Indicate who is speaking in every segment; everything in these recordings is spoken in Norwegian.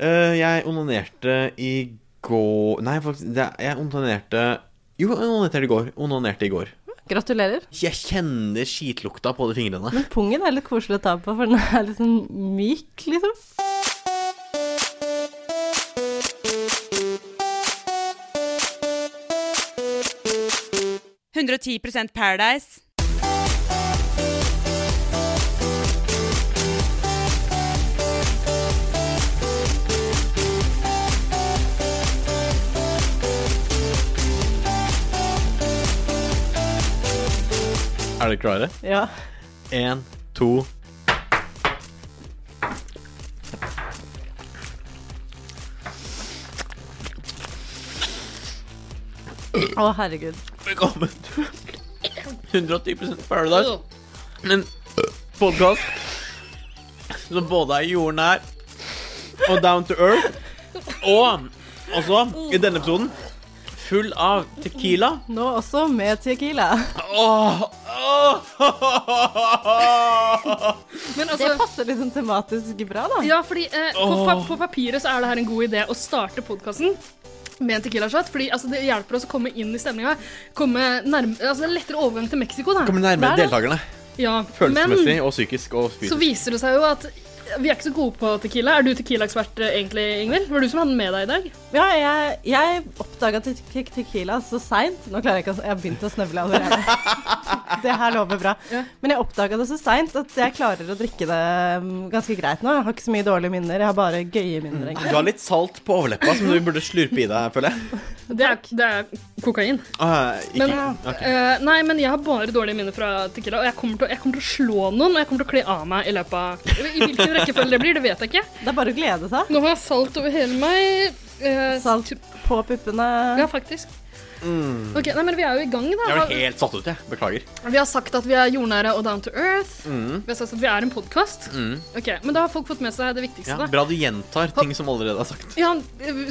Speaker 1: Eh, jeg onanerte i går Nei, faktisk, det, jeg onanerte Jo, jeg onanerte i går. Onanerte i går.
Speaker 2: Gratulerer.
Speaker 1: Jeg kjenner skitlukta på de fingrene.
Speaker 2: Men pungen er litt koselig å ta på, for den er litt sånn myk, liksom.
Speaker 3: Paradise.
Speaker 1: Er dere klare?
Speaker 2: Ja.
Speaker 1: Én, to
Speaker 2: Å, herregud.
Speaker 1: Velkommen til 110 Paradise. En podkast som både er jordnær og down to earth. Og også, i denne episoden, full av tequila.
Speaker 2: Nå også med tequila.
Speaker 1: Åh, åh.
Speaker 4: Men
Speaker 2: Det
Speaker 4: altså,
Speaker 2: passer liksom tematisk bra, da.
Speaker 4: ja, fordi eh, på, pa- på papiret så er det her en god idé å starte podkasten med en tequila shot, fordi altså, det hjelper oss å komme inn i stemninga. Komme nærme, altså, det er lettere overgang til Mexico, da.
Speaker 1: Kommer nærmere
Speaker 2: Der, da.
Speaker 1: deltakerne.
Speaker 4: Ja,
Speaker 1: Følelsesmessig og psykisk og
Speaker 4: Men så
Speaker 1: fysisk.
Speaker 4: viser det seg jo at vi er ikke så gode på tequila. Er du tequila-ekspert eh, egentlig, Ingvild? Var det du som hadde den med deg i dag?
Speaker 2: Ja, jeg, jeg oppdaga te te tequila så seint Nå klarer jeg ikke å Jeg har begynt å snøvle allerede. Det her lover bra. Men jeg oppdaga det så seint at jeg klarer å drikke det mm, ganske greit nå. Jeg har ikke så mye dårlige minner. Jeg har bare gøye
Speaker 4: Mm.
Speaker 2: minner,
Speaker 1: Du
Speaker 2: egentlig.
Speaker 1: har litt salt på overleppa som du burde slurpe i deg, føler jeg.
Speaker 4: Det er, det er kokain.
Speaker 1: Åh, Ah, ikke.
Speaker 4: Men, eh, nei, men jeg har bare dårlige minner fra tequila, og jeg kommer, til, å- jeg kommer til å slå noen, og jeg kommer til å kle av meg i løpet av I hvilken rekkefølge det blir, det vet jeg ikke.
Speaker 2: Det er bare å glede seg.
Speaker 4: Nå har jeg salt over hele meg. eh,
Speaker 2: Salt
Speaker 4: tr-
Speaker 2: på puppene.
Speaker 4: Ja, faktisk. Ok, nei, men Vi er jo i gang, da.
Speaker 1: Jeg var helt satt ut, jeg. Beklager.
Speaker 4: Vi har sagt at vi er jordnære og down to earth. Vi har sagt at vi er en podkast. Ok, Men da har folk fått med seg det viktigste.
Speaker 1: Ja,
Speaker 4: da.
Speaker 1: bra du gjentar ting som allerede er sagt.
Speaker 4: Ja,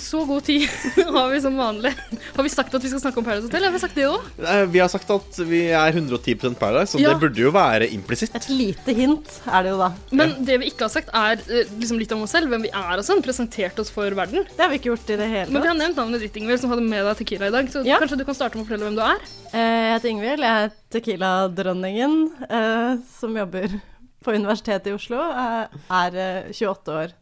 Speaker 4: Så god tid har vi som vanlig. Har vi sagt at vi skal snakke om Paradise Hotel? Har vi sagt det òg?
Speaker 1: Eh, Vi har sagt at vi er 110 Paradise, så
Speaker 4: Ja.
Speaker 1: det burde jo være implisitt.
Speaker 2: Et lite hint er det jo da.
Speaker 4: Men det vi ikke har sagt, er eh, liksom litt om oss selv, hvem vi er og sånn. Presentert oss for verden.
Speaker 2: Det har vi ikke gjort i det hele
Speaker 4: Men vi
Speaker 2: tatt.
Speaker 4: har nevnt navnet ditt, Ingvild, som hadde med deg Tequila i dag. Så
Speaker 2: Ja.
Speaker 4: kanskje du kan starte med å fortelle hvem du er?
Speaker 2: Eh, Jeg heter Ingvild, jeg er tequila-dronningen eh, som jobber på Universitetet i Oslo. eh, Er eh, 28 år.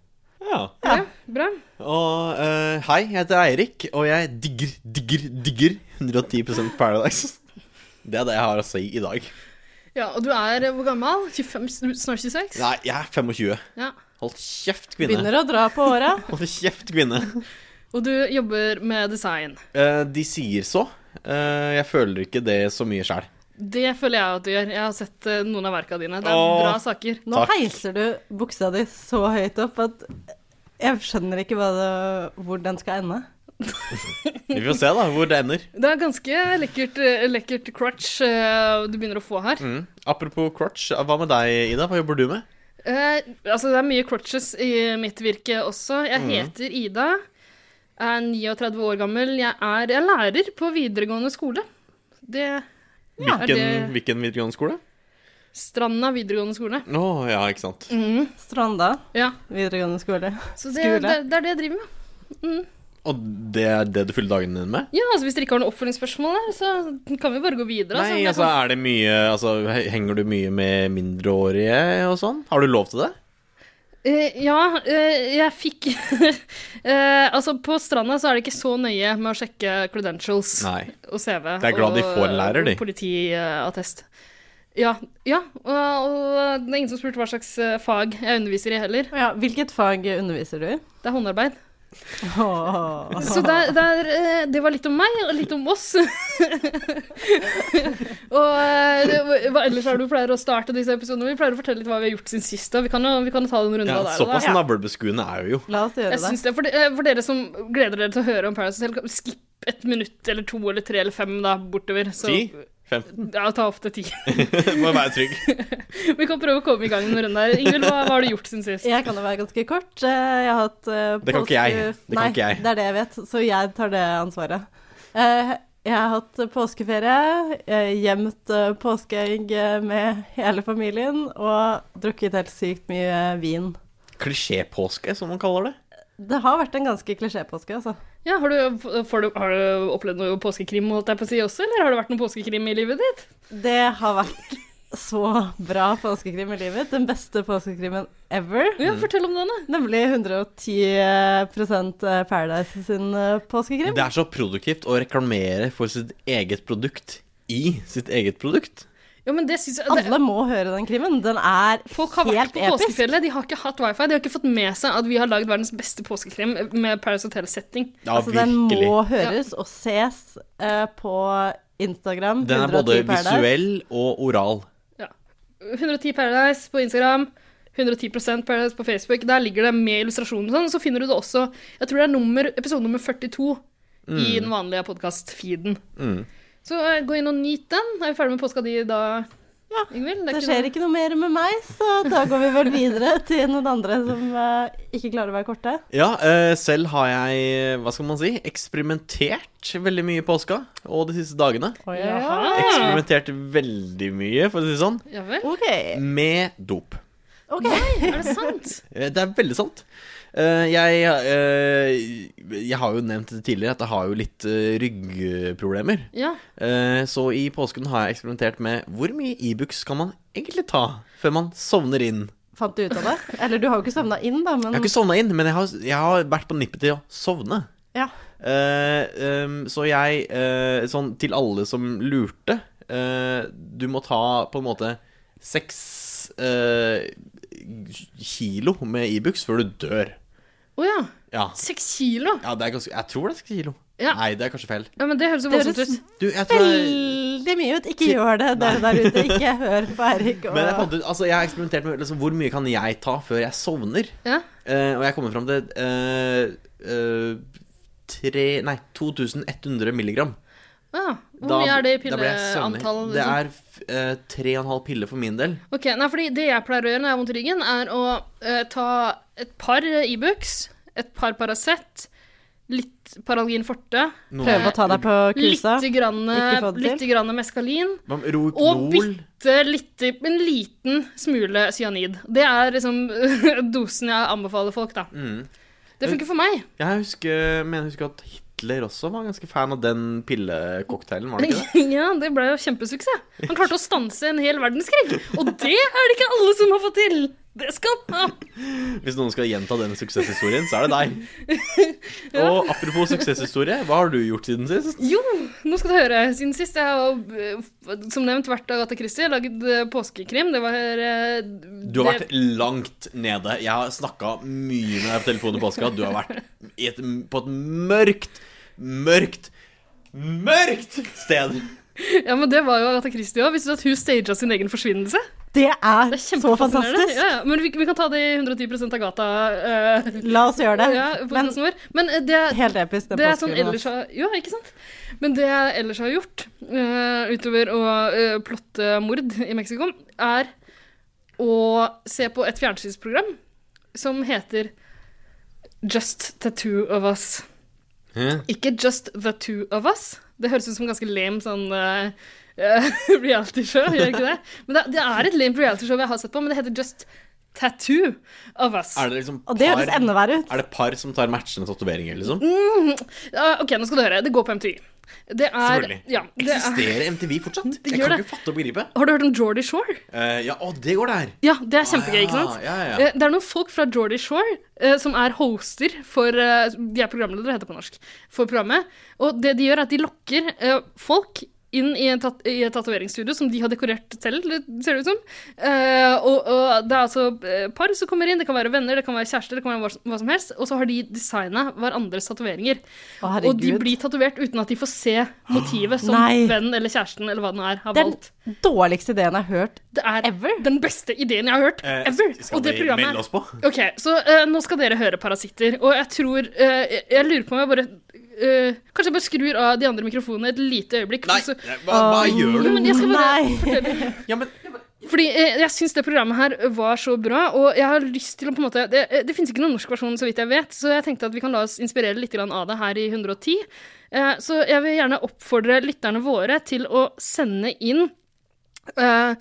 Speaker 1: Ja.
Speaker 4: Ja. Bra.
Speaker 1: Og eh, hei, jeg heter Eirik, og jeg digger, digger, digger 110 Paradise. Det er det jeg har å si i dag.
Speaker 4: Ja, Og du er eh, hvor gammel? 25, snart 26?
Speaker 1: Nei, jeg er 25.
Speaker 4: Ja.
Speaker 1: Hold kjeft, kvinne.
Speaker 2: Begynner å dra på åra.
Speaker 1: Hold kjeft, kvinne.
Speaker 4: Og du jobber med design.
Speaker 1: Eh, de sier så. Eh, jeg føler ikke det så mye sjæl.
Speaker 4: Det føler jeg at du gjør. Jeg har sett eh, noen av verka dine. Det er
Speaker 1: Åh.
Speaker 4: bra saker.
Speaker 2: Nå
Speaker 1: Takk.
Speaker 2: heiser du buksa di så høyt opp at jeg skjønner ikke hva det, hvor den skal ende.
Speaker 1: Vi får se, da, hvor det ender.
Speaker 4: Det er ganske lekkert, eh, lekkert crutch eh, du begynner å få her.
Speaker 1: Mm. Apropos crotch, eh, hva med deg, Ida? Hva jobber du med?
Speaker 4: Eh, altså, det er mye crutches i mitt virke også. Jeg
Speaker 1: Mhm.
Speaker 4: heter Ida. Er 39 år gammel. Jeg er, jeg er lærer på videregående skole. Det er
Speaker 1: Hvilken,
Speaker 4: det-
Speaker 1: hvilken videregående skole?
Speaker 4: Stranda videregående skole.
Speaker 1: Å ja, ikke sant.
Speaker 4: Mm.
Speaker 2: Stranda
Speaker 4: Ja,
Speaker 2: videregående skole.
Speaker 4: så det,
Speaker 2: Skole.
Speaker 4: det, det er det jeg driver med.
Speaker 1: Og det er det du fyller dagene dine med?
Speaker 4: Ja, altså Hvis dere ikke har noen oppfølgingsspørsmål, der, så kan vi bare gå videre.
Speaker 1: Nei,
Speaker 4: Det
Speaker 1: altså
Speaker 4: kan-
Speaker 1: er det mye altså, he- Henger du mye med mindreårige og sånn? Har du lov til det?
Speaker 4: Eh, ja, eh, jeg fikk eh, Altså, på Stranda så er det ikke så nøye med å sjekke credentials.
Speaker 1: Nei.
Speaker 4: og CV.
Speaker 1: Jeg er glad de
Speaker 4: og-
Speaker 1: får en lærer, de.
Speaker 4: Og politiattest. Ja. ja og, og det er ingen som spurte hva slags eh, fag jeg underviser i heller.
Speaker 2: Ja, hvilket fag underviser du i?
Speaker 4: Det er håndarbeid.
Speaker 2: Åh.
Speaker 4: Så der, der, eh, det var litt om meg, og eh, litt om oss. og eh, det- hva ellers er det du pleier å starte disse episodene? Vi pleier å fortelle litt hva vi har gjort siden sist. Da. Vi kan jo vi kan jo ta den runda
Speaker 1: Ja,
Speaker 4: der. og
Speaker 1: såpass
Speaker 4: da.
Speaker 1: navlebeskuende er vi jo.
Speaker 2: La oss gjøre
Speaker 4: Jeg
Speaker 2: det.
Speaker 4: syns det. For, de, eh, for dere som gleder dere til å høre om Paradise Hotel, skipp et minutt eller to eller tre eller fem da, bortover. Så,
Speaker 1: Ti? 15?
Speaker 4: Ja, ta opp til ti.
Speaker 1: Må være trygg.
Speaker 4: Vi kan prøve å komme i gang med runden her. Ingvild, hva, hva har du gjort siden sist?
Speaker 2: Jeg kan jo være ganske kort. Eh, Jeg har hatt eh,
Speaker 1: Det kan ikke jeg.
Speaker 2: påske-
Speaker 1: Det kan
Speaker 2: Nei,
Speaker 1: ikke jeg.
Speaker 2: det er det jeg vet, så jeg tar det ansvaret. Eh, Jeg har hatt påskeferie, eh, gjemt eh, påskeegg eh, med hele familien og drukket helt sykt mye vin.
Speaker 1: Klisjépåske, som man kaller det.
Speaker 2: Det har vært en ganske klisjépåske, altså.
Speaker 4: Ja, har du, får du, har du opplevd noe påskekrim holdt jeg på å si også, eller har det vært noe påskekrim i livet ditt?
Speaker 2: Det har vært så bra påskekrim i livet. Den beste påskekrimen ever.
Speaker 4: Ja, fortell om den, da.
Speaker 2: Nemlig 110 eh, Paradise sin eh, påskekrim.
Speaker 1: Det er så produktivt å reklamere for sitt eget produkt i sitt eget produkt.
Speaker 4: Jo, men det synes jeg... Det,
Speaker 2: Alle må høre den krimmen. Den er
Speaker 4: Folk har vært
Speaker 2: helt
Speaker 4: på
Speaker 2: episk.
Speaker 4: påskefjellet, de har ikke hatt wifi, de har ikke fått med seg at vi har lagd verdens beste påskekrim med Paris Hotel-setting.
Speaker 1: Ja,
Speaker 2: altså, den må høres og ses eh, på Instagram.
Speaker 1: Den er
Speaker 2: 110
Speaker 1: både
Speaker 2: Paradise.
Speaker 1: visuell og oral.
Speaker 4: Ja. 110 Paradise på Instagram, 110 Paradise på Facebook, der ligger det med illustrasjoner og sånn, så finner du det også, jeg tror det er nummer, episode nummer 42 i
Speaker 1: Mm.
Speaker 4: den vanlige podcast-feeden. Så eh, gå inn og nyt den, er vi ferdig med påska di da,
Speaker 2: Ja,
Speaker 4: Ingvild?
Speaker 2: Det skjer ikke noe mer med meg, så da går vi vel videre til noen andre som eh, ikke klarer å være korte.
Speaker 1: Ja, eh, selv har jeg, hva skal man si, eksperimentert veldig mye i påska og de siste dagene.
Speaker 2: Oi,
Speaker 4: Jaha.
Speaker 1: Eksperimentert veldig mye, for å si det sånn,
Speaker 4: Ja vel,
Speaker 2: OK.
Speaker 1: med dop.
Speaker 2: ok.
Speaker 4: er det sant?
Speaker 1: Eh, Det er veldig sant. Eh, Jeg, eh, jeg har jo nevnt det tidligere at jeg har jo litt eh, ryggproblemer.
Speaker 4: Ja,
Speaker 1: Eh, Så i påsken har jeg eksperimentert med hvor mye Ibux kan man egentlig ta før man sovner inn.
Speaker 2: Fant du ut av det? Eller du har jo ikke sovna inn, da, men
Speaker 1: Jeg har ikke sovna inn, men jeg har, jeg har vært på nippet til å sovne.
Speaker 2: ja.
Speaker 1: Eh, ehm, så jeg, eh, sånn til alle som lurte eh, Du må ta på en måte seks eh, kilo med Ibux før du dør.
Speaker 4: åja,
Speaker 1: Ja.
Speaker 4: 6 kilo?
Speaker 1: ja, det er ganske Jeg tror det er seks kilo.
Speaker 4: Ja.
Speaker 1: Nei, det er kanskje feil.
Speaker 4: Ja, men det høres jo
Speaker 2: Det
Speaker 4: voldsomt
Speaker 2: høres
Speaker 4: ut.
Speaker 1: Du, jeg tror jeg
Speaker 2: veldig mye ut. Ikke gjør det, dere der ute. Ikke hør på Eirik.
Speaker 1: men jeg, fant
Speaker 2: Og...
Speaker 1: ut, altså jeg har eksperimentert med liksom, hvor mye kan jeg ta før jeg sovner.
Speaker 4: Ja.
Speaker 1: Eh, og jeg kommer fram til eh, eh, tre, nei, 2100 milligram.
Speaker 4: Ja. Ah. Hvor
Speaker 1: Da-
Speaker 4: mye er det i
Speaker 1: da ble jeg søvnig.
Speaker 4: pilleantall?
Speaker 1: Det
Speaker 4: liksom?
Speaker 1: er f- eh, tre og en halv pille for min del.
Speaker 4: Ok, nei, fordi Det jeg pleier å gjøre når jeg har vondt i ryggen, er å eh, ta et par Ibux, et par Paracet, litt Paralgin forte,
Speaker 1: Noe-
Speaker 2: Prøve å ta deg på kusa.
Speaker 4: litt, grann,
Speaker 2: Ikke få det til.
Speaker 4: litt grann meskalin
Speaker 1: Man,
Speaker 4: og
Speaker 1: Rohypnol
Speaker 4: bitte lite, en liten smule cyanid. Det er liksom dosen jeg anbefaler folk, da.
Speaker 1: mm.
Speaker 4: Det funker for meg.
Speaker 1: Jeg husker, mener jeg husker at Hitler også var ganske fan av den pillecocktailen, var det ikke det?
Speaker 4: Ja, det ble jo kjempesuksess. Han klarte å stanse en hel verdenskrig, og det er det ikke alle som har fått til. Det skal han ha.
Speaker 1: Hvis noen skal gjenta den suksesshistorien, så er det deg. Og apropos suksesshistorie, hva har du gjort siden sist?
Speaker 4: Jo, nå skal du høre. Siden sist jeg har jo, eh, som nevnt vært Agatha Christie, laget eh, påskekrim. Det var eh,
Speaker 1: Du har
Speaker 4: det-
Speaker 1: vært langt nede. Jeg har snakka mye med deg på telefonen i påska. Du har vært i et, på et mørkt, mørkt, mørkt sted.
Speaker 4: Ja, men det var jo Agatha Christie òg. Visste du at hun staga sin egen forsvinnelse?
Speaker 2: Det er,
Speaker 4: Det er
Speaker 2: så
Speaker 4: kjempefascinerende.
Speaker 2: fantastisk.
Speaker 4: Ja, ja. Men vi, vi kan ta det i 110 Agatha. eh,
Speaker 2: La oss gjøre det.
Speaker 4: ja,
Speaker 2: men
Speaker 4: men, vår. men eh, det,
Speaker 2: helt episk, den
Speaker 4: det er sånn
Speaker 2: påskekrimmen.
Speaker 4: ellers har, Ja, ikke sant? Men det jeg ellers har gjort, eh, utover å eh, plotte mord i Mexico, er å se på et fjernsynsprogram som heter Just the two of us. Ikke Just the two of us. Det høres ut som ganske lame sånn eh, eh, reality-show, gjør ikke det? Men det, det er et lame reality-show jeg har sett på, men det heter Just Tattoo of Us.
Speaker 1: Er det liksom
Speaker 2: Og det høres
Speaker 1: par,
Speaker 2: enda verre ut.
Speaker 1: er det par som tar matchende tatoveringer, liksom?
Speaker 4: Mm, Ja, ok, nå skal du høre. Det går på MTY. Det er,
Speaker 1: Selvfølgelig.
Speaker 4: ja, det er,
Speaker 1: Eksisterer MTV fortsatt?
Speaker 4: Det
Speaker 1: jeg
Speaker 4: gjør
Speaker 1: kan
Speaker 4: det.
Speaker 1: ikke fatte og begripe.
Speaker 4: har du hørt om Jordy Shore?
Speaker 1: Eh, ja, å, det går der.
Speaker 4: Ja, det er kjempegøy,
Speaker 1: Ah,
Speaker 4: ikke sant?
Speaker 1: Ja, ja, ja.
Speaker 4: Eh, Det er noen folk fra Jordy Shore eh, som er hoster for eh, De er programledere, heter det på norsk, for programmet. Og det de gjør, er at de lokker eh, folk inn i, en tat i et tatoveringsstudio som de har dekorert selv, det ser det ut som. Eh, og, og det er altså eh, par som kommer inn, det kan være venner, det kan være kjærester, det kan være hva, som- hva som helst. Og så har de designa hverandres
Speaker 2: Å,
Speaker 4: tatoveringer. Og de
Speaker 2: herregud.
Speaker 4: blir tatovert uten at de får se motivet som
Speaker 2: Nei.
Speaker 4: vennen eller kjæresten eller hva den er, har
Speaker 2: Den
Speaker 4: valgt.
Speaker 2: dårligste ideen jeg har hørt.
Speaker 4: Det er
Speaker 2: Ever?
Speaker 4: den beste ideen jeg har hørt
Speaker 1: Eh,
Speaker 4: ever.
Speaker 1: skal
Speaker 4: og det
Speaker 1: vi
Speaker 4: programmet
Speaker 1: melde oss på?
Speaker 4: Ok, så eh, nå skal dere høre Parasitter, og jeg tror eh, jeg, jeg lurer på om jeg bare eh, Kanskje jeg bare skrur av de andre mikrofonene et lite øyeblikk.
Speaker 1: Nei,
Speaker 4: for så- Ah.
Speaker 1: hva, hva gjør
Speaker 4: Jo,
Speaker 1: du?
Speaker 4: men jeg skal bare
Speaker 2: Nei.
Speaker 4: fortelle.
Speaker 1: Ja, men
Speaker 4: Fordi eh, jeg syns det programmet her var så bra, og jeg har lyst til å på en måte Det, eh, det finnes ikke noen norsk versjon, så vidt jeg vet, så jeg tenkte at vi kan la oss inspirere litt grann av det her i 110. Eh, så jeg vil gjerne oppfordre lytterne våre til å sende inn eh,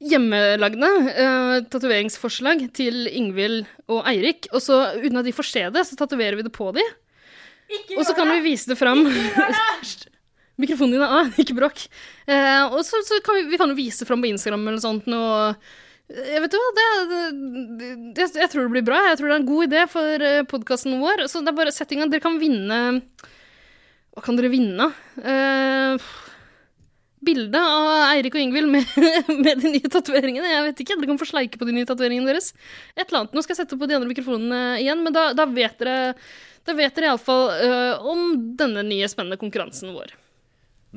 Speaker 4: hjemmelagde uh, tatoveringsforslag til Ingvild og Eirik. Og så, uten at de får se det, så tatoverer vi det på de. og så kan vi vise det fram. Mikrofonen din er av, ikke bråk. Eh, og så, så kan vi, vi kan jo vise fram på Instagram eller sånt noe jeg vet du hva, det, det, det, jeg tror det blir bra. Jeg tror det er en god idé for podkasten vår. Så det er bare settinga. Dere kan vinne Hva kan dere vinne? Eh, bilde av Eirik og Ingvild med, med de nye tatoveringene. Jeg vet ikke, Dere kan få sleike på de nye tatoveringene deres. Et eller annet. Nå skal jeg sette på de andre mikrofonene igjen, men da, da vet dere da vet dere iallfall uh, om denne nye spennende konkurransen vår.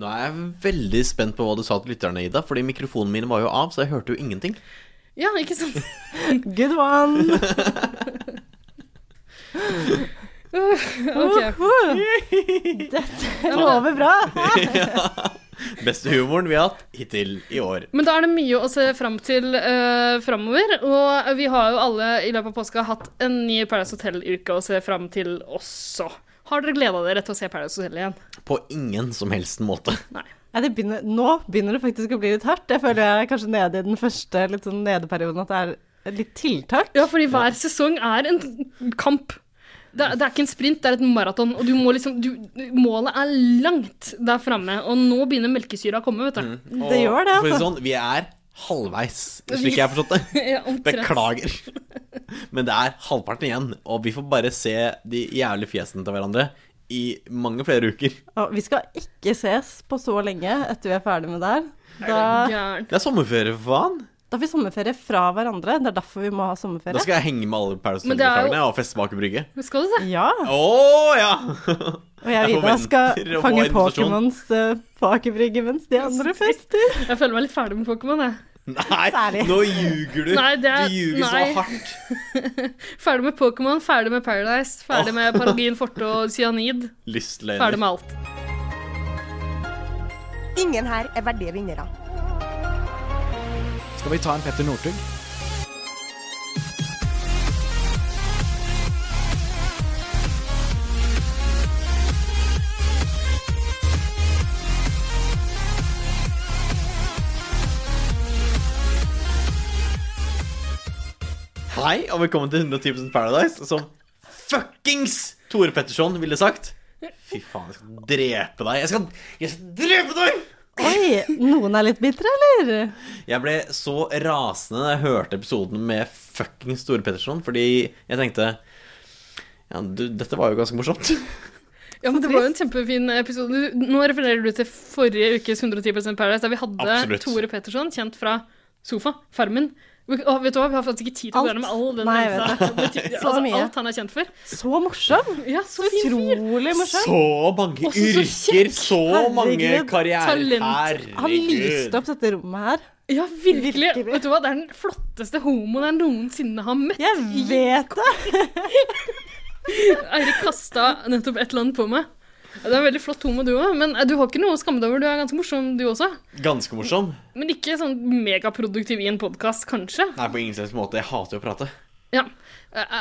Speaker 1: Nå er jeg veldig spent på hva du sa til lytterne, Ida. Fordi mikrofonen min var jo av, så jeg hørte jo ingenting.
Speaker 4: Ja, ikke sant?
Speaker 2: Good one!
Speaker 4: Ok.
Speaker 2: Dette lover bra.
Speaker 1: Beste humoren vi har hatt hittil i år.
Speaker 4: Men da er det mye å se fram til uh, framover. Og vi har jo alle i løpet av påska hatt en ny Paradise Hotel-uke å se fram til også. Har dere gleda dere til å se Paradise Hotel igjen?
Speaker 1: På ingen som helst måte.
Speaker 2: Nei, det begynner, nå begynner det faktisk å bli litt hardt. Jeg føler jeg er kanskje nede i den første litt sånn nedeperioden at det er litt tiltak.
Speaker 4: Ja, fordi hver sesong er en kamp. Det er, det er ikke en sprint, det er et maraton. Og du må liksom, du, målet er langt der framme. Og nå begynner melkesyra å komme, vet du.
Speaker 2: Det gjør det,
Speaker 1: For å si
Speaker 2: altså.
Speaker 1: sånn, vi er halvveis, slik jeg har forstått det.
Speaker 4: Ja, omtrent.
Speaker 1: Beklager. Men det er halvparten igjen, og vi får bare se de jævlige fjesene til hverandre i mange flere uker.
Speaker 2: Og vi skal ikke ses på så lenge etter vi er ferdig med det her. Da,
Speaker 4: Gæren.
Speaker 1: Det er sommerferie, for faen.
Speaker 2: da har vi sommerferie fra hverandre. Det er derfor vi må ha
Speaker 1: Da
Speaker 2: sommerferie.
Speaker 1: skal jeg henge med alle Paradise
Speaker 4: Men det er jo-
Speaker 1: Hotel-deltakerne og feste bak i brygge.
Speaker 4: Skal du det?
Speaker 2: Ja.
Speaker 1: Å ja!
Speaker 2: Og jeg og
Speaker 1: Jeg
Speaker 2: Ida
Speaker 1: forventer
Speaker 2: skal
Speaker 1: å få
Speaker 2: fange
Speaker 1: invitasjon.
Speaker 2: Pokémons eh, på Aker Brygge mens de andre fester.
Speaker 4: Jeg føler meg litt ferdig med Pokémon. jeg.
Speaker 1: Nei,
Speaker 2: Særlig.
Speaker 1: nå ljuger du.
Speaker 4: Nei, det er-
Speaker 1: du ljuger
Speaker 4: nei.
Speaker 1: så hardt.
Speaker 4: Ferdig med Pokémon, ferdig med Paradise, ferdig med Paragin Forte og Cyanid. Ferdig
Speaker 1: Lystløgner.
Speaker 4: med alt.
Speaker 5: Ingen her er verdige vinnere.
Speaker 6: Skal vi ta en Petter Northug?
Speaker 1: Hei, og velkommen til 110 Paradise, som fuckings Tore Petterson ville sagt. Fy faen, jeg skal drepe deg. Jeg skal, jeg skal drepe deg!
Speaker 2: Oi, noen er litt bitre, eller?
Speaker 1: Jeg ble så rasende da jeg hørte episoden med fucking Store Petterson, fordi jeg tenkte ja, du, dette var jo ganske morsomt.
Speaker 4: Ja, men Det var jo en kjempefin episode. Du- Nå refererer du til forrige ukes 110 Paradise, der vi hadde
Speaker 1: Absolutt.
Speaker 4: Tore Petterson, kjent fra Sofa, Farmen. Å, vet du hva, Vi har faktisk ikke tid til å
Speaker 2: Alt.
Speaker 4: gå gjennom all den
Speaker 2: Nei,
Speaker 4: remsa. Det betyr-
Speaker 2: Så
Speaker 4: altså,
Speaker 2: mye.
Speaker 4: alt han er kjent for.
Speaker 2: Så morsom.
Speaker 4: Ja, så fin fyr.
Speaker 2: Utrolig morsom.
Speaker 1: Så mange
Speaker 4: så
Speaker 1: yrker, så mange
Speaker 2: Herregud,
Speaker 1: karrierer.
Speaker 4: talenter.
Speaker 2: Han lyste opp dette rommet her.
Speaker 4: Ja, virkelig.
Speaker 2: Virkelig.
Speaker 4: Vet du hva, Det er den flotteste homoen jeg noensinne har møtt.
Speaker 2: Jeg vet det!
Speaker 4: Eirik kasta nettopp et eller annet på meg. Ja, Det er en veldig flott homo, du òg. Men eh, du har ikke noe å skamme deg over. Du er ganske morsom, du også.
Speaker 1: Ganske morsom.
Speaker 4: Men ikke sånn megaproduktiv i en podkast, kanskje.
Speaker 1: Nei, på ingen slags måte. Jeg hater jo å prate.
Speaker 4: Ja. Eh,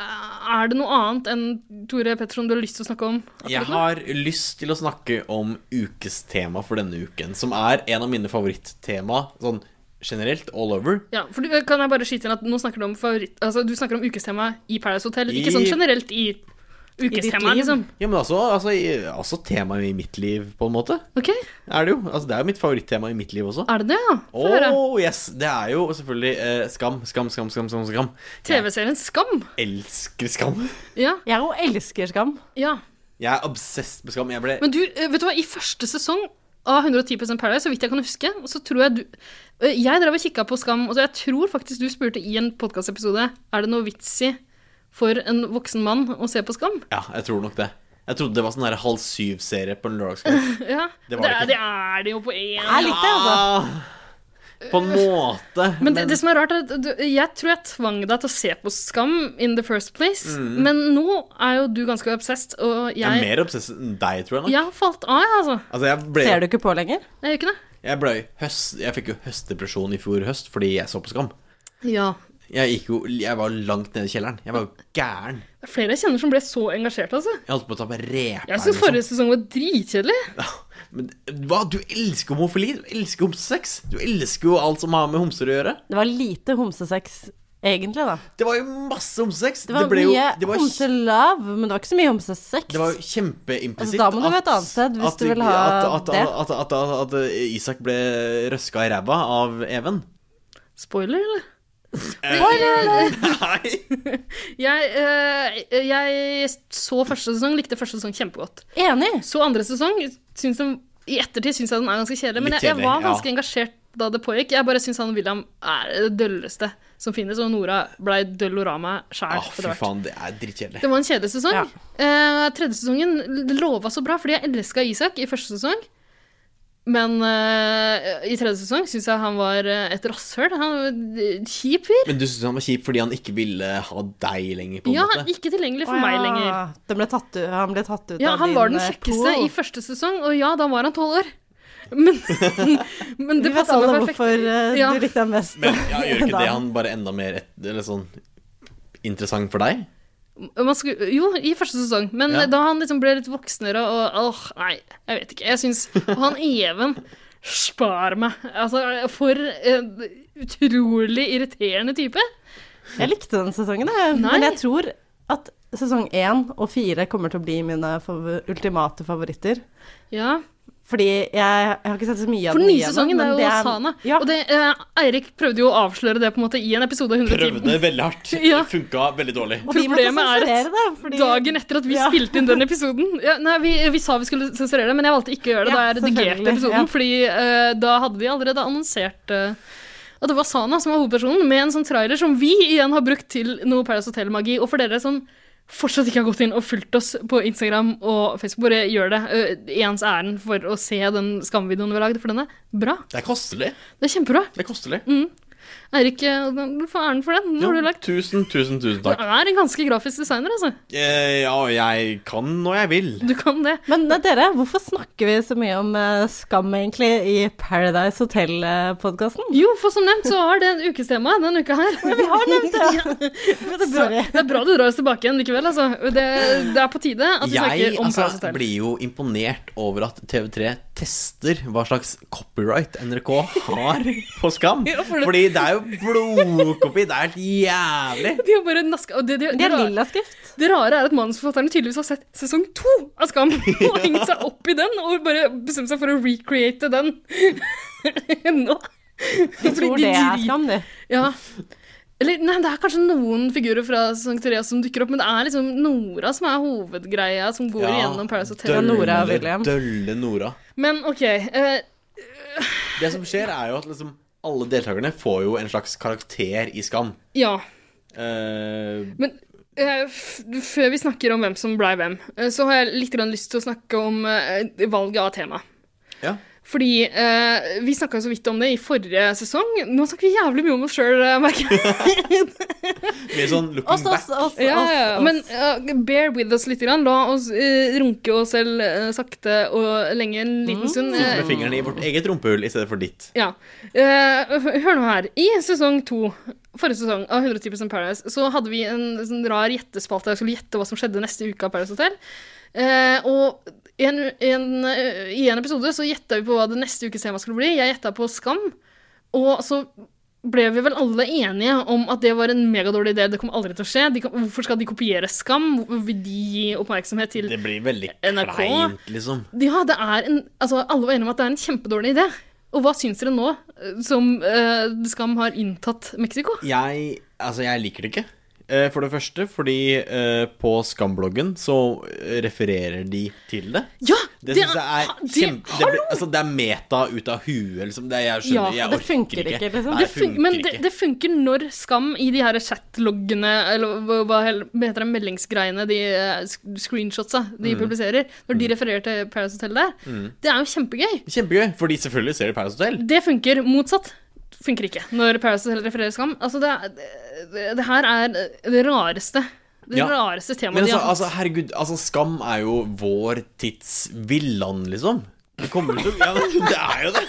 Speaker 4: Er det noe annet enn Tore Petterson du har lyst til å snakke om?
Speaker 1: Jeg
Speaker 4: nå?
Speaker 1: har lyst til å snakke om ukestema for denne uken, som er en av mine favorittema sånn generelt, all over.
Speaker 4: Ja, for du, eh, kan jeg bare skyte inn at nå snakker du om favoritt... Altså, du snakker om ukestema i Paradise Hotel,
Speaker 1: I-
Speaker 4: ikke sånn generelt i ukestema,
Speaker 2: liv.
Speaker 4: liksom.
Speaker 1: Ja, men altså, altså, i- altså tema i mitt liv, på en måte.
Speaker 4: Ok,
Speaker 1: Er det jo. Altså, det er jo mitt favorittema i mitt liv også.
Speaker 4: er det det, ja? Få høre.
Speaker 1: Oh, yes. Det er jo selvfølgelig eh, skam, skam, skam, skam, skam, skam.
Speaker 4: TV-serien Skam.
Speaker 1: Jeg elsker skam.
Speaker 4: Ja,
Speaker 2: Jeg jo elsker Skam.
Speaker 4: ja.
Speaker 1: Jeg er obsessed med skam. Jeg ble
Speaker 4: Men du, eh, vet du hva, i første sesong av 110 Paradise, så vidt jeg kan huske, så tror jeg du eh, Jeg drev og kikka på Skam, og så jeg tror faktisk du spurte i en podkastepisode Er det noe vits i for en voksen mann å se på Skam.
Speaker 1: Ja, jeg tror nok det. Jeg trodde det var sånn her halv syv-serie på en lørdagskveld.
Speaker 4: Ja,
Speaker 1: Det
Speaker 4: det,
Speaker 1: var det
Speaker 4: er,
Speaker 1: ikke.
Speaker 4: det er det jo på en
Speaker 2: Jeg likte det, altså.
Speaker 1: Ah, På en måte.
Speaker 4: Men det, det som er rart, er at du, jeg tror jeg tvang deg til å se på Skam in the first place. Men nå er jo du ganske obsessed, og
Speaker 1: jeg Mm. er
Speaker 4: jeg,
Speaker 1: mer obsessed enn deg, tror jeg. nok
Speaker 4: jeg har falt av, jeg, altså.
Speaker 1: Altså, jeg ble,
Speaker 2: Ser du ikke på lenger?
Speaker 4: Jeg gjør ikke det.
Speaker 1: Jeg, ble høst, jeg fikk jo høstdepresjon i fjor høst fordi jeg så på Skam.
Speaker 4: Ja.
Speaker 1: Jeg gikk jo Jeg var langt nede i kjelleren. Jeg var jo gæren.
Speaker 4: Det er flere jeg kjenner som ble så engasjert, altså.
Speaker 1: Jeg holdt på å ta på reperen.
Speaker 4: Jeg syns forrige sesong var dritkjedelig.
Speaker 1: Men hva? Du elsker homofili? Du elsker homsesex? Du elsker jo alt som har med homser å gjøre?
Speaker 2: Det var lite homsesex, egentlig, da.
Speaker 1: Det var jo masse homsesex!
Speaker 2: Det var
Speaker 1: ble
Speaker 2: mye
Speaker 1: det var-
Speaker 2: homselove, men det var ikke så mye homsesex.
Speaker 1: Det var jo kjempeimplisitt.
Speaker 2: Altså, da må du
Speaker 1: at-
Speaker 2: være et annet sted hvis
Speaker 1: at-
Speaker 2: du vil ha
Speaker 1: at, at,
Speaker 2: det.
Speaker 1: At, at, at, at Isak ble røska i ræva av Even.
Speaker 4: Spoiler, eller?
Speaker 1: Nei!
Speaker 4: Jeg, eh, jeg så første sesong, likte første sesong kjempegodt.
Speaker 2: Enig!
Speaker 4: Så andre sesong, syns den, i ettertid syns jeg den er ganske kjedelig, men
Speaker 1: Litt
Speaker 4: jeg, jeg
Speaker 1: kjedelig,
Speaker 4: var
Speaker 1: ja.
Speaker 4: ganske engasjert da det pågikk. Jeg bare syns han William er det dølleste som finnes, og Nora blei døllorama sjæl.
Speaker 1: Å, fy faen, det er drittkjedelig.
Speaker 4: Det var en kjedelig sesong.
Speaker 2: Ja.
Speaker 4: Eh, tredje sesongen lova så bra, fordi jeg elska Isak i første sesong. Men eh, i tredje sesong syns jeg han var eh, et rasshøl. Han var en kjip fyr.
Speaker 1: Men du syntes han var kjip fordi han ikke ville ha deg lenger, på en
Speaker 4: Ja,
Speaker 1: måte?
Speaker 4: ikke tilgjengelig for
Speaker 2: Å,
Speaker 4: meg
Speaker 2: ja.
Speaker 4: lenger.
Speaker 2: Den ble tatt ut, han ble tatt ut
Speaker 4: Ja,
Speaker 2: av
Speaker 4: han
Speaker 2: din,
Speaker 4: var den
Speaker 2: eh,
Speaker 4: kjekkeste
Speaker 2: pool.
Speaker 4: i første sesong, og ja, da var han tolv år. Men, men
Speaker 2: Vi
Speaker 4: det
Speaker 2: vet
Speaker 4: passa
Speaker 2: alle
Speaker 4: meg perfekt.
Speaker 2: hvorfor eh,
Speaker 4: ja.
Speaker 2: du likte ham mest.
Speaker 1: Men ja, gjør ikke
Speaker 2: da.
Speaker 1: det han bare enda mer et, eller sånn interessant for deg?
Speaker 4: man skulle, jo, i første sesong, men
Speaker 1: Ja.
Speaker 4: da han liksom ble litt voksnere og åh, nei, jeg vet ikke. Jeg syns og han Even Spar meg. Altså, for en utrolig irriterende type.
Speaker 2: Jeg likte den sesongen, jeg.
Speaker 4: Nei.
Speaker 2: Men jeg tror at sesong én og fire kommer til å bli mine fav ultimate favoritter.
Speaker 4: Ja.
Speaker 2: Fordi jeg, jeg har ikke sett så mye av
Speaker 4: For den
Speaker 2: den
Speaker 4: nye
Speaker 2: igjen,
Speaker 4: sesongen
Speaker 2: men
Speaker 4: er jo
Speaker 2: det
Speaker 4: Sana.
Speaker 2: Ja,
Speaker 4: Og det, eh, Eirik prøvde jo å avsløre det på en måte i en episode av 110.
Speaker 1: Prøvde veldig hardt.
Speaker 4: Ja.
Speaker 1: Funka veldig dårlig.
Speaker 2: og vi måtte
Speaker 4: problemet er at
Speaker 2: sensurere det. Fordi,
Speaker 4: Dagen etter at vi
Speaker 2: Ja.
Speaker 4: spilte inn den episoden ja, Nei, vi, vi sa vi skulle sensurere det, men jeg valgte ikke å gjøre det.
Speaker 2: Ja,
Speaker 4: da jeg redigerte
Speaker 2: selvfølgelig,
Speaker 4: episoden,
Speaker 2: ja.
Speaker 4: fordi eh, da hadde de allerede annonsert eh, at det var Sana som var hovedpersonen, med en sånn trailer som vi igjen har brukt til noe Paradise Hotel-magi. Og for dere som fortsatt ikke har gått inn og fulgt oss på Instagram og Facebook, bare gjør det eh, i ens ærend for å se den skamvideoen vi har lagd, for den er bra.
Speaker 1: Det er kostelig.
Speaker 4: Det er kjempebra.
Speaker 1: Det er kostelig.
Speaker 4: Eirik, eh, du får æren for den. Den Mm, har du
Speaker 1: Ja,
Speaker 4: lagt.
Speaker 1: tusen, tusen, tusen
Speaker 4: Du
Speaker 1: takk.
Speaker 4: er en ganske grafisk designer, altså.
Speaker 1: Eh, Ja, jeg kan når jeg vil.
Speaker 4: Du kan det.
Speaker 2: Men eh, dere, hvorfor snakker vi så mye om eh, skam egentlig i Paradise Hotel-podkasten?
Speaker 4: Jo, for som nevnt så har det en ukestema denne uka her.
Speaker 2: Vi har nevnt det! Men det er bra.
Speaker 4: Det er bra du drar oss tilbake igjen likevel. Altså. Det, det er på tide at vi
Speaker 1: Jeg
Speaker 4: snakker om Paradise
Speaker 1: altså,
Speaker 4: Hotel.
Speaker 1: blir jo imponert over at TV3 tester hva slags copyright NRK har på Skam.
Speaker 4: Ja, for det-
Speaker 1: Fordi det er jo blodkopi. Det er helt jævlig.
Speaker 4: De har bare naska og det, det,
Speaker 2: Det
Speaker 4: det,
Speaker 2: er
Speaker 4: ra-
Speaker 2: lilla skrift.
Speaker 4: det rare er at manusforfatterne tydeligvis har sett sesong to av Skam og hengt seg opp i den og bare bestemt seg for å recreate den nå.
Speaker 2: De tror det er skam, de.
Speaker 4: Ja. Eller, nei, det er kanskje noen figurer fra sesong tre som dukker opp, men det er liksom Nora som er hovedgreia som går igjennom Paradise Hotel.
Speaker 2: døll. Nora og
Speaker 1: dølle-
Speaker 2: William.
Speaker 1: Dølle Nora.
Speaker 4: Men OK. eh,
Speaker 1: Det som skjer, er jo at liksom alle deltakerne får jo en slags karakter i Skam.
Speaker 4: ja.
Speaker 1: Eh,
Speaker 4: Men eh, f før vi snakker om hvem som blei hvem, eh, så har jeg litt grann lyst til å snakke om eh, valget av tema.
Speaker 1: ja.
Speaker 4: Fordi eh, vi snakka så vidt om det i forrige sesong. Nå snakker vi jævlig mye om oss sjøl, merker jeg.
Speaker 1: Mye sånn looking
Speaker 2: Oss,
Speaker 1: back.
Speaker 2: oss, oss.
Speaker 4: Ja,
Speaker 2: oss,
Speaker 4: ja, ja.
Speaker 2: oss.
Speaker 4: Men eh, bear with us litt. Grann. La oss eh, runke oss selv eh, sakte og lenge en liten stund.
Speaker 1: Sitte Mm. med
Speaker 4: Eh,
Speaker 1: fingrene i vårt eget rumpehull i stedet for ditt.
Speaker 4: ja. Eh, hør nå her. I sesong to, forrige sesong av 110 Paradise, så hadde vi en sånn rar gjettespalte. Jeg skulle gjette hva som skjedde neste uke av Paradise Hotel. Eh, og en, en, eh, i en episode så gjetta vi på hva det neste ukes tema skulle bli. Jeg gjetta på Skam. Og så ble vi vel alle enige om at det var en megadårlig idé. Det kommer aldri til å skje. De kan, hvorfor skal de kopiere Skam? Hvor vil de gi oppmerksomhet til
Speaker 1: Det blir veldig
Speaker 4: NRK?
Speaker 1: kleint, liksom.
Speaker 4: Ja, det er en Altså, alle var enige om at det er en kjempedårlig idé. Og hva syns dere nå eh, som eh, Skam har inntatt Mexico?
Speaker 1: Jeg, altså jeg liker det ikke. Eh, For det første fordi eh, på Skambloggen så eh, refererer de til det.
Speaker 4: Ja!
Speaker 1: Det syns jeg er
Speaker 4: det-
Speaker 1: kjempe... Det, blir, altså, det er meta ut av huet, liksom. Det, jeg
Speaker 4: Ja,
Speaker 1: skjønner, jeg
Speaker 2: det
Speaker 1: orker
Speaker 2: funker ikke, liksom.
Speaker 1: Nei,
Speaker 4: det
Speaker 1: det
Speaker 4: fun
Speaker 1: funker
Speaker 4: men det,
Speaker 1: ikke.
Speaker 4: det funker når Skam i de her chatloggene, eller hva- hva hel- hva heter det, meldingsgreiene, de eh, sk- screenshotsa
Speaker 1: Mm.
Speaker 4: de publiserer, når de refererer til Paradise Hotel der, det er jo kjempegøy.
Speaker 1: Kjempegøy, fordi selvfølgelig ser de Paradise Hotel.
Speaker 4: Det funker. Motsatt funker ikke når Paradise Hotel refererer Skam. Altså, det, er- det, det her er det rareste, det
Speaker 1: Ja.
Speaker 4: rareste
Speaker 1: Men
Speaker 4: temaet de
Speaker 1: altså,
Speaker 4: har hatt.
Speaker 1: altså, herregud, altså, Skam er jo vår tids villan, liksom. Det kommer jo til å ja, men Det er jo det!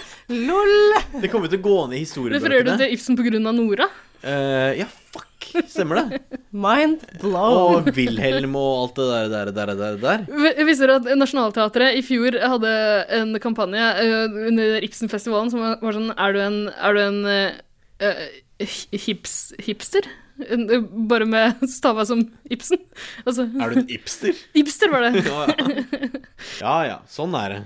Speaker 2: LOL!
Speaker 1: Det kommer jo til å gå ned i historiebøkene.
Speaker 4: Refererer du til Ibsen pga. Nora?
Speaker 1: Eh, ja, fuck! Stemmer det?
Speaker 2: Mind blown.
Speaker 1: Og Wilhelm og alt det der, der, der, der, der.
Speaker 4: Vi- Visste dere at Nationaltheatret i fjor hadde en kampanje eh, under Ibsenfestivalen som var var sånn Er du en, er du en eh, eh, hi- hips, hipster? En- eh, Bare med stava som Ibsen. Altså,
Speaker 1: Er du en hipster?
Speaker 4: Ibster var det.
Speaker 1: Ja ja. ja ja. Sånn er det.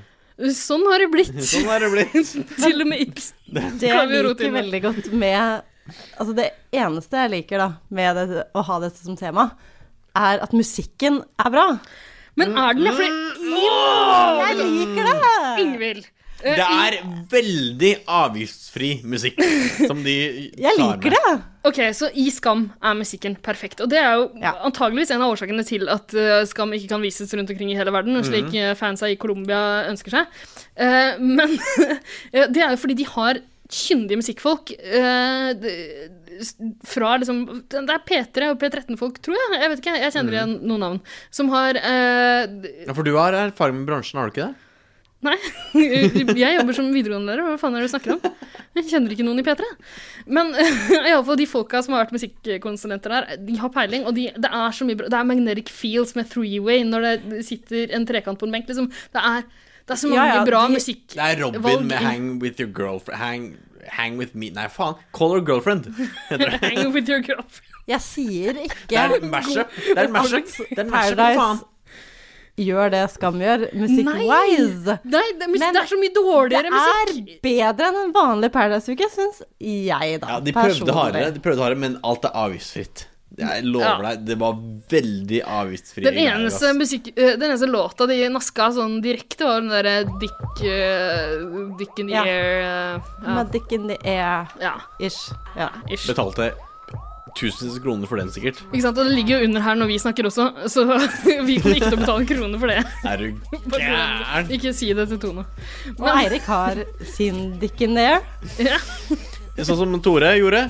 Speaker 4: Sånn har det blitt.
Speaker 1: Sånn er det blitt.
Speaker 4: Til og med Ibsen.
Speaker 2: Det jeg
Speaker 4: Klarer vi å rote
Speaker 2: liker
Speaker 4: inn det?
Speaker 2: veldig godt med Altså, det eneste jeg liker da med det, å ha dette som tema, er at musikken er bra.
Speaker 4: Men er den det? Fordi
Speaker 2: Jeg liker det!
Speaker 4: Ingvild eh,
Speaker 1: Det er veldig avgiftsfri musikk som de
Speaker 2: Jeg liker det.
Speaker 4: Ok, så i Skam er musikken perfekt. Og det er jo
Speaker 2: Ja.
Speaker 4: antageligvis en av årsakene til at eh, Skam ikke kan vises rundt omkring i hele verden, slik eh, fansa i Colombia ønsker seg. Eh, men eh, det er jo fordi de har kyndige musikkfolk eh, d- s- fra liksom Det er P3 og P13-folk, tror jeg. Jeg vet ikke, jeg kjenner igjen noen navn. Som har eh, d-
Speaker 1: Ja, For du har erfaring med bransjen, har du ikke det?
Speaker 4: Nei, jeg jobber som videregående-lærer, hva faen er det du snakker om? Jeg kjenner ikke noen i P3. Men iallfall de folka som har vært musikkonsulenter der, de har peiling, og de, det er så mye bra. Det er magnetic feels med three-way når det sitter en trekant på en benk, liksom. Det er, det er så mange
Speaker 2: Ja, ja,
Speaker 4: bra
Speaker 2: de-
Speaker 4: musikk...
Speaker 1: Det er Robin
Speaker 4: Valg i-
Speaker 1: med 'Hang with your girlfriend'. Hang, hang with me Nei, faen. 'Call her girlfriend'. heter det.
Speaker 4: Hang with your girlfriend.
Speaker 2: Jeg sier ikke
Speaker 1: Det er en mashup. Det er en mashup, Det er en mashup, for faen.
Speaker 2: Paradise gjør det Skam gjør, musikkWise.
Speaker 4: Nei, det, er mus-
Speaker 2: Men
Speaker 4: det er så mye dårligere
Speaker 2: Det er
Speaker 4: musikk!
Speaker 2: bedre enn en vanlig Paradise-uke, syns jeg, da.
Speaker 1: Ja, de prøvde
Speaker 2: personlig.
Speaker 1: hardere, de prøvde hardere men alt er avgiftsfritt. Jeg lover deg, det var veldig avgiftsfri
Speaker 4: Den
Speaker 1: greier,
Speaker 4: eneste,
Speaker 1: ass.
Speaker 4: musikk, eh, den eneste låta de naska sånn direkte, var den derre Dick, eh, Dick in the
Speaker 2: Ja.
Speaker 4: Air eh, ja.
Speaker 2: Med dick in the air-ish.
Speaker 4: ja,
Speaker 2: Ja.
Speaker 4: ish.
Speaker 1: Betalte tusenvis av kroner for den, sikkert.
Speaker 4: Ikke sant, og Det ligger jo under her når vi snakker også, så vi kommer ikke til å betale kroner for det.
Speaker 1: Er du gæren?
Speaker 4: Ikke si det til Tone.
Speaker 2: Og Eirik har sin dick in the air.
Speaker 4: Ja.
Speaker 1: Sånn som Tore gjorde.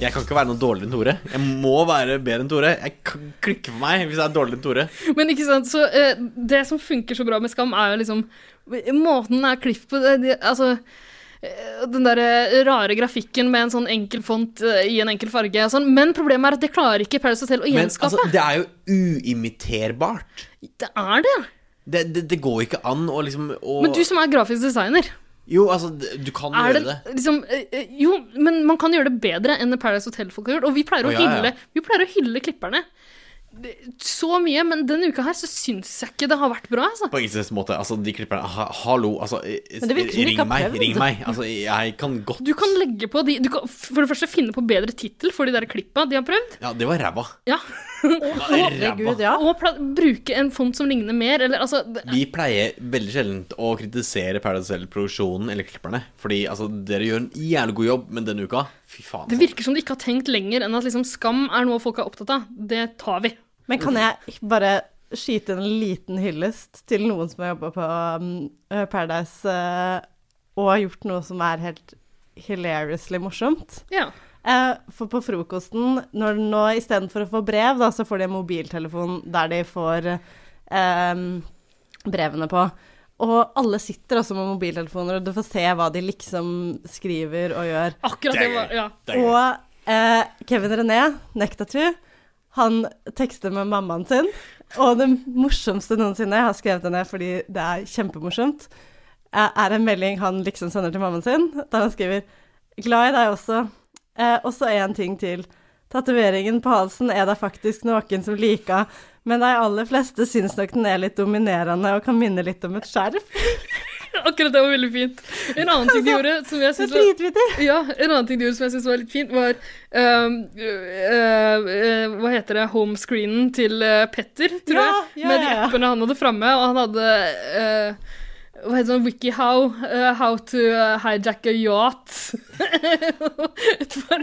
Speaker 1: Jeg kan ikke være noe dårligere enn Tore. Jeg må være bedre enn Tore. Jeg kan klikke for meg hvis jeg er dårligere enn Tore.
Speaker 4: Men ikke sant, så eh, det som funker så bra med Skam, er jo liksom Måten den er klippet på det- det- Altså eh, den der eh, rare grafikken med en sånn enkel font eh, i en enkel farge. og Sånn. Men problemet er at det klarer ikke Paris Hotel å
Speaker 1: Men
Speaker 4: gjenskape.
Speaker 1: altså, det er jo uimiterbart.
Speaker 4: det er det!
Speaker 1: Det, det, det går ikke an å liksom å
Speaker 4: Men du som er grafisk designer,
Speaker 1: Jo, altså, du kan
Speaker 4: er
Speaker 1: gjøre
Speaker 4: det
Speaker 1: det.
Speaker 4: liksom eh, eh, Jo, men man kan gjøre det bedre enn det Paradise Hotel-folk har gjort. Og vi pleier,
Speaker 1: Å,
Speaker 4: å
Speaker 1: ja, ja.
Speaker 4: hylle, vi pleier å hylle klipperne Det- så mye, men denne uka her så syns jeg ikke det har vært bra, altså.
Speaker 1: På ingen slags måte. Altså, de klipperne ha, Hallo, altså
Speaker 2: Men det virker som de
Speaker 1: Ring
Speaker 2: ikke har
Speaker 1: meg.
Speaker 2: prøvd.
Speaker 1: Ring meg. Altså, jeg kan godt
Speaker 4: Du kan legge på de Du kan for det første finne på bedre tittel for de der klippa de har prøvd.
Speaker 1: Ja, det var ræva.
Speaker 4: Ja.
Speaker 1: Det var
Speaker 2: Herregud,
Speaker 1: ræva.
Speaker 2: ja.
Speaker 4: Og pla bruke en font som ligner mer, eller altså det-
Speaker 1: Vi pleier veldig sjelden å kritisere Paradise Hotel-produksjonen eller klipperne. Fordi altså, dere gjør en jævlig god jobb, men denne uka Fy faen.
Speaker 4: Det virker som de ikke har tenkt lenger enn at liksom skam er noe folk er opptatt av. Det tar vi.
Speaker 2: Men kan jeg bare skyte en liten hyllest til noen som har jobba på um, Paradise eh, og har gjort noe som er helt hilariously morsomt?
Speaker 4: Ja.
Speaker 2: Eh, for på frokosten, når nå istedenfor å få brev, da, så får de en mobiltelefon der de får eh, brevene på. Og alle sitter også med mobiltelefoner, og du får se hva de liksom skriver og gjør.
Speaker 4: Akkurat det var Ja.
Speaker 1: altså, Det er gøy.
Speaker 2: Og eh, Kevin René, Nektatu, han tekster med mammaen sin. Og det morsomste noensinne, jeg har skrevet det ned fordi det er kjempemorsomt, eh, er en melding han liksom sender til mammaen sin, der han skriver 'Glad i deg også'. Eh, og så en ting til. Tatoveringen på halsen er det faktisk noen som liker, men de aller fleste syns nok den er litt dominerende og kan minne litt om et skjerf.
Speaker 4: Akkurat det var veldig fint. En annen ting de
Speaker 1: Altså,
Speaker 4: gjorde som jeg
Speaker 2: Det er
Speaker 4: syns var
Speaker 2: dritvittig!
Speaker 4: Ja, en annen ting de gjorde som jeg syntes var litt fint, var ehm, øh, øh, Hva heter det? Homescreenen til eh, Petter, tror
Speaker 2: Ja,
Speaker 4: jeg.
Speaker 2: ja,
Speaker 4: med de
Speaker 2: ja, ja.
Speaker 4: appene han hadde framme, og han hadde eh, hva heter sånn WikiHow? eh, how to eh, hijack a yacht.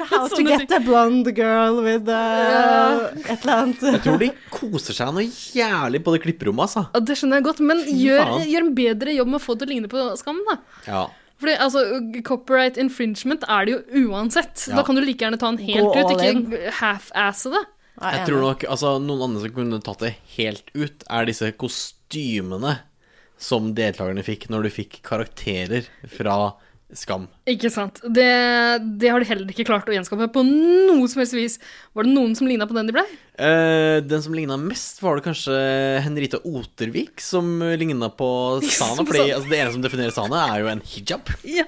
Speaker 2: How to get a blonde girl with eh, et eller annet.
Speaker 1: Jeg tror de koser seg noe jævlig på det klipperommet, altså.
Speaker 4: Ja, det skjønner jeg godt, men gjør,
Speaker 1: faen.
Speaker 4: gjør en bedre jobb med å få det til å ligne på Skam, da.
Speaker 1: Ja.
Speaker 4: Fordi altså, Copyright infringement er det jo uansett.
Speaker 1: Ja.
Speaker 4: Da kan du like gjerne ta den
Speaker 2: Gå
Speaker 4: helt
Speaker 2: all
Speaker 4: ut, ikke half-asse det.
Speaker 1: Jeg tror nok altså, noen andre som kunne tatt det helt ut, er disse kostymene som deltakerne fikk når du fikk karakterer fra Skam.
Speaker 4: Ikke sant. Det, det har de heller ikke klart å gjenskape på noe som helst vis. Var det noen som ligna på den de blei?
Speaker 1: Eh, den som ligna mest, var det kanskje Henrita Otervik, som ligna på Sana.
Speaker 4: Som
Speaker 1: Fordi
Speaker 4: Sana.
Speaker 1: altså, det ene som definerer Sana, er jo en hijab.
Speaker 4: Ja.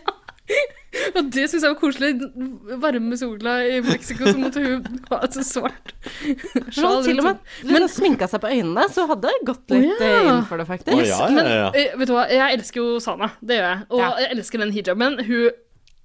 Speaker 4: Og det syns jeg var koselig. Den Varme sola i Mexico, så måtte hun ha et så svart
Speaker 2: Hun
Speaker 4: sjal.
Speaker 2: til og
Speaker 4: rundt
Speaker 2: med liksom sminka seg på øynene, så hun hadde gått litt
Speaker 4: Å,
Speaker 2: eh,
Speaker 4: ja.
Speaker 2: inn for det, faktisk.
Speaker 1: Å, ja,
Speaker 4: Men
Speaker 1: ja, ja.
Speaker 4: eh, vet du hva, jeg elsker jo Sana. Det gjør jeg. Og
Speaker 2: Ja.
Speaker 4: jeg elsker den hijaben. Hun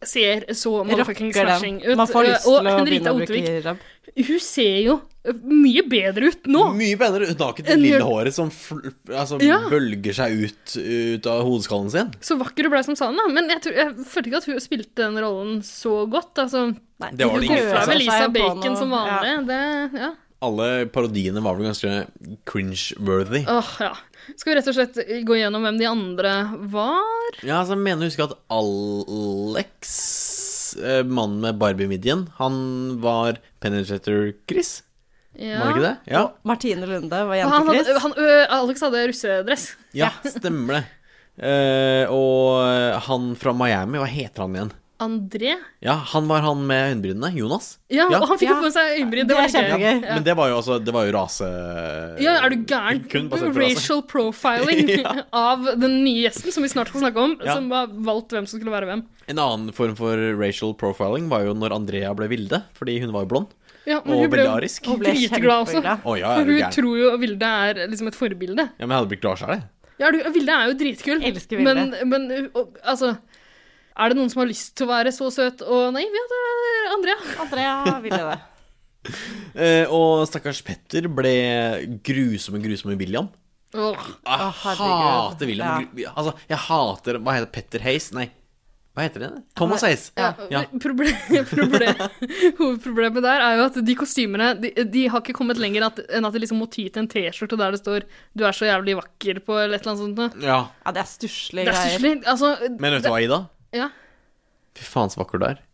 Speaker 4: ser så motherfucking
Speaker 2: Rocker den.
Speaker 4: smashing ut.
Speaker 2: Man får
Speaker 4: Eh,
Speaker 2: lyst til å
Speaker 4: og
Speaker 2: begynne
Speaker 4: Henrita
Speaker 2: å bruke
Speaker 4: Otvik,
Speaker 2: hijab.
Speaker 4: hun ser jo eh, mye bedre ut nå.
Speaker 1: Mye penere. Hun har ikke det
Speaker 4: En
Speaker 1: lille
Speaker 4: gjør-
Speaker 1: håret som fl altså,
Speaker 4: Ja.
Speaker 1: bølger seg ut, ut av hodeskallen sin.
Speaker 4: Så vakker hun ble som Sana. Men jeg, tror, jeg følte ikke at hun spilte den rollen så godt. Altså,
Speaker 2: Nei,
Speaker 1: Det var det
Speaker 2: hun
Speaker 1: ingen
Speaker 4: det
Speaker 1: som
Speaker 2: prøver
Speaker 1: sa.
Speaker 4: er vel Lisa
Speaker 2: seg på
Speaker 4: Bacon
Speaker 2: noe-
Speaker 4: som vanlig. Det, ja.
Speaker 1: Alle parodiene var vel ganske cringe-worthy.
Speaker 4: Åh, ja. Skal vi rett og slett gå gjennom hvem de andre var?
Speaker 1: Ja, altså, jeg mener å huske at Alex, eh, mannen med Barbie-midjen, han var Penetrator Chris.
Speaker 4: Ja.
Speaker 1: Var det ikke det? Ja,
Speaker 2: Ja. Martine Lunde var
Speaker 4: Han hadde,
Speaker 2: jentekris.
Speaker 4: han, ø, Alex hadde russedress.
Speaker 1: ja stemmer det. Eh, og han fra Miami, hva heter han igjen?
Speaker 4: André?
Speaker 1: Ja, han var han med øyenbrynene. Jonas.
Speaker 4: Ja,
Speaker 1: Ja.
Speaker 4: og han fikk jo
Speaker 2: Ja.
Speaker 4: på seg øyenbryn. Det
Speaker 2: Det
Speaker 4: var
Speaker 2: er
Speaker 4: litt gøy.
Speaker 2: kjempegøy.
Speaker 4: Ja.
Speaker 1: Men det var jo altså Det var jo rase...
Speaker 4: Ja, er du gæren?
Speaker 1: Kun basert på rase.
Speaker 4: Racial profiling
Speaker 1: Ja.
Speaker 4: av den nye gjesten som vi snart skal snakke om,
Speaker 1: Ja.
Speaker 4: som var valgt hvem som skulle være hvem.
Speaker 1: En annen form for racial profiling var jo når Andrea ble Vilde, fordi hun var jo blond.
Speaker 4: Ja,
Speaker 1: Og
Speaker 4: hun ble jo
Speaker 1: veldig arisk.
Speaker 2: Hun ble
Speaker 4: dritglad også.
Speaker 2: kjempeglad.
Speaker 1: Å ja,
Speaker 4: For
Speaker 1: er du
Speaker 4: hun
Speaker 1: gæren?
Speaker 4: tror jo Vilde er liksom et forbilde.
Speaker 1: Ja, men jeg hadde blitt glad sjøl, jeg.
Speaker 4: Ja, du, Vilde er jo dritkul.
Speaker 2: Elsker Vilde.
Speaker 4: Men, men ø, og, altså Er det noen som har lyst til å være så søt og naiv? Ja, det er Andrea.
Speaker 2: Andrea ville det.
Speaker 1: Eh, og stakkars Petter ble grusomme, grusomme William.
Speaker 4: Åh.
Speaker 1: Jeg
Speaker 2: herregud.
Speaker 1: hater William. Altså, jeg hater Hva heter Petter Hayes? Nei, hva heter det? Thomas Hayes.
Speaker 4: Ja.
Speaker 1: Ja.
Speaker 4: Proble proble hovedproblemet der er jo at de kostymene de, de har ikke kommet lenger at, enn at de liksom må ty til en T-skjorte der det står 'du er så jævlig vakker' på eller et eller annet sånt. noe.
Speaker 1: Ja.
Speaker 2: Ja, det er stusslige
Speaker 4: Det er
Speaker 2: greier.
Speaker 4: stusslig. Altså,
Speaker 1: Men vet du hva, Ida?
Speaker 4: ja.
Speaker 1: Fy faen så vakker du er.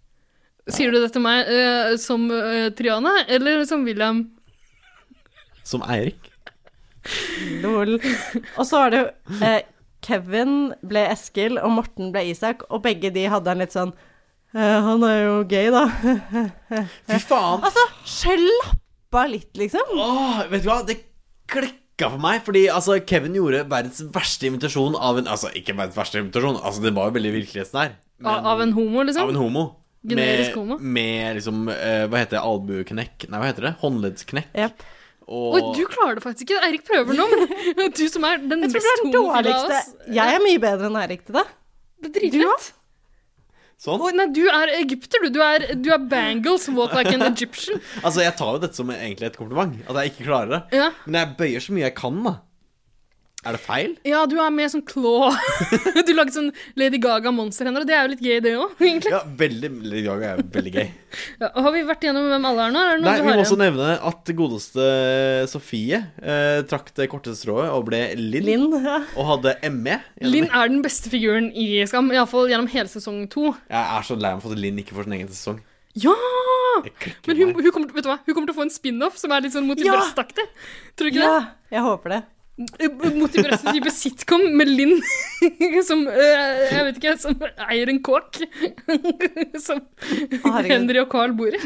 Speaker 4: Sier du det til meg eh, som eh, Triana eller som William?
Speaker 1: Som Eirik.
Speaker 2: Lol. Og så var det jo eh, Kevin ble Eskil, og Morten ble Isak, og begge de hadde en litt sånn eh, Han er jo gay, da.
Speaker 1: Fy faen!
Speaker 2: altså, slappa litt, liksom.
Speaker 1: Åh, vet du hva? Det klikka for meg, fordi altså, Kevin gjorde verdens verste invitasjon av en Altså, ikke verdens verste invitasjon, altså, det var jo veldig virkelighetsnær.
Speaker 4: Av, av en homo, liksom?
Speaker 1: Av en homo.
Speaker 4: Generisk homo.
Speaker 1: med liksom eh, Hva heter det? Albueknekk? Nei, hva heter det? Håndleddsknekk.
Speaker 2: Yep.
Speaker 1: Og,
Speaker 4: Oi, du klarer det faktisk ikke. Eirik prøver nå, men du som er den
Speaker 2: Jeg tror du er
Speaker 4: mest
Speaker 2: den
Speaker 4: homofile av
Speaker 2: dårligste.
Speaker 4: oss.
Speaker 2: Jeg er mye bedre enn Eirik til det.
Speaker 4: Det er dritlett.
Speaker 1: Sånn.
Speaker 4: Oi, Nei, du er egypter, du. Du er, du er bangles, walk like an Egyptian.
Speaker 1: Altså, jeg tar jo dette som egentlig et kompliment, at jeg ikke klarer det.
Speaker 4: Ja.
Speaker 1: Men jeg bøyer så mye jeg kan, da. Er det feil?
Speaker 4: Ja, du er mer sånn claw. Du lagde sånn Lady Gaga-monsterhender, og det er jo litt gøy, det òg, egentlig.
Speaker 1: Ja, veldig Lady Gaga er veldig gøy.
Speaker 4: Ja, har vi vært gjennom hvem alle er nå? Er det noen
Speaker 1: Nei,
Speaker 4: du
Speaker 1: Vi
Speaker 4: har
Speaker 1: må også
Speaker 4: igjen?
Speaker 1: nevne at godeste Sofie eh, trakk det korte strået og ble Linn,
Speaker 2: Linn. Ja.
Speaker 1: og hadde E. ME.
Speaker 4: Linn er den beste figuren i Skam, iallfall gjennom hele sesong to.
Speaker 1: Jeg er så lei meg for at Linn ikke får sin egen sesong.
Speaker 4: Ja!
Speaker 1: Jeg klikker
Speaker 4: Men hun,
Speaker 1: meg.
Speaker 4: hun, kommer, vet du hva? hun kommer til å få en spin-off som er litt sånn mot i
Speaker 2: Ja!
Speaker 4: brøstaktig. Tror du ikke
Speaker 2: ja, jeg håper det.
Speaker 4: det? Eh, Mot i brøstet type sitcom med Linn som eh, Jeg vet ikke, som eier en kåk som
Speaker 2: Å, herregud.
Speaker 4: Henry og Carl bor i.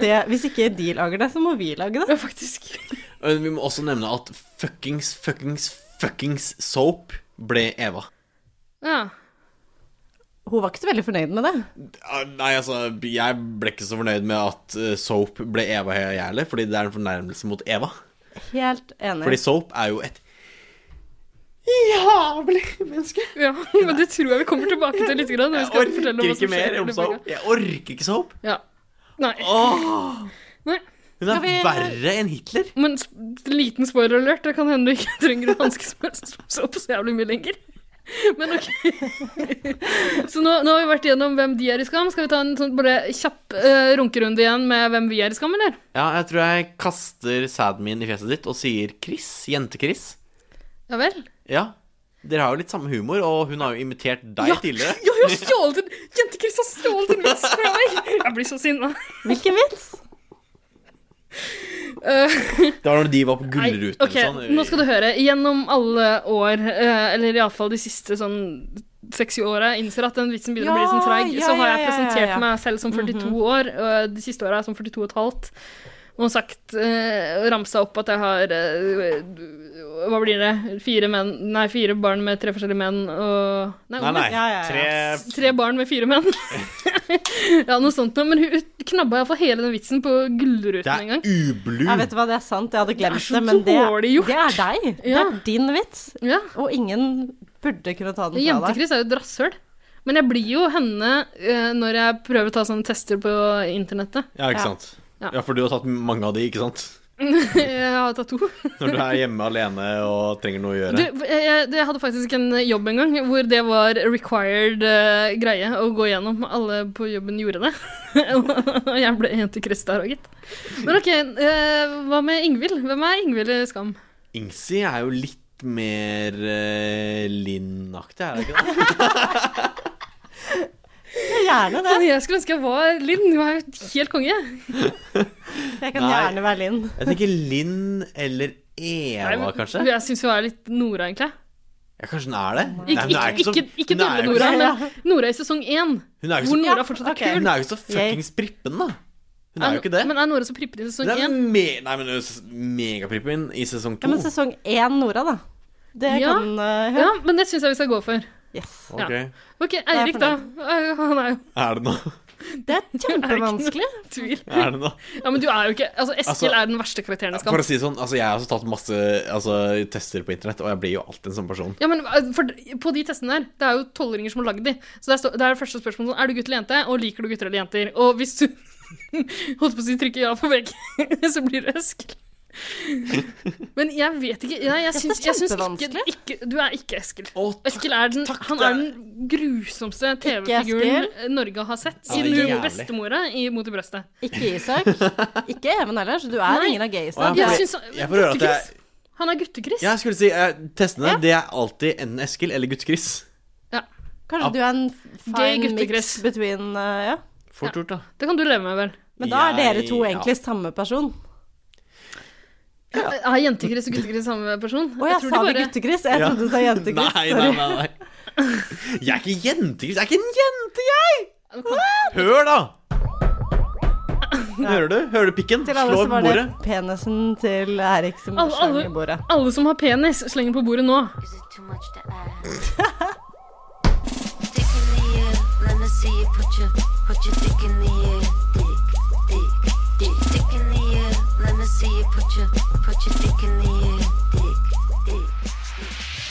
Speaker 2: det. Hvis ikke de lager det, så må vi lage det.
Speaker 4: Ja, faktisk.
Speaker 1: Eh, Vi må også nevne at fuckings, fuckings, fuckings Soap ble Eva.
Speaker 4: Ja.
Speaker 2: Hun var ikke så veldig fornøyd med det.
Speaker 1: Ah, Nei, altså, jeg ble ikke så fornøyd med at eh, Soap ble Eva jeg heller, fordi det er en fornærmelse mot Eva.
Speaker 2: Helt enig.
Speaker 1: Fordi Soap er jo et jævlig menneske.
Speaker 4: Ja, men det tror jeg vi kommer tilbake til litt. Grann, når vi
Speaker 1: Jeg
Speaker 4: skal
Speaker 1: orker
Speaker 4: fortelle om hva
Speaker 1: ikke
Speaker 4: som skjer
Speaker 1: mer om
Speaker 4: i
Speaker 1: Soap.
Speaker 4: Løkka.
Speaker 1: Jeg orker ikke Soap.
Speaker 4: Ja. Nei.
Speaker 1: Åh,
Speaker 4: Nei.
Speaker 1: hun er
Speaker 2: Skal vi-
Speaker 1: verre enn Hitler.
Speaker 4: Men s- liten spoiler alert, det kan hende du ikke trenger å hanskes med såpe så jævlig mye lenger. Men ok. Så nå, nå har vi vært igjennom hvem de er i Skam. Skal vi ta en sånn bare kjapp eh, runkerunde igjen med hvem vi er i Skam, eller?
Speaker 1: Ja, jeg tror jeg kaster sæden min i fjeset ditt og sier Chris. Jente-Chris.
Speaker 4: Ja vel?
Speaker 1: Ja. Dere har jo litt samme humor, og hun har jo imitert deg
Speaker 4: Ja.
Speaker 1: tidligere.
Speaker 4: Ja, jeg har stjålet en Jente-Chris har stjålet en vits fra meg! Jeg blir så sinna.
Speaker 2: Hvilken vits?
Speaker 4: Eh,
Speaker 1: Det var når de var på
Speaker 4: Nei,
Speaker 1: Gullruten.
Speaker 4: ok, Nå skal du høre. Gjennom alle år, eh, eller iallfall de siste sånn 26-åra innser at den vitsen begynner
Speaker 2: Ja,
Speaker 4: å bli litt sånn treig,
Speaker 2: ja,
Speaker 4: så har
Speaker 2: ja,
Speaker 4: jeg
Speaker 2: ja, ja,
Speaker 4: presentert
Speaker 2: ja. Mhm.
Speaker 4: meg selv som 42 år, og de siste åra er jeg som 42 og et halvt, og sagt, eh, ramsa opp at jeg har eh, Hva blir det? Fire, menn, nei, fire barn med tre forskjellige menn og Nei,
Speaker 1: Nei, nei.
Speaker 2: Ja, ja, ja.
Speaker 1: Tre
Speaker 4: Tre barn med fire menn. ja, noe sånt noe. Men hun knabba iallfall hele den vitsen på
Speaker 1: Det
Speaker 4: Gullruten en
Speaker 1: er
Speaker 4: gang.
Speaker 1: ublu.
Speaker 2: Jeg vet hva, det er sant, jeg hadde glemt
Speaker 4: så
Speaker 2: det, men det,
Speaker 4: dårlig gjort.
Speaker 2: det er deg. Det
Speaker 4: Ja.
Speaker 2: er din vits,
Speaker 4: Ja.
Speaker 2: og ingen burde kunne ta den fra deg.
Speaker 4: Jentekris er jo et rasshøl. Men jeg blir jo henne eh, når jeg prøver å ta sånne tester på internettet.
Speaker 1: Ja, ikke
Speaker 2: Ja.
Speaker 1: sant.
Speaker 4: Ja.
Speaker 1: Ja, for du har tatt mange av de, ikke sant?
Speaker 4: jeg har tatt to.
Speaker 1: Når du er hjemme alene og trenger noe å
Speaker 4: Du,
Speaker 1: gjøre.
Speaker 4: jeg, jeg hadde faktisk en jobb en gang hvor det var required eh, greie å gå gjennom. Alle på jobben gjorde det. Og jeg ble jentekris der òg, gitt. Men OK, eh, hva med Ingvild? Hvem er Ingvild i Skam?
Speaker 1: Ingsi er jo litt mer uh, Linn-aktig, er det ikke det?
Speaker 2: Gjerne det.
Speaker 4: Faen, jeg skulle ønske jeg var Linn. Hun er jo helt konge.
Speaker 2: Jeg kan
Speaker 1: Nei.
Speaker 2: gjerne være Linn.
Speaker 1: Jeg tenker Linn eller Eva, kanskje.
Speaker 4: Jeg syns hun er litt Nora, egentlig.
Speaker 1: Ja, kanskje hun er det? Nei,
Speaker 4: Ikke,
Speaker 1: men hun er
Speaker 4: ikke,
Speaker 1: så-
Speaker 4: ikke, ikke
Speaker 1: hun er
Speaker 4: dårlig
Speaker 1: jo ikke
Speaker 4: Nora,
Speaker 1: så-
Speaker 4: men Nora i sesong én,
Speaker 1: Hun er jo ikke
Speaker 4: hvor
Speaker 1: så,
Speaker 4: Nora fortsatt er
Speaker 2: ok.
Speaker 4: kul.
Speaker 1: hun er jo ikke så fuckings prippen, da. Hun er jo ikke det.
Speaker 4: Men altså, er Nora så prippen i sesong
Speaker 1: Hun er
Speaker 4: én?
Speaker 1: me nei, men hun er s- megaprippen i sesong to.
Speaker 2: Ja, men sesong én Nora, da. Det
Speaker 4: Ja.
Speaker 2: kan eh,
Speaker 4: Ja, men det syns jeg vi skal gå for.
Speaker 2: Yes.
Speaker 1: Ok,
Speaker 4: Ok,
Speaker 2: er
Speaker 4: Eirik, da. Eh, Han er jo
Speaker 1: Er det noe?
Speaker 2: Det er kjempevanskelig.
Speaker 4: i tvil.
Speaker 1: Er det noe?
Speaker 4: Ja, men du er jo ikke Altså, Eskil
Speaker 1: Altså,
Speaker 4: er den verste karakteren i
Speaker 1: For
Speaker 4: Skam.
Speaker 1: å si det sånn, altså, jeg har også tatt masse altså, tester på internett, og jeg blir jo alltid en sånn person.
Speaker 4: Ja, men eh, for, På de testene der, det er jo tolvåringer som har lagd de. Så der står, det er det første spørsmålet sånn Er du gutt eller jente? Og liker du gutter eller jenter? Og hvis du holdt på å si trykker ja på begge, så blir du Eskil. Men jeg vet ikke Nei,
Speaker 2: det er
Speaker 4: jeg syns, jeg syns ikke,
Speaker 2: kjempevanskelig.
Speaker 4: ikke Du er ikke Eskil.
Speaker 1: Å, takk,
Speaker 4: Eskil er den,
Speaker 1: takk,
Speaker 4: han
Speaker 1: det
Speaker 4: er
Speaker 1: er-
Speaker 2: eh,
Speaker 4: den grusomste TV-figuren Norge har sett
Speaker 1: Ja, det er
Speaker 4: siden hun
Speaker 1: jævlig.
Speaker 4: bestemora i Mot i brøstet.
Speaker 2: Ikke Isak. Ikke Even heller, så du er
Speaker 4: Nei.
Speaker 2: ingen av
Speaker 1: Å,
Speaker 2: gaysa.
Speaker 1: ja,
Speaker 4: Jeg
Speaker 1: fordi-
Speaker 4: syns
Speaker 1: jeg får høre at
Speaker 4: Guttekris.
Speaker 1: jeg-
Speaker 4: Han er guttekris.
Speaker 1: Jeg skulle si, eh, Testene det er alltid enten Eskil eller Gutt-Chris.
Speaker 4: Ja,
Speaker 2: Kanskje du er en
Speaker 4: Gay
Speaker 2: fine mix
Speaker 4: guttekress.
Speaker 2: between eh, Ja.
Speaker 1: Fort gjort, da.
Speaker 4: det kan du leve med, vel.
Speaker 2: Men da er dere
Speaker 1: Jeg-
Speaker 2: to
Speaker 1: ja.
Speaker 2: egentlig samme person.
Speaker 4: Eh, Er jentekris og guttekris samme person?
Speaker 2: Å, jeg,
Speaker 4: tror de
Speaker 2: sa det
Speaker 4: bare-
Speaker 2: guttekryss. Jeg
Speaker 1: Ja.
Speaker 2: trodde du sa jentekryss.
Speaker 1: Nei, nei, nei, nei. Jeg er ikke jentekryss. Jeg er ikke en jente, jeg!
Speaker 4: Nå kan-
Speaker 1: Hør, da! Hører du? Hører du pikken?
Speaker 2: Til alle
Speaker 1: Slå
Speaker 2: så var det
Speaker 1: bordet.
Speaker 2: penisen til Erik som
Speaker 4: Alle-
Speaker 2: slang
Speaker 4: alle-
Speaker 2: i bordet.
Speaker 4: Alle som har penis, slenger på bordet nå.
Speaker 6: Is it too much to ask? dick in the air, let me see you put your put your dick in the air. Dick, dick, dick, dick in the air, let me see you put your put your dick in the air. Dick, dick.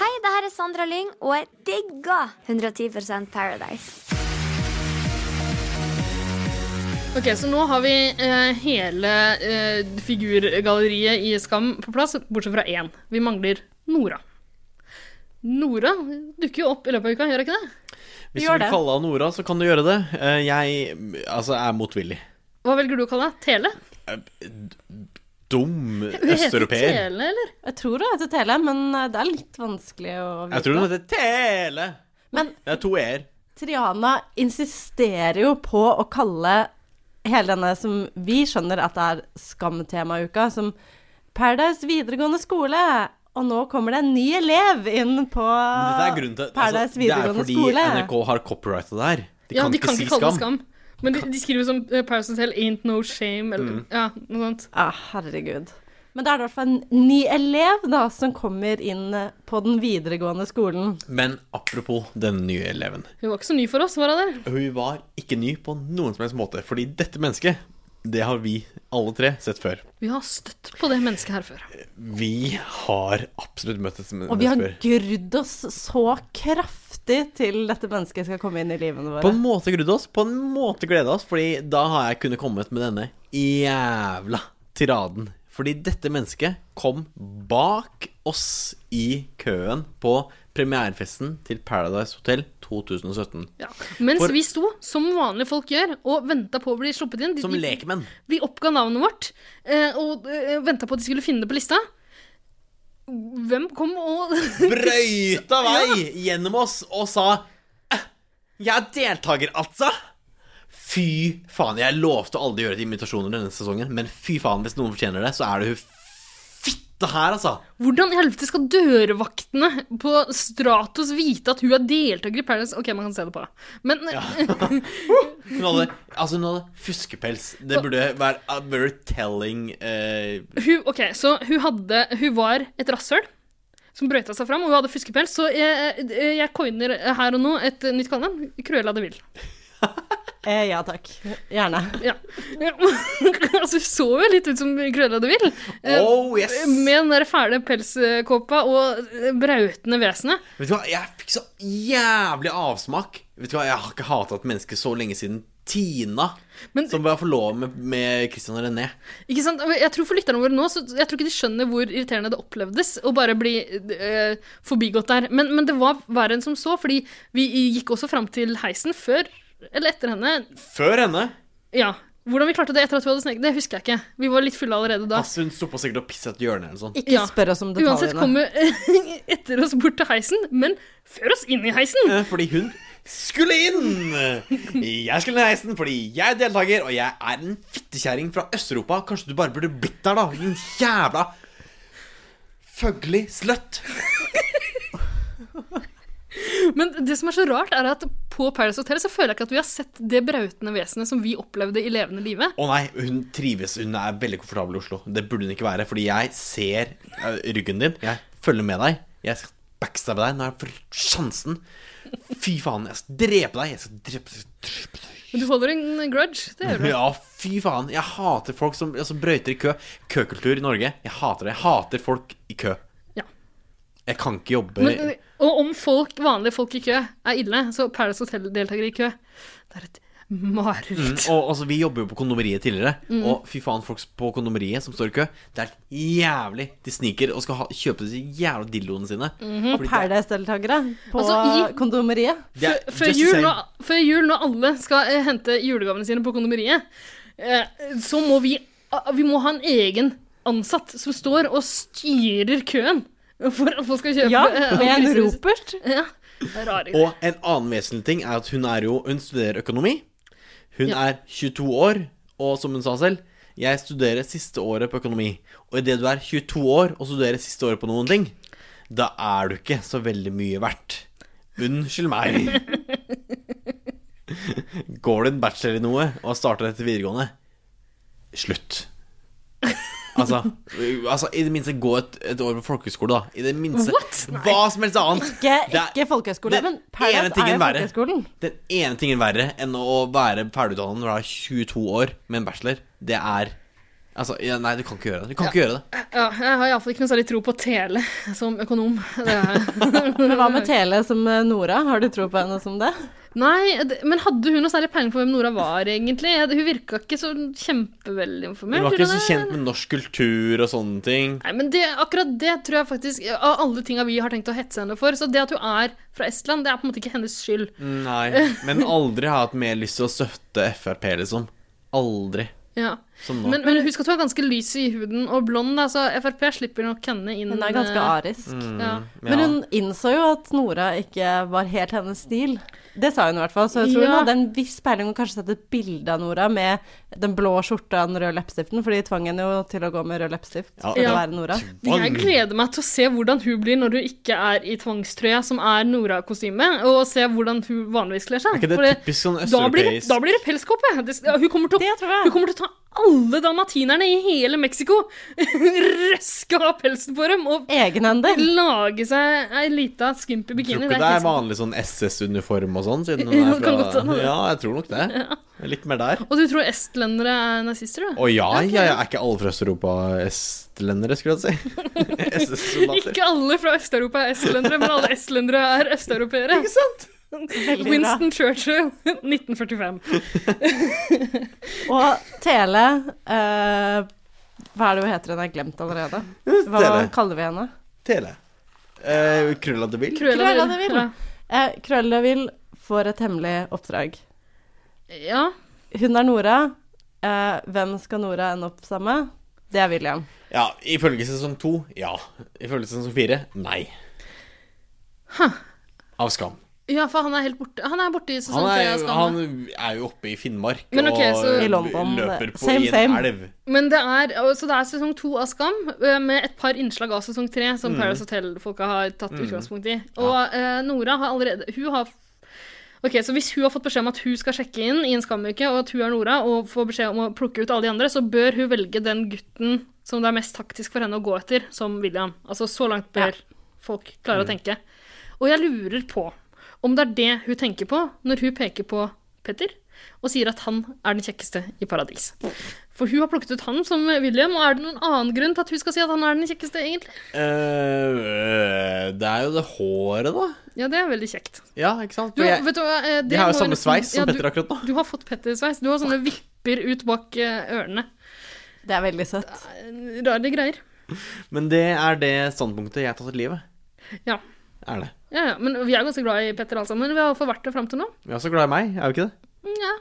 Speaker 7: Hei, det her er Sandra Lyng, og jeg digger 110 Paradise.
Speaker 4: Ok, Så nå har vi eh, hele eh, figurgalleriet i Skam på plass, bortsett fra én. Vi mangler Nora. Nora dukker jo opp i løpet av uka, gjør hun ikke det?
Speaker 1: Hvis
Speaker 2: Gjør
Speaker 1: du vil
Speaker 2: det.
Speaker 1: kalle av Nora, så kan du gjøre det. Eh, Jeg altså, er motvillig. Eh,
Speaker 4: Hva velger du å kalle det? Tele?
Speaker 1: Dum
Speaker 4: Hun heter
Speaker 1: østeuropeer.
Speaker 4: Tele, eller?
Speaker 2: Jeg tror hun heter Tele, men eh, det er litt vanskelig å vite.
Speaker 1: Jeg tror hun heter Tele.
Speaker 2: Men
Speaker 1: Det er to e-er.
Speaker 2: Triana insisterer jo på å kalle hele denne som vi skjønner at det er skamtemauka, som Paradise videregående skole. Og nå kommer det en ny elev inn på
Speaker 1: Dette er grunnen til
Speaker 2: Ah,
Speaker 1: altså,
Speaker 2: Paradise
Speaker 1: Det er
Speaker 2: videregående
Speaker 1: fordi
Speaker 2: skole.
Speaker 1: NRK har copyright det der. De
Speaker 4: ja,
Speaker 1: kan
Speaker 4: de
Speaker 1: ikke
Speaker 4: kan
Speaker 1: si
Speaker 4: ikke kalle
Speaker 1: skam.
Speaker 4: det skam. Men de, de skriver som uh, Paris Hotel Ain't No Shame, eller
Speaker 1: Mm.
Speaker 4: ja, noe sånt.
Speaker 2: Ja, herregud. Men da er det i hvert fall en ny elev da, som kommer inn på den videregående skolen.
Speaker 1: Men apropos den nye eleven.
Speaker 4: Hun var ikke så ny for oss, var hun det?
Speaker 1: Hun var ikke ny på noen som helst måte, fordi dette mennesket, det har vi alle tre sett før.
Speaker 4: Vi har støtt på det mennesket her før.
Speaker 1: Vi har absolutt møtt dette
Speaker 2: Og vi har
Speaker 1: mennesket før.
Speaker 2: grudd oss så kraftig til dette mennesket skal komme inn i livene
Speaker 1: På
Speaker 2: våre.
Speaker 1: en måte grudd oss, på en måte gleda oss, fordi da har jeg kunnet kommet med denne jævla tiraden. Fordi dette mennesket kom bak oss i køen på premierefesten til Paradise Hotel 2017.
Speaker 4: Ja. Mens
Speaker 1: For-
Speaker 4: vi sto, som vanlige folk gjør, og venta på å bli sluppet inn. De-
Speaker 1: Som
Speaker 4: de-
Speaker 1: lekmenn.
Speaker 4: Vi oppga navnet vårt eh, og eh, venta på at de skulle finne det på lista. Hvem kom og
Speaker 1: Brøyta vei gjennom oss og sa «Eh, Jeg er deltaker, altså! Fy faen. Jeg lovte å aldri gjøre til invitasjoner denne sesongen, men fy faen, hvis noen fortjener det, så er det hun fitte her, altså.
Speaker 4: Hvordan i helvete skal dørvaktene på Stratos vite at hun er deltaker i Paradise? Ok, man kan se det på. Men eh,
Speaker 1: Hun hadde, altså, hun hadde fuskepels. Det burde være a very telling eh,
Speaker 4: hun, ok, så hun, hadde, hun var et rasshøl som brøyta seg fram, og hun hadde fuskepels. Så jeg, jeg coiner her og nå et nytt kallenavn. Cruella de Vil.
Speaker 2: Eh, ja takk. Gjerne.
Speaker 4: Ja. altså, hun så jo litt ut som Cruella de Vil. Eh,
Speaker 1: Oh, yes!
Speaker 4: Med den der fæle pelskåpa og eh, brautende vesenet.
Speaker 1: Vet du hva, jeg fikk så jævlig avsmak. Vet du hva, Jeg har ikke hata et menneske så lenge siden Tina,
Speaker 4: Men-
Speaker 1: som var forlovet med, med Christian og René.
Speaker 4: Ikke sant? Jeg tror for lytterne våre nå, så jeg tror ikke de skjønner hvor irriterende det opplevdes å bare bli eh, forbigått der. Men, men det var verre enn som så, fordi vi gikk også fram til heisen før eller etter henne.
Speaker 1: Før henne
Speaker 4: Ja. Hvordan vi klarte det etter at vi hadde sneket, det husker jeg ikke. Vi var litt fulle allerede da.
Speaker 1: Altså, hun sto på sikkert og pisset et hjørne eller noe sånt.
Speaker 2: Ikke
Speaker 4: Ja.
Speaker 2: spør oss om
Speaker 4: Uansett
Speaker 2: detaljene.
Speaker 4: kom hun etter oss bort til heisen, men før oss inn i heisen.
Speaker 1: Eh, Fordi hun skulle inn! Jeg skulle inn i heisen fordi jeg er deltaker, og jeg er en fittekjerring fra Øst-Europa. Kanskje du bare burde blitt der, da? Din jævla føglig sløtt.
Speaker 4: Men det som er så rart, er at på Paradise Hotel så føler jeg ikke at vi har sett det brautende vesenet som vi opplevde i levende live.
Speaker 1: Å nei, hun trives. Hun er veldig komfortabel i Oslo. Det burde hun ikke være, fordi jeg ser eh, ryggen din. Jeg følger med deg. Jeg skal backstabbe deg når jeg får sjansen. Fy faen, jeg skal drepe deg. Jeg skal drepe, jeg skal drepe deg.
Speaker 4: Men du holder en grudge. Det gjør du.
Speaker 1: Ja, fy faen. Jeg hater folk som altså, brøyter i kø. Køkultur i Norge. Jeg hater det. Jeg hater folk i kø.
Speaker 4: Ja.
Speaker 1: Jeg kan ikke jobbe
Speaker 4: Men, eh, og om folk, vanlige folk i kø er ille, så Paradise Hotel-deltakere i kø Det er et
Speaker 2: Mm.
Speaker 4: mareritt.
Speaker 1: og, altså, Vi jobber jo på kondomeriet tidligere,
Speaker 4: Mm.
Speaker 1: og fy faen, folk på kondomeriet som står i kø, det er jævlig. De sniker og skal ha, kjøpe disse jævla dildoene sine.
Speaker 4: Mm.
Speaker 1: Fordi det-
Speaker 2: Paradise-deltakere på
Speaker 4: Altså, i-
Speaker 2: kondomeriet.
Speaker 1: det er
Speaker 4: Før
Speaker 1: just the
Speaker 4: jul,
Speaker 1: same.
Speaker 4: når, før jul, når alle skal eh, hente julegavene sine på kondomeriet, eh, så må vi, ah, vi må ha en egen ansatt som står og styrer køen for at folk skal kjøpe
Speaker 2: Ja,
Speaker 4: eh,
Speaker 2: med en
Speaker 4: alkoholistisk-
Speaker 2: ropert.
Speaker 4: Ja, det er rare
Speaker 1: Og en annen vesentlig ting er at hun er jo Hun studerer økonomi. Hun
Speaker 4: Ja.
Speaker 1: er 22 år, og som hun sa selv jeg studerer siste året på økonomi. Og idet du er 22 år og studerer siste året på noen ting, da er du ikke så veldig mye verdt. Unnskyld meg. Går du en bachelor i noe og starter etter videregående Slutt. Altså, altså i det minste gå et, et år på folkehøyskole, da. I det minste.
Speaker 4: What? Nei.
Speaker 1: Hva som helst annet.
Speaker 2: Ikke,
Speaker 1: Det er-
Speaker 2: ikke folkehøyskole,
Speaker 1: den
Speaker 2: men
Speaker 1: ene
Speaker 2: Paradise er
Speaker 1: tingen
Speaker 2: jo
Speaker 1: verre.
Speaker 2: folkehøyskolen.
Speaker 1: Den ene tingen verre enn å være ferdigutdannet når du er 22 år med en bachelor, det er Altså, ja, nei, du kan ikke gjøre det. Du kan ikke gjøre det.
Speaker 4: Ja, jeg har iallfall ikke noe særlig tro på tele som økonom. Det er
Speaker 2: Men hva med Tele som eh, Nora? Har du tro på henne som det?
Speaker 4: Nei, det- men hadde hun noe særlig peiling på hvem Nora var, egentlig? Jeg- Hun virka ikke så kjempeveldig informert.
Speaker 1: Du var ikke
Speaker 4: gjorde
Speaker 1: så
Speaker 4: det?
Speaker 1: kjent med norsk kultur og sånne ting.
Speaker 4: Nei, men det, akkurat det tror jeg faktisk Av alle tinga vi har tenkt å hetse henne for, så det at hun er fra Estland, det er på en måte ikke hennes skyld.
Speaker 1: Mm. Nei. Men aldri har jeg hatt mer lyst til å støtte Frp, liksom. Aldri.
Speaker 4: Ja.
Speaker 1: Som nå.
Speaker 4: Men, men husk at hun er ganske lys i huden og blond, da, så Frp slipper nok henne inn.
Speaker 2: Hun er ganske
Speaker 4: eh,
Speaker 2: arisk. Men
Speaker 4: Ja.
Speaker 1: Mm, Ja.
Speaker 2: hun innså jo at Nora ikke var helt hennes stil. Det sa hun i hvert fall, så jeg tror hun
Speaker 4: Ja.
Speaker 2: hadde en viss peiling og kanskje sett et bilde av Nora med den blå skjorta og den røde leppestiften, for de tvang henne jo til å gå med rød leppestift
Speaker 1: Ja.
Speaker 2: for å
Speaker 4: Ja.
Speaker 2: være Nora.
Speaker 4: Jeg gleder meg til å se hvordan hun blir når hun ikke er i tvangstrøya, som er Nora-kostyme, og se hvordan hun vanligvis kler seg.
Speaker 1: Er ikke det
Speaker 4: For
Speaker 1: typisk sånn
Speaker 4: Da blir, det-
Speaker 1: østeuropeisk
Speaker 4: da blir det pelskåpe. Det- ja, Hun kommer til å
Speaker 2: Det tror jeg.
Speaker 4: Hun kommer til å ta alle dalmatinerne i hele Mexico, røske av pelsen på dem og
Speaker 2: Egenhendig.
Speaker 4: lage seg ei lita skimpy
Speaker 1: Tror
Speaker 4: bikini.
Speaker 1: ikke det er
Speaker 4: helt
Speaker 1: vanlig sånn SS-uniform og sånn, siden hun
Speaker 4: Jo,
Speaker 1: er
Speaker 4: det kan godt
Speaker 1: fra
Speaker 4: hende.
Speaker 1: Ja, jeg tror nok det. Litt mer der.
Speaker 4: sant. Og du tror estlendere er nazister, du?
Speaker 1: Å ja, ja, ja, er ikke alle fra Øst-Europa estlendere, skulle jeg si? SS-soldater.
Speaker 4: Ikke alle fra Øst-Europa er estlendere, men alle estlendere er østeuropeere.
Speaker 1: Ikke sant?
Speaker 2: bra.
Speaker 4: Winston Churchill, 1945.
Speaker 2: Og Tele eh, Hva er det hun heter? Hun er glemt allerede. Hva
Speaker 1: Tele.
Speaker 2: kaller vi henne?
Speaker 1: Tele. Eh, Krølla de Vil.
Speaker 4: Cruella de
Speaker 2: Cruella de Vil.
Speaker 4: Ja.
Speaker 2: Eh, Krøllevil får et hemmelig oppdrag.
Speaker 4: Ja.
Speaker 2: Hun er Nora. Eh, hvem skal Nora ende opp sammen med? Det er William.
Speaker 1: Ja, ifølge sesong to, ja. Ifølge sesong fire, nei. Av skam.
Speaker 4: ja, for han er helt borte. Han er borte i sesong
Speaker 1: Han
Speaker 4: tre.
Speaker 1: er,
Speaker 4: av
Speaker 1: han
Speaker 4: Skam.
Speaker 1: er jo oppe i Finnmark
Speaker 4: Men ok, så-
Speaker 1: og
Speaker 2: I London,
Speaker 1: løper på
Speaker 2: same,
Speaker 1: i en
Speaker 2: same.
Speaker 1: elv.
Speaker 4: Men det er, så det er sesong to av Skam, eh, med et par innslag av sesong tre som Paradise Hotel-folka har tatt utgangspunkt i. Og eh, Nora har allerede Hun har Ok, så Hvis hun har fått beskjed om at hun skal sjekke inn i en skamuke, og at hun er Nora, og får beskjed om å plukke ut alle de andre, så bør hun velge den gutten som det er mest taktisk for henne å gå etter, som William. Altså, så langt bør folk klare å tenke. Og jeg lurer på om det er det hun tenker på når hun peker på Petter og sier at han er den kjekkeste i paradis. For hun har plukket ut han som William, og er det noen annen grunn til at hun skal si at han er den kjekkeste, egentlig?
Speaker 1: Eh, det er jo det håret, da.
Speaker 4: Ja, det er veldig kjekt.
Speaker 1: Ja, ikke sant?
Speaker 4: Du,
Speaker 1: For jeg,
Speaker 4: vet du, hva, eh, det
Speaker 1: de har
Speaker 4: må
Speaker 1: jo samme
Speaker 4: nesten-
Speaker 1: sveis som
Speaker 4: du-
Speaker 1: Petter akkurat nå.
Speaker 4: Du har fått Petter-sveis. Du har sånne vipper ut bak eh, ørene.
Speaker 2: Det er veldig søtt.
Speaker 4: Eh, Rare greier.
Speaker 1: Men det er det standpunktet jeg har tatt til livet.
Speaker 4: Ja.
Speaker 1: Er det.
Speaker 4: Ja, ja, men vi er ganske glad i Petter alle sammen. Vi har iallfall vært det fram til nå. Mm,
Speaker 1: Vi er så glad i meg, er vi ikke det?
Speaker 4: Ja.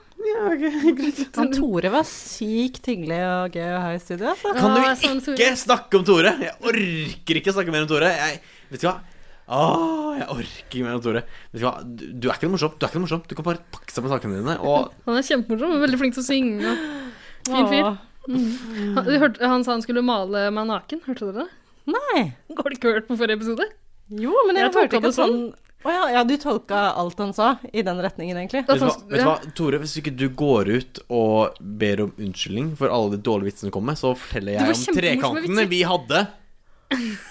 Speaker 2: Han Tore var sykt hyggelig og gøy å ha i studio. Altså.
Speaker 1: Kan
Speaker 4: Ja,
Speaker 1: du
Speaker 4: sånn, Tore.
Speaker 1: ikke snakke om Tore? Jeg orker ikke snakke mer om Tore. Jeg, vet du hva? Åh, jeg orker ikke mer om Tore. Vet du hva? Du, du er ikke noe morsom. Du er ikke noe morsom. Du kan bare pakke sammen sakene dine. Og
Speaker 4: Han er kjempemorsom og veldig flink til å synge. Og... Fin fyr. Han, du hørte, han sa han skulle male meg naken. Hørte dere det?
Speaker 2: Nei.
Speaker 4: Har du ikke hørt på forrige episode?
Speaker 2: Jo, men jeg,
Speaker 4: Jeg tolka
Speaker 2: hørte ikke
Speaker 4: det sånn.
Speaker 2: sånn. Å ja, ja, du tolka alt han sa, i den retningen, egentlig.
Speaker 1: Vet du, hva,
Speaker 4: At han-
Speaker 1: vet du
Speaker 4: sånn- ja.
Speaker 1: hva, Tore, hvis ikke du går ut og ber om unnskyldning for alle de dårlige vitsene du kom med, så forteller
Speaker 4: Det var
Speaker 1: jeg om
Speaker 4: kjempemorsomme
Speaker 1: trekantene
Speaker 4: vitser.
Speaker 1: vi hadde.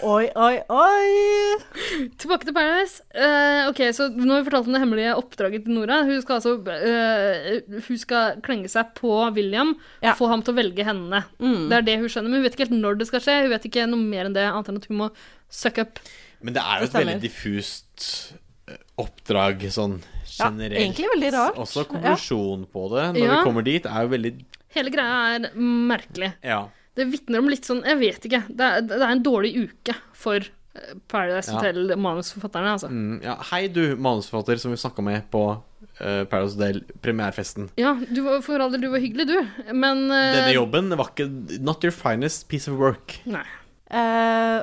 Speaker 2: Oi, oi, oi.
Speaker 4: Tilbake til Paradise. Eh, ok, så Nå har vi fortalt om det hemmelige oppdraget til Nora. Hun skal altså eh, Hun skal klenge seg på William,
Speaker 2: Ja.
Speaker 4: få ham til å velge henne.
Speaker 1: Mm.
Speaker 4: Det er det hun skjønner, men hun vet ikke helt når det skal skje. Hun vet ikke noe mer enn det, annet enn at hun må suck up.
Speaker 1: Men det er jo
Speaker 2: Det
Speaker 1: et veldig
Speaker 2: stemmer.
Speaker 1: diffust eh, oppdrag sånn
Speaker 2: Ja,
Speaker 1: generelt.
Speaker 2: egentlig veldig rart.
Speaker 1: Også konklusjonen på det når
Speaker 4: Ja.
Speaker 1: vi kommer dit, er jo veldig
Speaker 4: Hele greia er merkelig.
Speaker 1: Ja.
Speaker 4: Det vitner om litt sånn Jeg vet ikke. Det er, det er en dårlig uke for eh, Paradise
Speaker 1: Ja.
Speaker 4: Hotel-manusforfatterne, altså.
Speaker 1: Mm, ja. Hei, du manusforfatter som vi snakka med på eh, Paradise Hotel premierfesten.
Speaker 4: Ja, du var, for all del, du var hyggelig, du, men eh,
Speaker 1: Denne jobben var ikke Not your finest piece of work.
Speaker 4: Nei.
Speaker 2: Eh,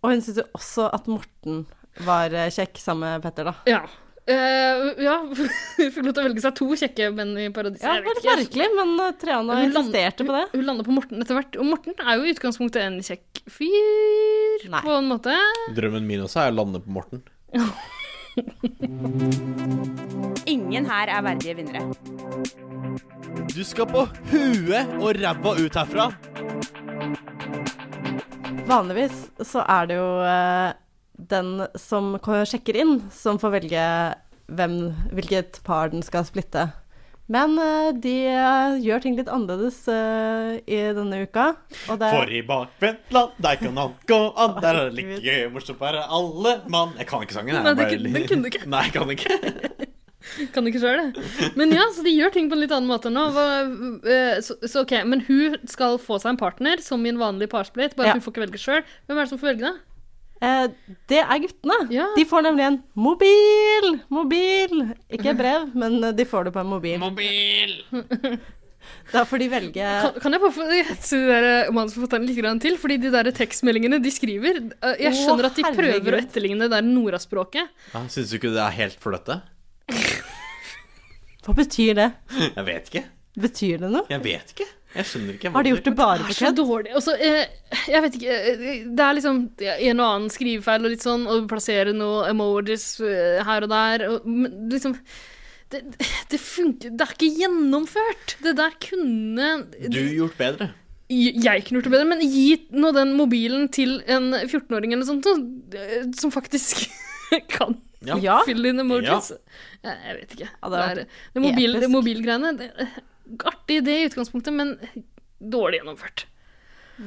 Speaker 2: og hun syntes jo også at Morten var eh, kjekk sammen med Petter, da.
Speaker 4: Ja. Eh, ja, hun fikk lov til å velge seg to kjekke menn i paradiset.
Speaker 2: Ja,
Speaker 4: Jeg
Speaker 2: det
Speaker 4: vet
Speaker 2: var litt
Speaker 4: ikke.
Speaker 2: merkelig, men eh, Triana
Speaker 4: Hun land-
Speaker 2: insisterte på det.
Speaker 4: Hun landa på Morten etter hvert. Og Morten er jo i utgangspunktet en kjekk fyr,
Speaker 2: Nei.
Speaker 4: på en måte.
Speaker 1: Drømmen min også er å lande på Morten.
Speaker 3: Ingen her er verdige vinnere.
Speaker 1: Du skal på huet og ræva ut herfra.
Speaker 2: Vanligvis så er det jo eh, den som ko- sjekker inn, som får velge hvem, hvilket par den skal splitte. Men eh, de eh, gjør ting litt annerledes eh, i denne uka. Og det
Speaker 1: For i bakvendtland, der kan han gå an. Der er det like gøy, morsomt være alle mann. Jeg kan ikke sangen. jeg
Speaker 4: Nei, det
Speaker 1: bare-
Speaker 4: kunne- den kunne du ikke.
Speaker 1: Nei, jeg kan ikke.
Speaker 4: Kan ikke sjøl, det. Men ja, så de gjør ting på en litt annen måte nå. Hva- eh, Så, så ok, Men hun skal få seg en partner, som i en vanlig parsplit, bare
Speaker 2: Ja.
Speaker 4: at hun får ikke velge sjøl. Hvem er det som får velge, da?
Speaker 2: Eh, det er guttene.
Speaker 4: Ja.
Speaker 2: De får nemlig en mobil! Mobil! Ikke brev, men eh, de får det på en mobil.
Speaker 1: Mobil!
Speaker 2: Da får de velge
Speaker 4: Kan, kan jeg bare få hetse de der manusforfatterne litt grann til? Fordi de der tekstmeldingene de skriver eh, Jeg
Speaker 2: Å,
Speaker 4: skjønner at de prøver å
Speaker 2: herregud.
Speaker 4: etterligne det der Nora-språket.
Speaker 1: Ja, Syns du ikke det er helt fløtte?
Speaker 2: Hva betyr det?
Speaker 1: Jeg vet ikke.
Speaker 2: Betyr det noe?
Speaker 1: Jeg vet ikke. Jeg skjønner ikke.
Speaker 2: Har de gjort det bare
Speaker 4: Det
Speaker 2: for
Speaker 4: er så
Speaker 2: kødd?
Speaker 4: dårlig. Altså, eh, jeg vet ikke eh, Det er liksom en og annen skrivefeil og litt sånn, og plassere noe emojis eh, her og der. Og, men liksom det, det funker Det er ikke gjennomført! Det der kunne
Speaker 1: Du gjort bedre.
Speaker 4: Jeg kunne gjort det bedre, men gi nå den mobilen til en 14-åring eller sånt, så, eh, som faktisk kan
Speaker 1: Ja.
Speaker 2: Ja.
Speaker 4: fylle inn emojis. Eh, Jeg vet ikke.
Speaker 2: Ja,
Speaker 4: det
Speaker 2: det
Speaker 4: er, det mobil,
Speaker 2: episk.
Speaker 4: det mobilgreiene det, eh, Artig idé i utgangspunktet, men dårlig gjennomført.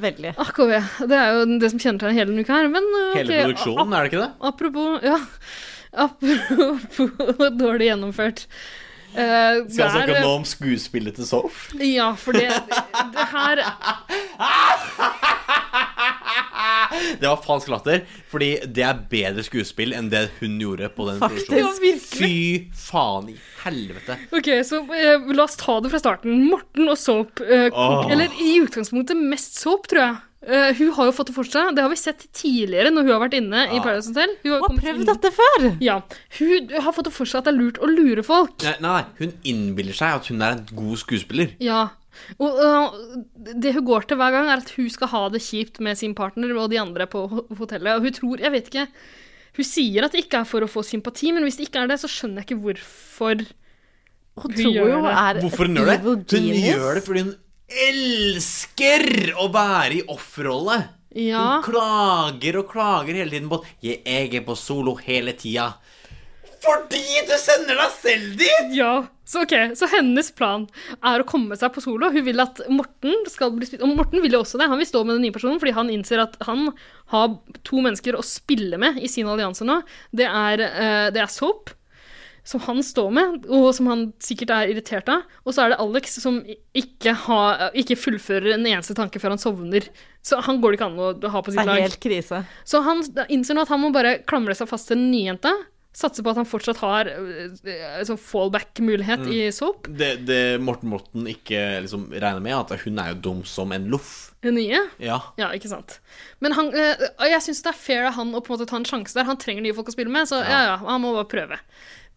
Speaker 2: Veldig.
Speaker 4: AKV. Ah, Det er jo det som kjennetegner hele denne uka her. Men øh,
Speaker 1: Hele
Speaker 4: ok,
Speaker 1: produksjonen, er det ikke det?
Speaker 4: a- Apropos Ja. Apropos dårlig gjennomført. Eh,
Speaker 1: Skal jeg
Speaker 4: det er-
Speaker 1: snakke nå om skuespillet til Soph?
Speaker 4: Ja, for det, det her
Speaker 1: Det var falsk latter, fordi det er bedre skuespill enn det hun gjorde på den
Speaker 2: Faktisk.
Speaker 4: Ja,
Speaker 1: produksjonen.
Speaker 4: virkelig.
Speaker 1: Fy faen i helvete.
Speaker 4: Ok, så eh, la oss ta det fra starten. Morten og Soap. eh, kok-
Speaker 1: Åh.
Speaker 4: Eller i utgangspunktet mest Soap, tror jeg. Eh, hun har jo fått det for seg. Det har vi sett tidligere når hun har vært inne i Paradise Hotel. Hun har
Speaker 2: Hun har
Speaker 4: kommet
Speaker 2: prøvd
Speaker 4: inn-
Speaker 2: dette før!
Speaker 4: Ja. Hun har fått det for seg at det er lurt å lure folk.
Speaker 1: Nei, nei, hun innbiller seg at hun er en god skuespiller.
Speaker 4: Ja. Og øh, det hun går til hver gang, er at hun skal ha det kjipt med sin partner og de andre på ho- hotellet. Og hun tror Jeg vet ikke. Hun sier at det ikke er for å få sympati, men hvis det ikke er det, så skjønner jeg ikke hvorfor.
Speaker 2: Hun
Speaker 4: Hun
Speaker 2: tror
Speaker 4: gjør
Speaker 2: jo hun
Speaker 4: det.
Speaker 2: er
Speaker 1: Hvorfor hun
Speaker 2: et
Speaker 1: gjør det?
Speaker 2: evil
Speaker 1: Hun gjør det
Speaker 2: genius.
Speaker 1: fordi hun elsker å være i offerrolle.
Speaker 4: Ja.
Speaker 1: Hun klager og klager hele tiden på at 'jeg jeg er på solo hele tida'. Fordi du sender deg selv dit!
Speaker 4: Ja, så ok, så hennes plan er å komme seg på solo. Hun vil at Morten skal bli spilt Og Morten vil jo også det. Han vil stå med den nye personen fordi han innser at han har to mennesker å spille med i sin allianse nå. Det er, eh, det er Soap, som han står med, og som han sikkert er irritert av. Og så er det Alex, som i- ikke, har, ikke fullfører en eneste tanke før han sovner. Så han går det ikke an å ha på
Speaker 2: Det
Speaker 4: sitt
Speaker 2: er
Speaker 4: lag.
Speaker 2: helt krise.
Speaker 4: Så han innser nå at han må bare klamre seg fast til den nye jenta. Satse på at han fortsatt har øh, sånn fallback-mulighet
Speaker 1: Mm.
Speaker 4: i Soap.
Speaker 1: Det, det Morten Morten ikke liksom regner med, er at hun er jo dum som en loff.
Speaker 4: Den nye.
Speaker 1: Ja.
Speaker 4: Ja, ikke sant. Men han, øh, og jeg syns det er fair av han å på en måte ta en sjanse der. Han trenger nye folk å spille med, så ja, ja, han må bare prøve.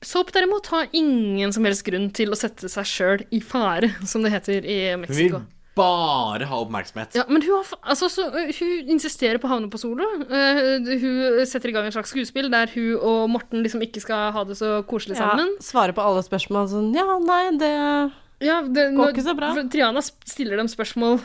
Speaker 4: Soap derimot har ingen som helst grunn til å sette seg sjøl i fare, som det heter i
Speaker 1: Hun vil
Speaker 4: Mexico.
Speaker 1: bare ha oppmerksomhet.
Speaker 4: Ja, men hun, har, fa- altså, så, øh, hun insisterer på å havne på solo. Eh, hun setter i gang et slags skuespill der hun og Morten liksom ikke skal ha det så koselig
Speaker 2: Ja,
Speaker 4: sammen.
Speaker 2: svarer på alle spørsmål sånn Ja, nei, det
Speaker 4: Ja, det,
Speaker 2: Går
Speaker 4: når-
Speaker 2: ikke så bra.
Speaker 4: for Triana sp- stiller dem spørsmål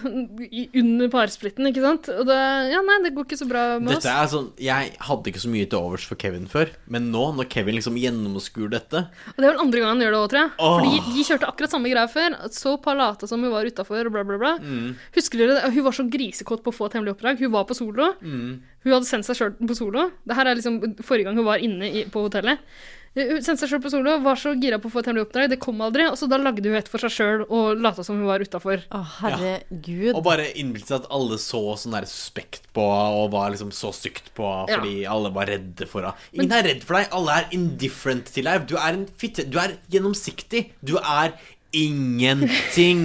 Speaker 4: i, under parsplitten, ikke sant? Og det, ja, nei, det går ikke så bra med
Speaker 1: Dette er sånn, Jeg hadde ikke så mye til overs for Kevin før, men nå, når Kevin liksom gjennomskuer dette
Speaker 4: oss. Og det er vel andre gang han gjør det òg, tror jeg.
Speaker 1: Åh.
Speaker 4: Fordi de kjørte akkurat samme greia før. Så par lata som hun var utafor, og bla, bla, bla.
Speaker 1: Mm.
Speaker 4: Husker dere det? Hun var så grisekåt på å få et hemmelig oppdrag. Hun var på solo.
Speaker 1: Mm.
Speaker 4: Hun hadde sendt seg sjøl på solo. Det her er liksom forrige gang hun var inne i, på hotellet. Eh, Hun sendte seg selv på solo, var så gira på å få et hemmelig oppdrag. Det kom aldri. Og så da lagde hun et for seg sjøl og lata som hun var utafor.
Speaker 2: Å, herregud.
Speaker 1: Og bare innbilte seg at alle så sånn der suspekt på henne, og var liksom så sykt på henne, fordi alle var redde for henne. Ingen er redd for deg, alle er indifferent til deg. Du er en fitte, du er gjennomsiktig. Du er ingenting.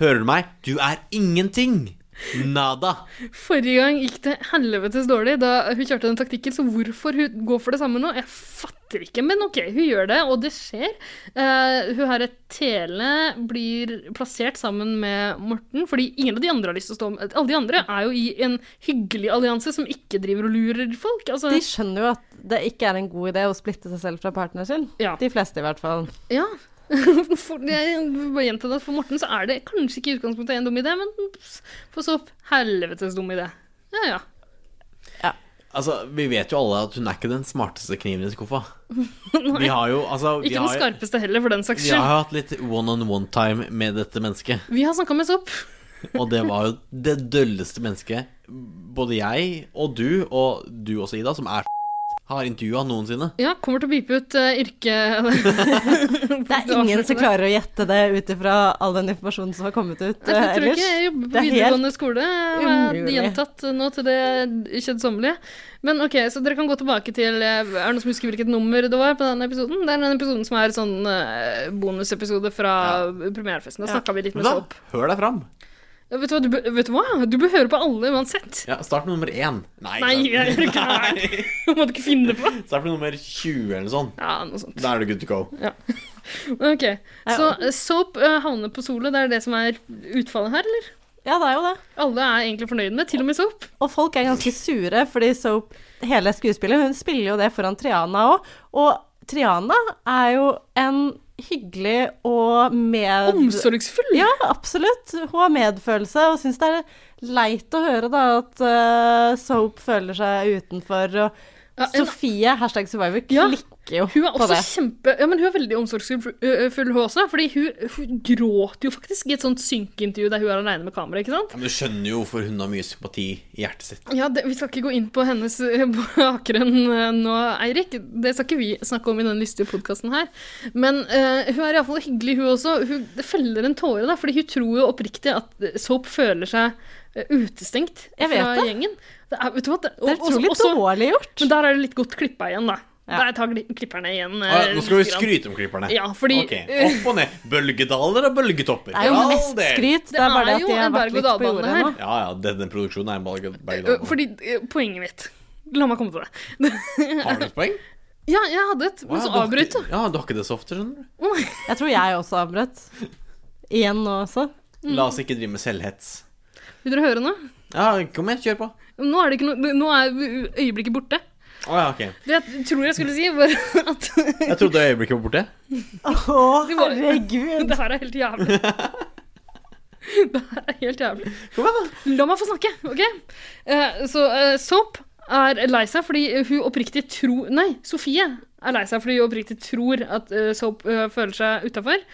Speaker 1: Hører du meg? Du er ingenting. Nada.
Speaker 4: Forrige gang gikk det helvetes dårlig da hun kjørte den taktikken, så hvorfor hun går for det samme nå? Jeg fatter ikke, men ok, hun gjør det, og det skjer. Eh, hun her Tele blir plassert sammen med Morten, fordi ingen av de andre har lyst til å stå med Alle de andre er jo i en hyggelig allianse som ikke driver og lurer folk. Altså,
Speaker 2: De skjønner jo at det ikke er en god idé å splitte seg selv fra partneren sin.
Speaker 4: Ja.
Speaker 2: De fleste, i hvert fall.
Speaker 4: ja. For, jeg vil bare gjenta det, at for Morten så er det kanskje ikke i utgangspunktet en dum idé, men for sopp, helvetes dum idé. Ja, ja.
Speaker 1: Altså, Vi vet jo alle at hun er ikke den smarteste kniven i skuffa. Vi har jo altså vi
Speaker 4: Ikke den
Speaker 1: har, jo-
Speaker 4: skarpeste heller, for den saks
Speaker 1: vi har
Speaker 4: skyld.
Speaker 1: jo hatt litt one-on-one-time med dette mennesket.
Speaker 4: Vi har snakka med sopp.
Speaker 1: Og det var jo det dølleste mennesket både jeg og du, og du også, Ida, som er har intervjua noensinne.
Speaker 4: Ja, kommer til å pipe ut eh, yrke...
Speaker 2: Det er ingen som klarer å gjette det ut ifra all den informasjonen som har kommet ut eh,
Speaker 4: det. Jeg tror ikke jeg jobber på
Speaker 2: Det er helt
Speaker 4: videregående skole. Jeg har
Speaker 2: umulig.
Speaker 4: Gjentatt nå til det kjedsommelige. Men ok, så dere kan gå tilbake til eh, Er det noen som husker hvilket nummer det var på den episoden? Det er den episoden som er sånn eh, bonusepisode fra premierefesten. Da snakka vi litt
Speaker 1: Men
Speaker 4: med
Speaker 1: da,
Speaker 4: Sopp.
Speaker 1: hør deg fram.
Speaker 4: Ja, Vet du hva? Du, bør- vet du hva? Du bør høre på alle uansett.
Speaker 1: Ja, start med nummer én. Nei,
Speaker 4: Nei, jeg gjør ikke det her. Må du ikke finne det på?
Speaker 1: start med nummer 20 eller noe sånt.
Speaker 4: Ja, noe sånt.
Speaker 1: Da er du good to go.
Speaker 4: Ok, Så eh, Soap eh, havner på solet. Det er det som er utfallet her, eller?
Speaker 2: Ja, det er jo det.
Speaker 4: Alle er egentlig fornøyd med, til og med Soap.
Speaker 2: Og folk er ganske sure, fordi Soap, hele skuespillet, hun spiller jo det foran Triana òg. Og Triana er jo en hyggelig og med...
Speaker 4: Omsorgsfull.
Speaker 2: Ja, absolutt. Hun har medfølelse og syns det er leit å høre da at eh, Soap føler seg utenfor. Og
Speaker 4: Ja, en-
Speaker 2: Sofie, hashtag survivor,
Speaker 4: Ja.
Speaker 2: klikker klikker jo
Speaker 4: Hun er
Speaker 2: på
Speaker 4: også
Speaker 2: det.
Speaker 4: kjempe... Ja, men hun er veldig omsorgsfull, ø, ø, full, hun også. Fordi hun, hun gråter jo faktisk i et sånt synkeintervju der hun er aleine med kamera, ikke sant?
Speaker 1: Men du skjønner jo hvorfor hun har mye sympati i hjertet sitt.
Speaker 4: Ja, det, Vi skal ikke gå inn på hennes eh, bakgrunn eh, nå, Eirik. Det skal ikke vi snakke om i den lystige podkasten her. Men eh, hun er iallfall hyggelig, hun også. Hun det feller en tåre, da, fordi hun tror jo oppriktig at Soap føler seg eh, utestengt
Speaker 2: Jeg vet
Speaker 4: fra
Speaker 2: det.
Speaker 4: gjengen. Det er, vet du hva, det,
Speaker 2: Det er utrolig
Speaker 4: også- også-
Speaker 2: dårlig gjort.
Speaker 4: Men der er det litt godt klippa igjen, da.
Speaker 2: Ja.
Speaker 4: Der tar gli- klipperne igjen. eh,
Speaker 1: Ah, nå skal vi
Speaker 4: litt grann.
Speaker 1: skryte om klipperne.
Speaker 4: Ja, fordi
Speaker 1: Ok, Opp og ned. Bølgedaler og bølgetopper.
Speaker 2: Det er jo
Speaker 1: For all
Speaker 2: mest
Speaker 1: del.
Speaker 2: skryt. Det
Speaker 4: Det
Speaker 2: er bare det
Speaker 4: er
Speaker 2: at
Speaker 4: jo
Speaker 2: de har
Speaker 4: en
Speaker 2: vært litt på
Speaker 4: berg-og-dal-bane
Speaker 2: jordet
Speaker 4: her.
Speaker 2: nå.
Speaker 1: Ja, ja, denne produksjonen er en bølge-
Speaker 4: Ø,
Speaker 1: berg-og-dal-bane.
Speaker 4: Fordi eh, Poenget mitt La meg komme til det.
Speaker 1: Har du et poeng?
Speaker 4: ja, jeg hadde et, men
Speaker 1: Wow,
Speaker 4: så
Speaker 1: du har
Speaker 4: avbrøt
Speaker 1: ikke- Ja, du har ikke det så ofte, skjønner du.
Speaker 2: Jeg tror jeg også avbrøt. Igjen nå også.
Speaker 1: La oss ikke drive med selvhets.
Speaker 4: Vil dere høre noe?
Speaker 1: Ja, kom igjen, kjør på.
Speaker 4: Nå er, det ikke noe- nå er øyeblikket borte.
Speaker 1: Å ja, ok.
Speaker 4: Det jeg tror jeg skulle si, var at
Speaker 1: Jeg trodde øyeblikket var borte.
Speaker 2: Å,
Speaker 4: var-
Speaker 2: herregud.
Speaker 4: Det her er helt jævlig. Det her er helt jævlig.
Speaker 1: Kom igjen, da.
Speaker 4: La meg få snakke, OK? Eh, Så eh, Soap er lei seg fordi hun oppriktig tror Nei, Sofie er lei seg fordi hun oppriktig tror at eh, Soap eh, føler seg utafor.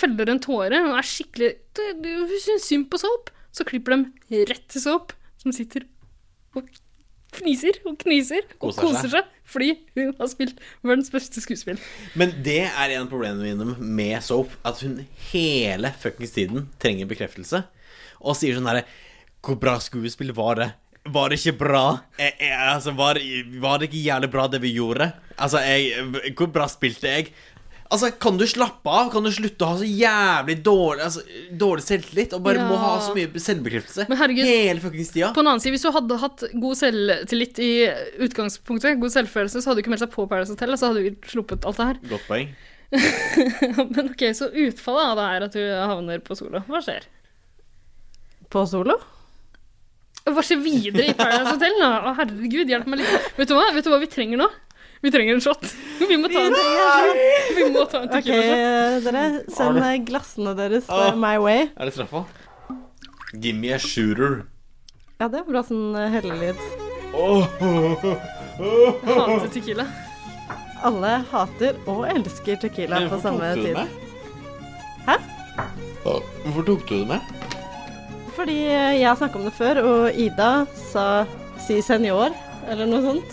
Speaker 4: Feller en tåre. Hun er skikkelig det- det- Hun syns synd på Soap. Så klipper de rett til Soap, som sitter og fniser og kniser og
Speaker 1: Koser
Speaker 4: koser,
Speaker 1: seg.
Speaker 4: seg fordi hun har spilt verdens beste skuespill.
Speaker 1: Men det er en av problemene mine med Soap. At hun hele fuckings tiden trenger bekreftelse. Og sier sånn herre Hvor bra skuespill var det? Var det ikke bra? Eh, eh, altså, var, var det ikke jævlig bra, det vi gjorde? Altså, jeg Hvor bra spilte jeg? Altså, Kan du slappe av? Kan du slutte å ha så jævlig dårlig altså, Dårlig selvtillit? Og bare
Speaker 4: Ja.
Speaker 1: må ha så mye selvbekreftelse
Speaker 4: Men herregud-
Speaker 1: hele fuckings tida?
Speaker 4: På den annen side, hvis du hadde hatt god selvtillit i utgangspunktet, god selvfølelse, så hadde du ikke meldt deg på Paradise Hotel, og så hadde du ikke sluppet alt det her.
Speaker 1: Godt poeng.
Speaker 4: Men ok, så utfallet av det er at du havner på solo. Hva skjer?
Speaker 2: På solo?
Speaker 4: Hva skjer videre i Paradise Hotel nå? Å, herregud, hjelp meg litt. Vet du hva? Vet du hva vi trenger nå? Vi trenger en shot. Vi må ta en Vi må ta en
Speaker 2: OK,
Speaker 4: tequila-shot.
Speaker 2: dere. Send eh, glassene deres eh,
Speaker 1: Åh.
Speaker 2: my way.
Speaker 1: Er det straffa? Give me a shooter.
Speaker 2: Ja, det er bra sånn eh, hellelyd.
Speaker 4: Jeg hater tequila.
Speaker 2: Alle hater og elsker tequila på samme tid. Hæ?
Speaker 1: Hvorfor tok du det med?
Speaker 2: Fordi eh, jeg har snakket om det før, og Ida sa si senior, eller noe sånt.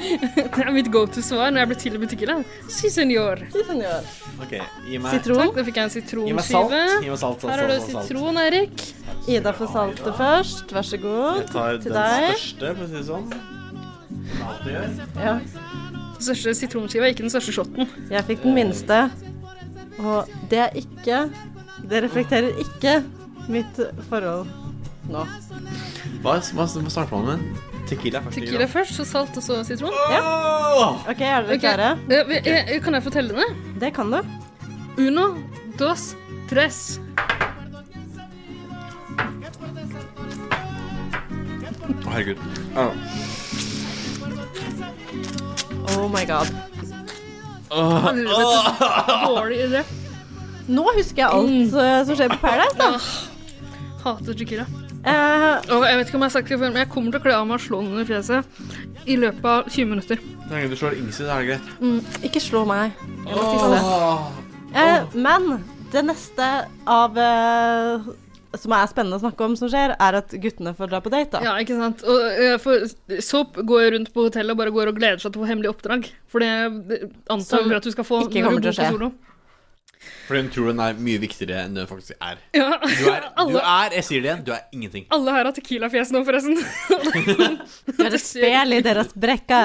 Speaker 4: Det er mitt go-to-svar når jeg blir tilbudt tequila. Si senior.
Speaker 2: Si senior.
Speaker 1: Ok, gi meg,
Speaker 2: Sitron.
Speaker 4: Takk, da fikk jeg en
Speaker 1: gi meg salt.
Speaker 4: sitronskive.
Speaker 1: Gi meg salt, salt,
Speaker 4: Her har du
Speaker 1: salt, salt, salt.
Speaker 4: sitron, Erik.
Speaker 2: Ida får salte først. Vær så god.
Speaker 1: Jeg tar
Speaker 2: Til
Speaker 1: den
Speaker 2: deg.
Speaker 1: største, for å si det sånn. Som jeg alltid gjør.
Speaker 2: Ja,
Speaker 4: Den største sitronskiva er ikke den største shotten.
Speaker 2: jeg fikk den minste. Og det er ikke Det reflekterer ikke mitt forhold nå.
Speaker 1: Hva, hva, hva starter man med? Tequila først.
Speaker 4: Tequila først, så salt og så sitron.
Speaker 1: Åh!
Speaker 2: OK, er dere
Speaker 4: Ok.
Speaker 2: klare?
Speaker 4: Eh, vi- eh, Kan jeg få telle ned?
Speaker 2: Det kan du.
Speaker 4: Uno, dos, tres.
Speaker 1: Å, herregud.
Speaker 2: Oh my god.
Speaker 4: Ah. Helvetes dårlig idé.
Speaker 2: Nå husker jeg alt eh, som skjer på Paradise, da.
Speaker 4: Hater tequila.
Speaker 2: Eh,
Speaker 4: Og jeg vet ikke om jeg har sagt det før, men jeg kommer til å kle av meg og slå den under fjeset i løpet av 20 minutter.
Speaker 1: Så lenge du slår Ingsi, da er det greit.
Speaker 2: mm, ikke slå meg. Jeg må tisse. Eh, men det neste av eh, som er spennende å snakke om som skjer, er at guttene får dra på date, da.
Speaker 4: Ja, ikke sant? Og eh, for Soap går rundt på hotellet og bare går og gleder seg til å få hemmelig oppdrag. For det det antar
Speaker 2: Som
Speaker 4: vi at du skal få
Speaker 2: ikke
Speaker 4: når
Speaker 2: kommer
Speaker 4: du bor
Speaker 2: til å
Speaker 4: på
Speaker 2: skje.
Speaker 4: solo.
Speaker 1: Fordi hun tror den er mye viktigere enn den faktisk er.
Speaker 4: Ja.
Speaker 1: Du er, du
Speaker 4: Alle,
Speaker 1: er jeg sier det igjen, du er ingenting.
Speaker 4: alle her har tequila-fjes nå, forresten.
Speaker 2: Dere spel i deres brekke.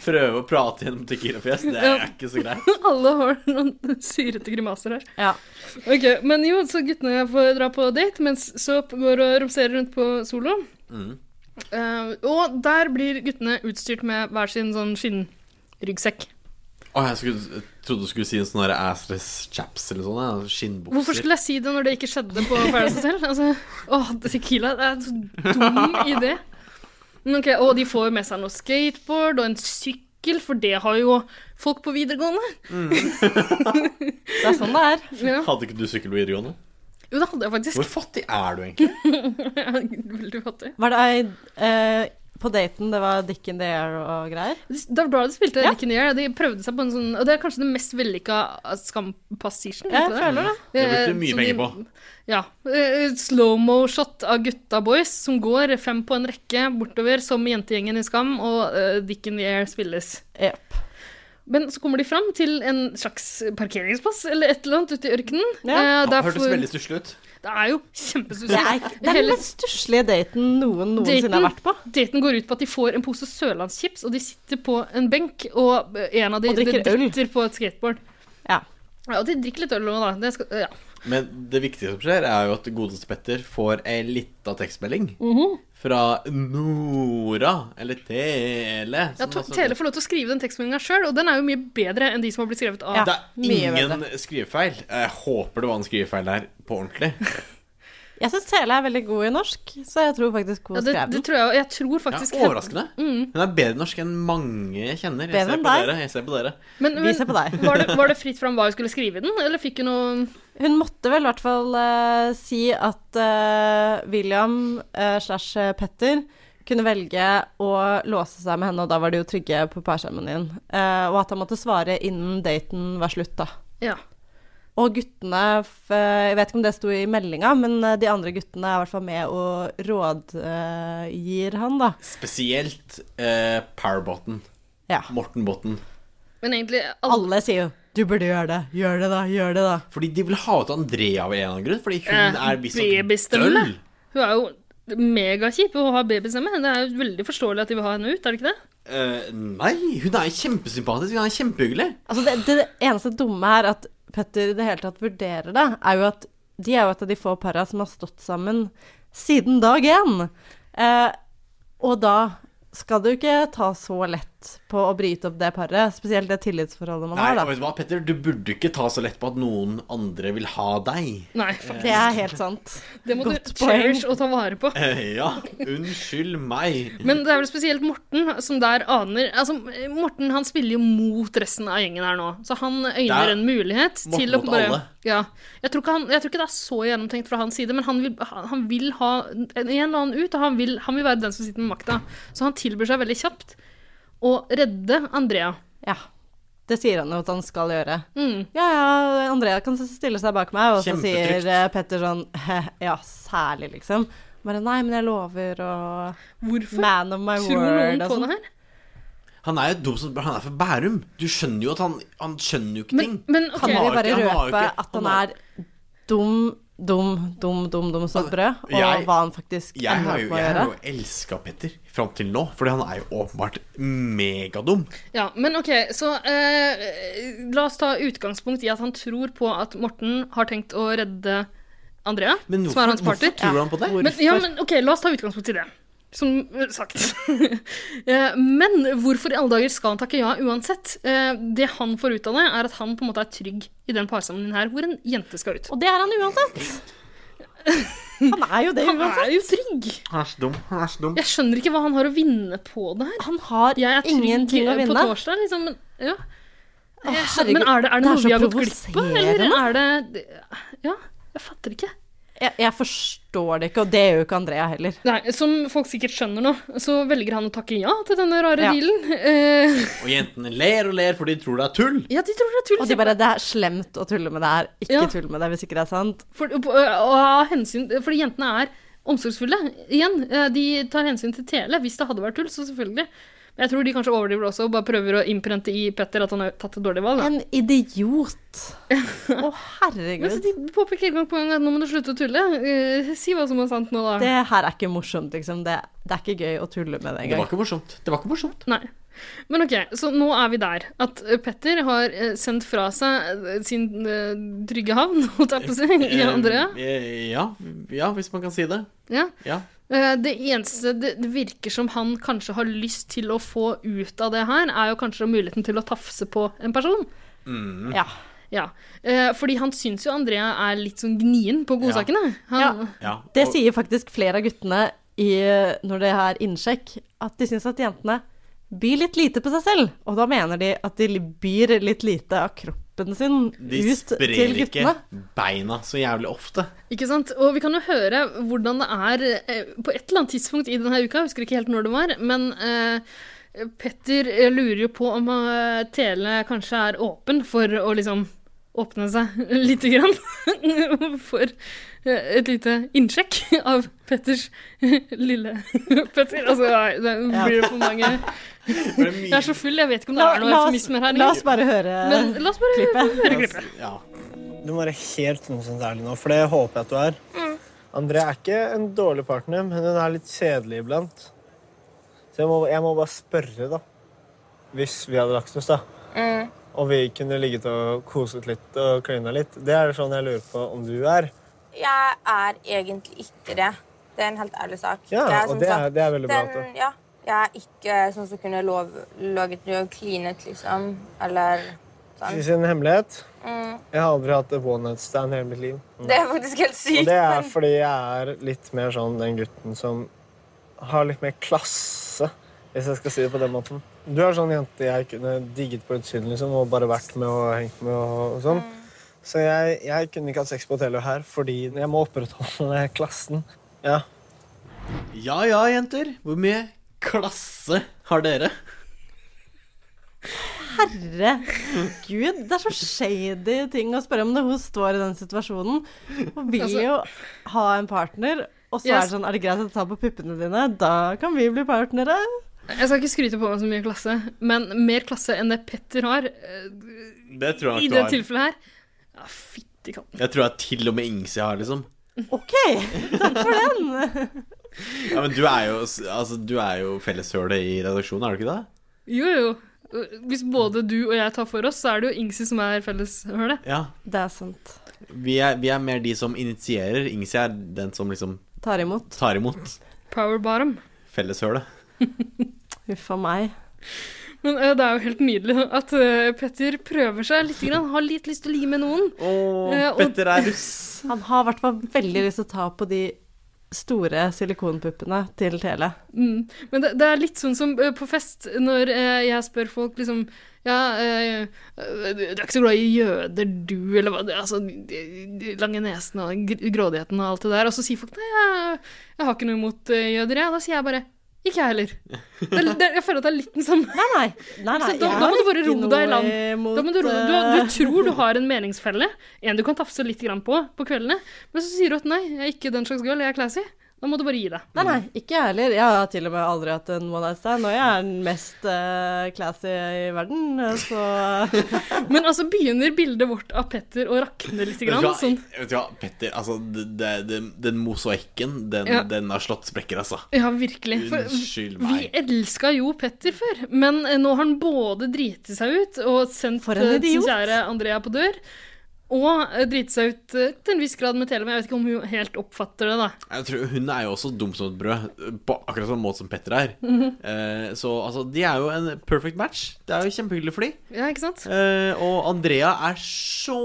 Speaker 1: Prøve å prate gjennom tequila-fjes, det er
Speaker 4: Ja.
Speaker 1: ikke så greit.
Speaker 4: Alle har noen syrete grimaser her.
Speaker 2: Ja.
Speaker 4: Ok, Men jo, så guttene får dra på date, mens Soap går og romserer rundt på solo.
Speaker 1: Mhm.
Speaker 4: Eh, og der blir guttene utstyrt med hver sin sånn skinnryggsekk.
Speaker 1: Å, jeg, skulle, jeg trodde du skulle si en sånn her assless chaps eller sånn. ja, Skinnbukser.
Speaker 4: Hvorfor skulle jeg si det når det ikke skjedde på Paradise Hotel? Altså, åh, tequila det er en så dum idé. Men ok, Og de får jo med seg noe skateboard og en sykkel, for det har jo folk på videregående.
Speaker 2: Det er sånn det er.
Speaker 4: Ja.
Speaker 1: Hadde ikke du sykkel på videregående?
Speaker 4: Jo, det hadde jeg faktisk.
Speaker 1: Hvor fattig er du egentlig?
Speaker 4: Jeg er Veldig fattig.
Speaker 2: Var det ei eh, på daten det var dick in the air og greier.
Speaker 4: Da var det de spilte Dick in the Air, og de prøvde seg på en sånn Og det er kanskje den mest vellykka eh, skampassisjen.
Speaker 2: Jeg føler det.
Speaker 1: Det brukte mye penger på.
Speaker 4: Eh, sånn Ja. eh, Slowmo-shot av gutta boys som går fem på en rekke bortover, som jentegjengen i Skam, og eh, Dick in the Air spilles.
Speaker 2: Yep.
Speaker 4: Men så kommer de fram til en slags parkeringsplass eller et eller annet ute i ørkenen.
Speaker 2: Ja.
Speaker 4: Eh, der
Speaker 1: Hørtes
Speaker 4: får-
Speaker 1: veldig stusslig ut.
Speaker 4: Det er jo kjempesusi.
Speaker 2: Det er, det er den
Speaker 4: Hele-
Speaker 2: mest stusslige daten noen
Speaker 4: Daten-
Speaker 2: noensinne har vært på.
Speaker 4: Daten går ut på at de får en pose sørlandschips, og de sitter på en benk, og en av de
Speaker 2: Og drikker
Speaker 4: det
Speaker 2: øl.
Speaker 4: dytter på et skateboard.
Speaker 2: Ja.
Speaker 4: Ja, og de drikker litt øl òg, da. Det skal, ja.
Speaker 1: Men det viktige som skjer, er jo at godeste Petter får ei lita tekstmelding
Speaker 2: Mhm.
Speaker 1: fra Nora, eller Tele.
Speaker 4: Ja,
Speaker 1: som
Speaker 4: to,
Speaker 1: altså-
Speaker 4: Tele får lov til å skrive den tekstmeldinga sjøl, og den er jo mye bedre enn de som har blitt skrevet av.
Speaker 2: Ja.
Speaker 1: Det er
Speaker 2: mye
Speaker 1: ingen skrivefeil. Jeg håper det var en skrivefeil der på ordentlig.
Speaker 2: Jeg syns Tele er veldig god i norsk, så jeg tror faktisk hun
Speaker 4: Ja, det,
Speaker 2: skrev
Speaker 4: det
Speaker 2: den.
Speaker 4: tror jeg, og jeg tror
Speaker 1: Ja,
Speaker 4: faktisk
Speaker 1: overraskende. Hun er bedre norsk enn mange jeg kjenner. Jeg
Speaker 2: Mm.
Speaker 1: ser
Speaker 2: Bedre enn
Speaker 1: på
Speaker 2: deg.
Speaker 1: dere. Jeg ser på dere.
Speaker 4: Men,
Speaker 2: Vi
Speaker 4: men
Speaker 2: ser på deg.
Speaker 4: var, det, var det fritt fram hva hun skulle skrive i den, eller fikk hun noe
Speaker 2: Hun måtte vel i hvert fall eh, si at eh, William eh, slash Petter kunne velge å låse seg med henne, og da var de jo trygge på parseremonien. Eh, og at han måtte svare innen daten var slutt, da.
Speaker 4: Ja.
Speaker 2: Og guttene f eh, Jeg vet ikke om det sto i meldinga, men eh, de andre guttene er i hvert fall med og rådgir han, da.
Speaker 1: Spesielt eh, Powerbotten.
Speaker 2: Ja.
Speaker 1: Morten Botten.
Speaker 4: Men egentlig alle,
Speaker 2: Alle sier jo 'du burde gjøre det', 'gjør det, da', 'gjør det', da.
Speaker 1: Fordi de vil ha ut Andrea av en eller annen grunn. Fordi hun
Speaker 4: Eh,
Speaker 1: er visstnok
Speaker 4: babystemme.
Speaker 1: døll.
Speaker 4: Hun er jo megakjip og har babystemme. Det er jo veldig forståelig at de vil ha henne ut, er det ikke det?
Speaker 1: Eh, nei, hun er kjempesympatisk. Hun er kjempehyggelig.
Speaker 2: Altså det, det eneste dumme her at Petter i det hele tatt vurderer det, er jo at de er jo et av de få para som har stått sammen siden dag én. Eh, og da skal du ikke ta så lett på å bryte opp det paret, spesielt det tillitsforholdet man
Speaker 1: Nei, og
Speaker 2: har, da.
Speaker 1: vet du hva, Petter, du burde ikke ta så lett på at noen andre vil ha deg.
Speaker 4: Nei, faktisk.
Speaker 2: Det er helt sant.
Speaker 4: Det må
Speaker 2: Godt
Speaker 4: du cherish og ta vare på.
Speaker 1: Eh, ja, unnskyld meg.
Speaker 4: Men det er vel spesielt Morten som der aner Altså, Morten han spiller jo mot resten av gjengen her nå. Så han
Speaker 1: Det
Speaker 4: øyner
Speaker 1: er
Speaker 4: en mulighet
Speaker 1: Morten
Speaker 4: til å
Speaker 1: mot
Speaker 4: bare
Speaker 1: alle.
Speaker 4: Ja. Jeg tror, ikke han, jeg tror ikke det er så gjennomtenkt fra hans side, men han vil, han han vil ha en eller annen ut, og han vil, han vil være den som sitter med makta. Så han tilbyr seg veldig kjapt å redde Andrea.
Speaker 2: Ja. Det sier han jo at han skal gjøre.
Speaker 4: Mm.
Speaker 2: Ja, ja, Andrea kan s- stille seg bak meg, og så
Speaker 1: Kjempetrygt.
Speaker 2: sier eh, Petter sånn Ja, særlig, liksom. Bare nei, men jeg lover, og
Speaker 4: Hvorfor
Speaker 2: man of my
Speaker 4: tror
Speaker 2: word
Speaker 4: noen
Speaker 2: og
Speaker 4: på
Speaker 2: sånn.
Speaker 4: det her?
Speaker 1: Han er jo dum som Han er fra Bærum. Du skjønner jo at han Han skjønner jo ikke
Speaker 4: Men,
Speaker 1: ting.
Speaker 4: men OK.
Speaker 1: Han
Speaker 2: Kan vi
Speaker 1: har
Speaker 2: bare
Speaker 1: ikke- han har
Speaker 2: røpe
Speaker 1: ikke-
Speaker 2: at han
Speaker 1: han har-
Speaker 2: er dum, dum, dum, dum, dum som
Speaker 1: Altså,
Speaker 2: brød? Og
Speaker 1: jeg-
Speaker 2: hva han faktisk
Speaker 1: Jeg har
Speaker 2: ender
Speaker 1: jo,
Speaker 2: opp med å
Speaker 1: jeg
Speaker 2: gjøre?
Speaker 1: har jo elska Petter fram til nå, fordi han er jo åpenbart megadum.
Speaker 4: Ja, men ok, så eh, la oss ta utgangspunkt i at han tror på at Morten har tenkt å redde Andrea,
Speaker 1: Men
Speaker 4: som er
Speaker 1: hvorfor,
Speaker 4: hans
Speaker 1: hvorfor
Speaker 4: partner.
Speaker 1: tror han på det?
Speaker 4: Men, ja, men ok, la oss ta utgangspunkt i det. Som eh, sagt. Eh, men hvorfor i alle dager skal han takke ja uansett? Eh, det han får ut av det, er at han på en måte er trygg i den parsammenhengen her, hvor en jente skal ut.
Speaker 2: Og det er han uansett! Han er jo det
Speaker 4: Han
Speaker 2: uansett.
Speaker 4: er jo trygg!
Speaker 1: Han er så dum. Han er så dum.
Speaker 4: Jeg skjønner ikke hva han har å vinne på det her.
Speaker 2: Han har
Speaker 4: Jeg er trygg
Speaker 2: ingenting å
Speaker 4: på
Speaker 2: vinne.
Speaker 4: torsdag, liksom. Men, ja.
Speaker 2: Å,
Speaker 4: Jeg skjønner,
Speaker 2: herregud,
Speaker 4: men er det, er det,
Speaker 2: det er
Speaker 4: noe
Speaker 2: så
Speaker 4: vi har gått glipp av, eller er det Ja, jeg fatter ikke.
Speaker 2: Jeg, jeg forstår det ikke, og det gjør jo ikke Andrea heller.
Speaker 4: Nei, Som folk sikkert skjønner nå, så velger han å takke ja til denne rare
Speaker 2: Ja.
Speaker 4: dealen. Eh,
Speaker 1: Og jentene ler og ler, for de tror det er tull.
Speaker 4: ja, de tror det er tull.
Speaker 2: Og de bare Det er slemt å tulle med det her. Ikke
Speaker 4: Ja.
Speaker 2: tull med det hvis ikke det er sant.
Speaker 4: For, og av hensyn, fordi jentene er omsorgsfulle. Igjen, eh, de tar hensyn til Tele. Hvis det hadde vært tull, så selvfølgelig. Men jeg tror de kanskje overdriver også og bare prøver å innprente i Petter at han har tatt et dårlig valg. da.
Speaker 2: En idiot. Å,
Speaker 4: Men så
Speaker 2: herregud.
Speaker 4: de påpeker gang på gang at nå må du slutte å tulle. Eh, si hva som er sant nå, da.
Speaker 2: Det her er ikke morsomt, liksom. Det, det er ikke gøy å tulle med det
Speaker 1: Det var
Speaker 2: engang.
Speaker 1: ikke morsomt. Det var ikke morsomt.
Speaker 4: Nei. Men ok, så nå er vi der. At eh, Petter har eh, sendt fra seg eh, sin eh, trygge havn, holdt jeg på å si, i Andrea.
Speaker 1: Eh, ja, ja, hvis man kan si det.
Speaker 4: Ja.
Speaker 1: Ja.
Speaker 4: Eh, Det eneste det det virker som han kanskje har lyst til å få ut av det her, er jo kanskje muligheten til å tafse på en person.
Speaker 2: Ja.
Speaker 4: Ja. Eh, Fordi han syns jo Andrea er litt sånn gnien på godsakene. Han,
Speaker 2: Ja.
Speaker 1: ja.
Speaker 2: Det
Speaker 1: og-
Speaker 2: sier faktisk flere av guttene i, når det er innsjekk, at de syns at jentene byr litt lite på seg selv. Og da mener de at de byr litt lite av kroppen kroppen sin
Speaker 1: De
Speaker 2: ut til
Speaker 1: sprer ikke
Speaker 2: guttene.
Speaker 1: beina så jævlig ofte.
Speaker 4: Ikke sant? Og vi kan jo høre hvordan det er eh, på et eller annet tidspunkt i denne uka, jeg husker ikke helt når det var, men eh, Petter eh, lurer jo på om eh, Tele kanskje er åpen for å liksom åpne seg lite grann. for eh, et lite innsjekk av Petters lille Petter. Altså, nei, det blir for mange Jeg er så full, jeg vet ikke om det
Speaker 2: La,
Speaker 4: er noe
Speaker 2: la, oss,
Speaker 4: eufemismer her.
Speaker 2: la oss bare høre
Speaker 4: men la oss bare
Speaker 2: klippet.
Speaker 4: høre klippet.
Speaker 1: Ja.
Speaker 8: Du må være helt nonsens ærlig nå, for det håper jeg at du er.
Speaker 9: Mm.
Speaker 8: Andrea er ikke en dårlig partner, men hun er litt kjedelig iblant. Så jeg må, jeg må bare spørre, da. Hvis vi hadde lagt oss, da.
Speaker 9: Mm.
Speaker 8: Og vi kunne ligget og koset litt og klina litt. Det er sånn jeg lurer på om du er.
Speaker 9: Jeg er egentlig ikke det. Det er en helt ærlig sak.
Speaker 8: Ja,
Speaker 9: Jeg
Speaker 8: og
Speaker 9: som
Speaker 8: det er-
Speaker 9: sagt
Speaker 8: det er veldig bra altså. at
Speaker 9: Den, ja, jeg er ikke sånn som kunne lov, laget noe og klinet, liksom. Eller
Speaker 8: Skal
Speaker 9: sånn.
Speaker 8: vi si en hemmelighet?
Speaker 9: Mm.
Speaker 8: Jeg har aldri hatt et one night stand hele mitt liv.
Speaker 9: Det er faktisk helt sykt.
Speaker 8: Og det er
Speaker 9: men-
Speaker 8: fordi jeg er litt mer sånn den gutten som har litt mer klasse, hvis jeg skal si det på den måten. Du er sånn jente jeg kunne digget på utsiden liksom, og bare vært med og hengt med. og, og sånn.
Speaker 10: Mm.
Speaker 8: Så jeg, jeg kunne ikke hatt sex på hotellet her fordi jeg må opprettholde den klassen. Ja,
Speaker 1: ja ja, jenter. Hvor mye klasse har dere?
Speaker 2: Herregud, det er så shady ting å spørre om når hun står i den situasjonen. Hun vil
Speaker 4: Altså-
Speaker 2: jo ha en partner, og så
Speaker 4: Yes.
Speaker 2: er det sånn Er det greit å ta på puppene dine? Da kan vi bli partnere.
Speaker 4: Jeg skal ikke skryte på meg så mye klasse, men mer klasse enn det Petter har eh,
Speaker 1: Det tror
Speaker 4: i
Speaker 1: jeg nok
Speaker 4: det
Speaker 1: du har.
Speaker 4: tilfellet her. Ja, fytti katten.
Speaker 1: Jeg tror jeg til og med Ingsi har, liksom.
Speaker 2: OK, takk for den.
Speaker 1: Ja, men du er jo, altså, du er jo felleshølet i redaksjonen, er du ikke det?
Speaker 4: Jo, jo. Hvis både du og jeg tar for oss, så er det jo Ingsi som er felleshølet.
Speaker 1: Ja.
Speaker 2: Det er sant.
Speaker 1: Vi er, vi er mer de som initierer. Ingsi er den som liksom
Speaker 2: Tar imot.
Speaker 1: tar imot
Speaker 4: Power bottom.
Speaker 1: felleshølet.
Speaker 2: Huff a meg.
Speaker 4: Men eh, det er jo helt nydelig at eh, Petter prøver seg litt, grann. har litt lyst til å ligge med noen.
Speaker 1: Åh,
Speaker 4: Eh, og-
Speaker 1: Petter er russ.
Speaker 2: Han har i hvert fall veldig lyst til å ta på de store silikonpuppene til Tele.
Speaker 4: Mm. Men det, det er litt sånn som eh, på fest, når eh, jeg spør folk liksom Ja, eh, eh, du er ikke så glad i jøder, du, eller hva det Altså, de de lange nesene og gr- grådigheten og alt det der. Og så sier folk nei, jeg, jeg har ikke noe imot eh, jøder, jeg. Da sier jeg bare ikke jeg heller. Det, er- det, er- jeg føler at det er litt den samme
Speaker 2: Nei, nei. nei, nei.
Speaker 4: Så Altså,
Speaker 2: jeg
Speaker 4: da- da må
Speaker 2: har
Speaker 4: du bare
Speaker 2: ikke
Speaker 4: ro deg i land.
Speaker 2: noe imot,
Speaker 4: da må du, ro- du,
Speaker 2: eh,
Speaker 4: du tror du har en meningsfelle, en du kan tafse litt grann på på kveldene, men så sier du at nei, jeg er ikke den slags girl, jeg er classy. Da må du bare gi deg.
Speaker 2: Nei, nei, ikke jeg heller. Jeg har til og med aldri hatt en one night stand, og jeg er den mest eh, classy i verden, eh, så
Speaker 4: Men altså begynner bildet vårt av Petter å rakne litt.
Speaker 1: Vet du
Speaker 4: Grann,
Speaker 1: hva,
Speaker 4: sånn.
Speaker 1: vet du hva, Petter, altså det, det, den- den mosaikken, den,
Speaker 4: Ja.
Speaker 1: den har slått sprekker, altså.
Speaker 4: Ja, virkelig. For
Speaker 1: Unnskyld
Speaker 4: vi
Speaker 1: meg.
Speaker 4: elska jo Petter før, men eh, nå har han både driti seg ut og sendt
Speaker 2: For en
Speaker 4: eh, sin
Speaker 2: idiot.
Speaker 4: kjære Andrea på dør, og eh, driti seg ut eh, til en viss grad med Tele, men jeg vet ikke om hun helt oppfatter det, da.
Speaker 1: Jeg tror Hun er jo også dum som et brød, på akkurat samme måte som Petter er.
Speaker 4: Mhm.
Speaker 1: Eh, så altså, de er jo en perfect match. Det er jo kjempehyggelig for de.
Speaker 4: Ja, ikke sant?
Speaker 1: Eh, og Andrea er så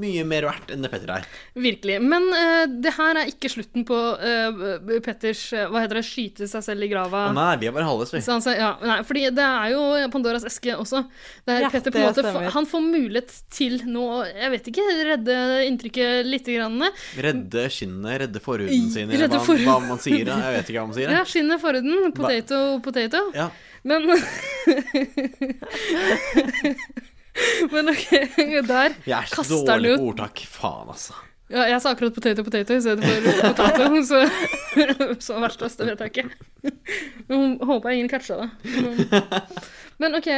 Speaker 1: mye mer verdt enn det Petter er.
Speaker 4: Virkelig. Men eh, det her er ikke slutten på eh, Petters eh, Hva heter det? Skyte seg selv i grava.
Speaker 1: Å nei, vi er bare halvveis, vi.
Speaker 4: Så han sa, ja, nei, fordi det er jo Pandoras eske også. Det er
Speaker 2: Ja,
Speaker 4: Petter på
Speaker 2: det
Speaker 4: en måte,
Speaker 2: stemmer.
Speaker 4: Han får mulighet til nå å- Jeg vet ikke, redde inntrykket lite grann.
Speaker 1: Redde skinnene, redde forhuden sin, eller
Speaker 4: Redde
Speaker 1: hva,
Speaker 4: forhuden.
Speaker 1: hva man sier. da. Jeg vet ikke hva man sier.
Speaker 4: Ja,
Speaker 1: jeg.
Speaker 4: skinnet forhuden. Potato, potato.
Speaker 1: Ja.
Speaker 4: Men Men ok, der
Speaker 1: Jeg er så
Speaker 4: Kaster han
Speaker 1: dårlig
Speaker 4: ut.
Speaker 1: på ordtak. Faen, altså.
Speaker 4: Ja, jeg sa akkurat potato, potato i stedet for potato, så så verst oss, det vet jeg ikke. Men Håper jeg ingen catcha det. Men OK,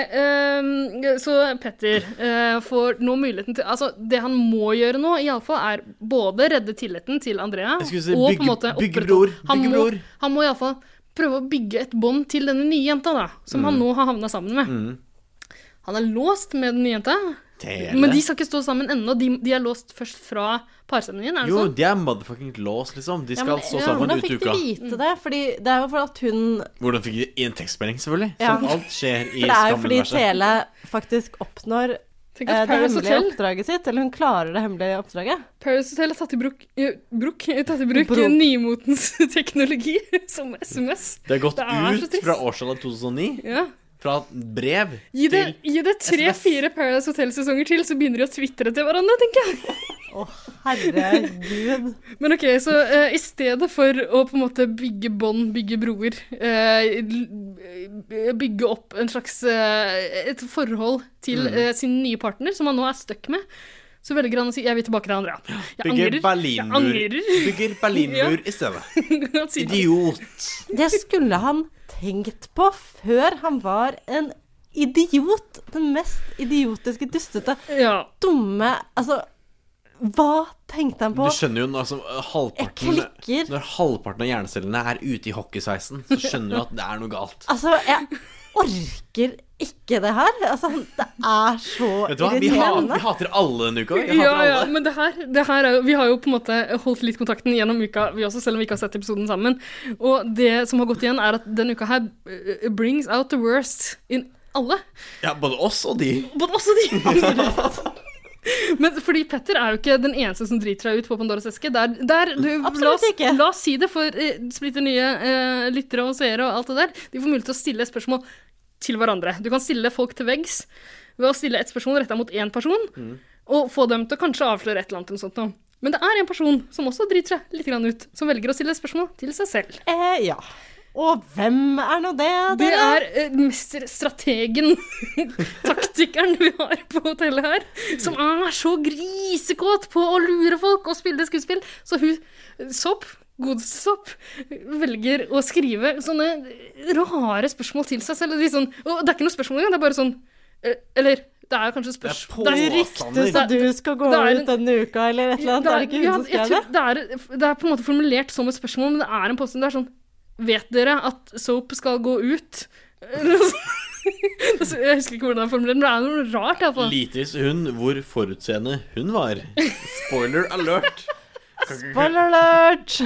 Speaker 4: ehm, så Petter eh, får nå muligheten til Altså, det han må gjøre nå, iallfall, er både redde tilliten til Andrea
Speaker 1: Jeg skulle si
Speaker 4: og på
Speaker 1: bygge-
Speaker 4: en måte
Speaker 1: bygge
Speaker 4: opprettholde-
Speaker 1: bror,
Speaker 4: Han
Speaker 1: bygge
Speaker 4: må-
Speaker 1: bror.
Speaker 4: Han må iallfall prøve å bygge et bånd til denne nye jenta, da, som han
Speaker 1: Mm.
Speaker 4: nå har havna sammen med. Han er låst med den nye jenta,
Speaker 1: Tele.
Speaker 4: men de skal ikke stå sammen ennå. De, de er låst først fra parseremonien, er det
Speaker 1: Jo,
Speaker 4: sånn?
Speaker 1: de er motherfucking låst, liksom. De
Speaker 4: Ja,
Speaker 1: skal
Speaker 4: men-
Speaker 1: stå
Speaker 4: ja,
Speaker 1: sammen
Speaker 2: Hvordan
Speaker 1: ut
Speaker 2: fikk de
Speaker 1: uka.
Speaker 2: vite det? Fordi det er jo for at hun
Speaker 1: Hvordan fikk de i en tekstmelding, selvfølgelig?
Speaker 2: Ja.
Speaker 1: Som alt skjer i
Speaker 2: For det er jo fordi
Speaker 1: skamuniverset.
Speaker 2: Tele faktisk oppnår
Speaker 4: Tenk
Speaker 2: eh,
Speaker 4: at
Speaker 2: det
Speaker 4: Paradise
Speaker 2: hemmelige
Speaker 4: Hotel
Speaker 2: oppdraget sitt, eller hun klarer det hemmelige oppdraget.
Speaker 4: Paradise Hotel har tatt i bruk, eh, bruk, eh, tatt i bruk
Speaker 2: Brok.
Speaker 4: eh, nymotens teknologi som SMS.
Speaker 1: Det har gått
Speaker 4: Det er så
Speaker 1: ut
Speaker 4: trist.
Speaker 1: fra årstallet 2009.
Speaker 4: Ja.
Speaker 1: fra brev
Speaker 4: Gi det,
Speaker 1: til
Speaker 4: gi det tre-fire Paradise Hotel-sesonger til, så begynner de å tvitre til hverandre, tenker jeg.
Speaker 2: Herregud.
Speaker 4: Men ok, så eh, i stedet for å på en måte bygge bånd, bygge broer, eh, l- bygge opp en slags eh, et forhold til eh, sin nye partner, som han nå er stuck med, så velger han å si 'jeg vil tilbake til Andrea'. Jeg
Speaker 1: Bygger
Speaker 4: angrer.
Speaker 1: Berlinmur.
Speaker 4: Jeg angrer.
Speaker 1: Bygger Berlinmur i stedet.
Speaker 4: Han sier ikke-
Speaker 1: Idiot.
Speaker 2: Det skulle han tenkt på før han var en idiot. Den mest idiotiske, dustete,
Speaker 4: ja.
Speaker 2: dumme Altså, hva tenkte han
Speaker 1: Du
Speaker 2: på?
Speaker 1: skjønner jo når, altså, halvparten,
Speaker 2: Jeg klikker.
Speaker 1: når halvparten av hjernecellene er ute i hockeysveisen, så skjønner du at det er noe galt.
Speaker 2: Altså, jeg orker ikke det her. Altså, det er så
Speaker 1: Vet du hva? Vi, ha,
Speaker 2: irriterende.
Speaker 1: vi hater alle denne uka. Vi
Speaker 4: Ja,
Speaker 1: hater
Speaker 4: ja,
Speaker 1: alle.
Speaker 4: men det her, det her er jo, vi har jo på en måte holdt litt kontakten gjennom uka, vi også, selv om vi ikke har sett episoden sammen. Og det som har gått igjen, er at denne uka her eh, brings out the worst in alle.
Speaker 1: Ja, både oss og de.
Speaker 4: Men også de! Men fordi Petter er jo ikke den eneste som driter seg ut på Pandoras eske. Der, der, du, la,
Speaker 2: Absolutt
Speaker 4: oss,
Speaker 2: ikke.
Speaker 4: la oss si det for eh, splitter nye eh, lyttere og seere og alt det der. De får mulighet til å stille spørsmål til hverandre. Du kan stille folk til veggs ved å stille et spørsmål retta mot én person,
Speaker 2: Mm.
Speaker 4: og få dem til å kanskje avsløre et eller annet. Eller sånt noe. Men det er en person som også driter seg litt grann ut, som velger å stille spørsmål til seg selv.
Speaker 2: Eh, ja. Og hvem er nå det,
Speaker 4: Det
Speaker 2: dere?
Speaker 4: er eh, mesterstrategen, taktikeren vi har på hotellet her, som er så grisekåt på å lure folk og spille skuespill. Så hun, Sopp, godeste Sopp, velger å skrive sånne rare spørsmål til seg selv. Og, de sånn, og det er ikke noe spørsmål engang, det er bare sånn eh, Eller det er kanskje
Speaker 1: Det er
Speaker 4: spørsmål
Speaker 1: påstander.
Speaker 2: Ryktes at du skal gå
Speaker 4: Det er en-
Speaker 2: ut denne uka, eller et eller annet. Er det ikke
Speaker 4: ja,
Speaker 2: hun som skrev
Speaker 4: jeg
Speaker 2: det?
Speaker 4: tror det? Er, det er på en måte formulert som et spørsmål, men det er en påstand. Det er sånn Vet dere at soap skal gå ut? Eller noe sånt. jeg husker ikke hvordan det er formulert, men det er noe rart. i hvert fall.
Speaker 1: Lite visste hun hvor forutseende hun var. Spoiler alert.
Speaker 2: Spoiler alert!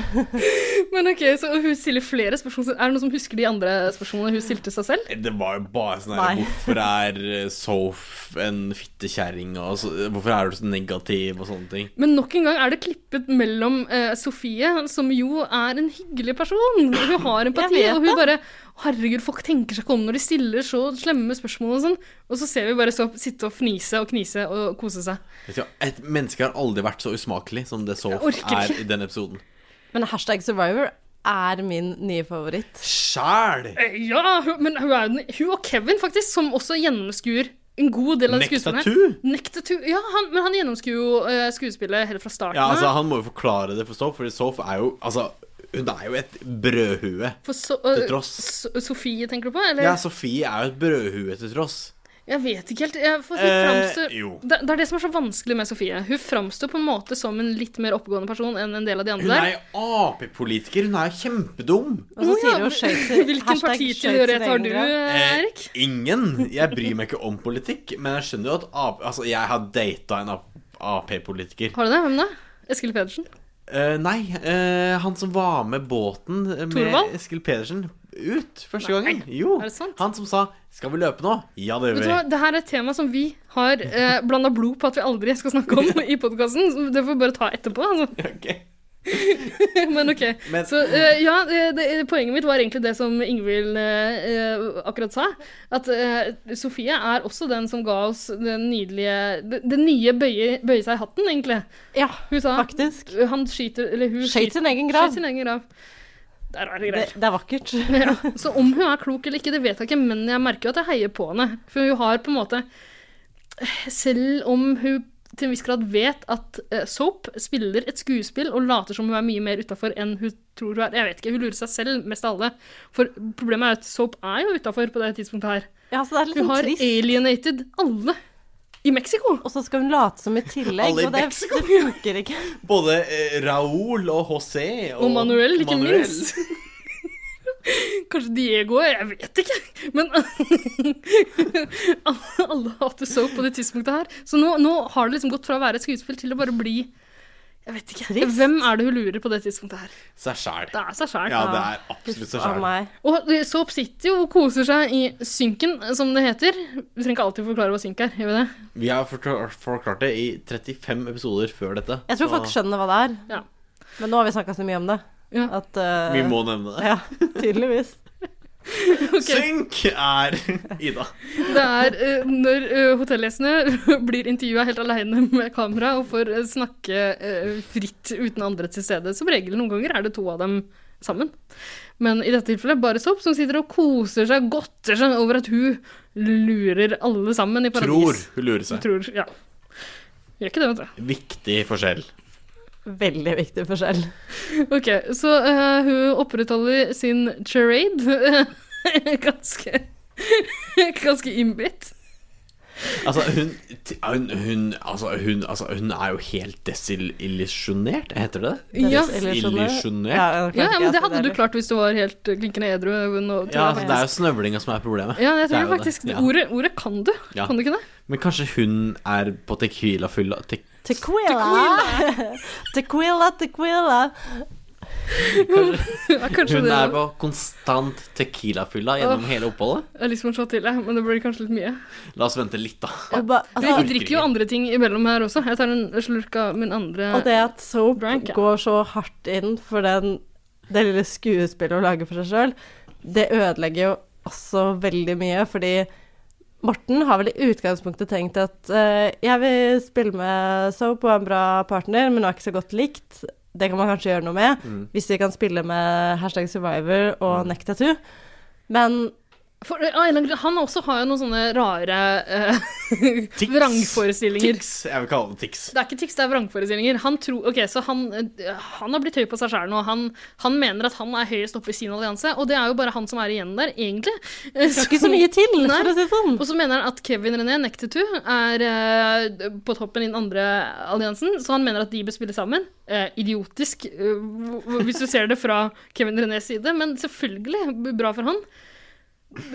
Speaker 4: Men ok, så Hun stiller flere spørsmål. Er det noen som husker de andre spørsmålene hun stilte seg selv?
Speaker 1: Det var jo bare sånn her
Speaker 2: Nei.
Speaker 1: Hvorfor er eh, Soph en fittekjerring? og så- Hvorfor er du så negativ og sånne ting?
Speaker 4: Men nok en gang er det klippet mellom eh, Sofie, som jo er en hyggelig person. Hun har empati,
Speaker 2: Jeg vet
Speaker 4: og hun
Speaker 2: det.
Speaker 4: bare Herregud, folk tenker seg ikke om når de stiller så slemme spørsmål og sånn. Og så ser vi bare Soap sitte og fnise og knise og kose seg.
Speaker 1: Vet du, hva, et menneske har aldri vært så usmakelig som det Soph
Speaker 4: Jeg orker
Speaker 1: er
Speaker 4: ikke.
Speaker 1: i denne episoden.
Speaker 2: Men hashtag survivor er min nye favoritt.
Speaker 1: Sjæl!
Speaker 4: Eh, Ja, hun, men hun, er, jo den- hun og Kevin, faktisk, som også gjennomskuer en god del av
Speaker 1: Nekta
Speaker 4: skuespillene.
Speaker 1: tu?
Speaker 4: Nekta tu? Ja, han, men han gjennomskuer jo eh, skuespillet helt fra starten
Speaker 1: Ja,
Speaker 4: av.
Speaker 1: altså, han må jo forklare det for Soph, for Soph er jo Altså, hun er jo et brødhue.
Speaker 4: For so, eh,
Speaker 1: til tross.
Speaker 4: So- Sofie, tenker du på? Eller?
Speaker 1: Ja, Sofie er jo et brødhue til tross.
Speaker 4: Jeg vet ikke helt. Jeg, for hun
Speaker 1: Eh,
Speaker 4: framstår,
Speaker 1: jo.
Speaker 4: det, det er det som er så vanskelig med Sofie. Hun framstår på en måte som en litt mer oppegående person enn en del av de andre.
Speaker 1: Hun er jo Ap-politiker. Hun er jo kjempedum.
Speaker 2: Og så
Speaker 4: Å, ja,
Speaker 2: sier hun skøyt sin-
Speaker 4: Hvilken
Speaker 2: hashtag skøyt
Speaker 4: partitilhørighet
Speaker 2: sin
Speaker 4: har
Speaker 2: egen
Speaker 4: du,
Speaker 2: grav.
Speaker 4: eh,
Speaker 1: Eh,
Speaker 4: Erik?
Speaker 1: ingen. Jeg bryr meg ikke om politikk, men jeg skjønner jo at Ap Altså, jeg har data en Ap- Ap-politiker.
Speaker 4: Har du det? Hvem da? Eskil Pedersen?
Speaker 1: Eh, nei, eh, han som var med båten med
Speaker 4: Thorvald?
Speaker 1: Eskil Pedersen ut første gangen. Jo.
Speaker 4: er det sant?
Speaker 1: Han som sa 'Skal vi løpe nå?' Ja, det gjør
Speaker 4: Vet du hva,
Speaker 1: vi.
Speaker 4: Det her er et tema som vi har eh, blanda blod på at vi aldri skal snakke om i podkasten. Det får vi bare ta etterpå. Altså.
Speaker 1: Ok.
Speaker 4: Men ok.
Speaker 1: Men-
Speaker 4: Så eh, ja, eh, det, poenget mitt var egentlig det som Ingvild eh, eh, akkurat sa. At eh, Sofie er også den som ga oss den nydelige Det, det nye bøye, bøye seg i hatten, egentlig.
Speaker 2: Ja,
Speaker 4: Hun sa
Speaker 2: faktisk.
Speaker 4: Han skyter Eller hun
Speaker 2: Skøyt Mm.
Speaker 4: skyter
Speaker 2: sin egen
Speaker 4: skjøt
Speaker 2: grav.
Speaker 4: sin egen grav. Det er rare
Speaker 2: Det,
Speaker 4: greier.
Speaker 2: det er vakkert.
Speaker 4: Ja. Så om hun er klok eller ikke, det vet jeg ikke, men jeg merker jo at jeg heier på henne. For hun har på en måte Selv om hun til en viss grad vet at eh, Soap spiller et skuespill og later som hun er mye mer utafor enn hun tror hun er. Jeg vet ikke, Hun lurer seg selv mest av alle. For problemet er at Soap er jo utafor på det tidspunktet her.
Speaker 2: Ja, så det er litt
Speaker 4: Hun
Speaker 2: sånn
Speaker 4: har
Speaker 2: trist.
Speaker 4: alienated alle i Mexico.
Speaker 2: Og så skal hun late som i tillegg,
Speaker 1: Alle i
Speaker 2: og det,
Speaker 1: Mexico.
Speaker 2: det funker ikke.
Speaker 1: Både eh, Raoul og José
Speaker 4: Og Manuel, ikke
Speaker 1: Manuel.
Speaker 4: minst. Kanskje Diego? Jeg vet ikke. Men alle hater soap på det tidspunktet her. Så nå, nå har det liksom gått fra å være et skuespill til å bare bli Jeg vet ikke.
Speaker 2: Trist.
Speaker 4: Hvem er det hun lurer på det tidspunktet her?
Speaker 1: Seg sjæl.
Speaker 4: Det er seg sjæl.
Speaker 1: Ja, det er absolutt seg
Speaker 2: Av
Speaker 1: sjæl.
Speaker 2: meg.
Speaker 4: Og soap sitter jo og koser seg i synken, som det heter. Vi trenger ikke alltid forklare hva synk er. Gjør vi det?
Speaker 1: Vi har forklar- forklart det i 35 episoder før dette.
Speaker 2: Jeg tror
Speaker 1: så
Speaker 2: folk skjønner hva det er.
Speaker 4: Ja.
Speaker 2: Men nå har vi snakka så mye om det
Speaker 4: Ja.
Speaker 2: at eh,
Speaker 1: Vi må nevne det.
Speaker 2: Ja, tydeligvis.
Speaker 1: Synk er Ida.
Speaker 4: Det er eh, når eh, hotellgjestene blir intervjua helt aleine med kamera og får eh, snakke eh, fritt uten andre til stede. Som regel noen ganger er det to av dem sammen. Men i dette tilfellet bare Sopp, som sitter og koser seg, godter seg over at hun lurer alle sammen i
Speaker 1: Tror
Speaker 4: paradis.
Speaker 1: hun lurer seg.
Speaker 4: Tror. Ja. Gjør ikke det, vet du.
Speaker 1: Viktig forskjell.
Speaker 2: Veldig viktig forskjell.
Speaker 4: Ok, så eh, hun opprettholder sin charade. ganske Ganske innbitt.
Speaker 1: Altså, hun t- hun, hun, altså, hun, altså, hun er jo helt desillusjonert, heter det det?
Speaker 4: Ja.
Speaker 1: Illusjonert?
Speaker 4: Ja, ja, men det hadde du klart hvis du var helt eh, klinkende edru. Øyvind, og-
Speaker 1: Ja, altså, det er jo snøvlinga som er problemet.
Speaker 4: Ja,
Speaker 1: Det
Speaker 4: jeg
Speaker 1: er jo
Speaker 4: tror
Speaker 1: det.
Speaker 4: faktisk
Speaker 1: Ja.
Speaker 4: Ordet, ordet kan du.
Speaker 1: Ja.
Speaker 4: Kan du ikke det?
Speaker 1: Men kanskje hun er på Tequila-fylla te
Speaker 2: Tequila. Tequila, tequila.
Speaker 4: Ja, kanskje
Speaker 1: Hun
Speaker 4: det
Speaker 1: er på konstant Tequila-fylla gjennom hele oppholdet?
Speaker 4: Jeg har lyst til å slå til, jeg, men det blir kanskje litt mye.
Speaker 1: La oss vente litt, da.
Speaker 2: Og, ba,
Speaker 4: Vi
Speaker 2: altså,
Speaker 4: drikker jo andre ting imellom her også. Jeg tar en slurk av min andre
Speaker 2: og det at Soap
Speaker 4: Drank, ja.
Speaker 2: går så hardt inn for den, det lille skuespillet hun lager for seg sjøl, det ødelegger jo også veldig mye, fordi Morten har vel i utgangspunktet tenkt at eh, jeg vil spille med Soap og er en bra partner, men hun er ikke så godt likt. Det kan man kanskje gjøre noe med, hvis vi kan spille med hashtag survivor og neck tattoo. Men
Speaker 4: For, ja, en eller annen grunn- han også har jo noen sånne rare eh,
Speaker 1: Tics.
Speaker 4: vrangforestillinger.
Speaker 1: Tics. Jeg vil kalle det tics.
Speaker 4: Det er ikke tics, det er vrangforestillinger. Han, tror, ok, så han, eh, han har blitt høy på seg sjæl nå. Han, han mener at han er høyest oppe i sin allianse, og det er jo bare han som er igjen der, egentlig. Det
Speaker 2: det skal ikke så mye til, for å si det sånn.
Speaker 4: Og så mener han at Kevin René Nektetu er eh, på toppen i den andre alliansen, så han mener at de bør spille sammen. Eh, idiotisk, eh, hv- hv- hvis du ser det fra Kevin Renés side, men selvfølgelig bra for han.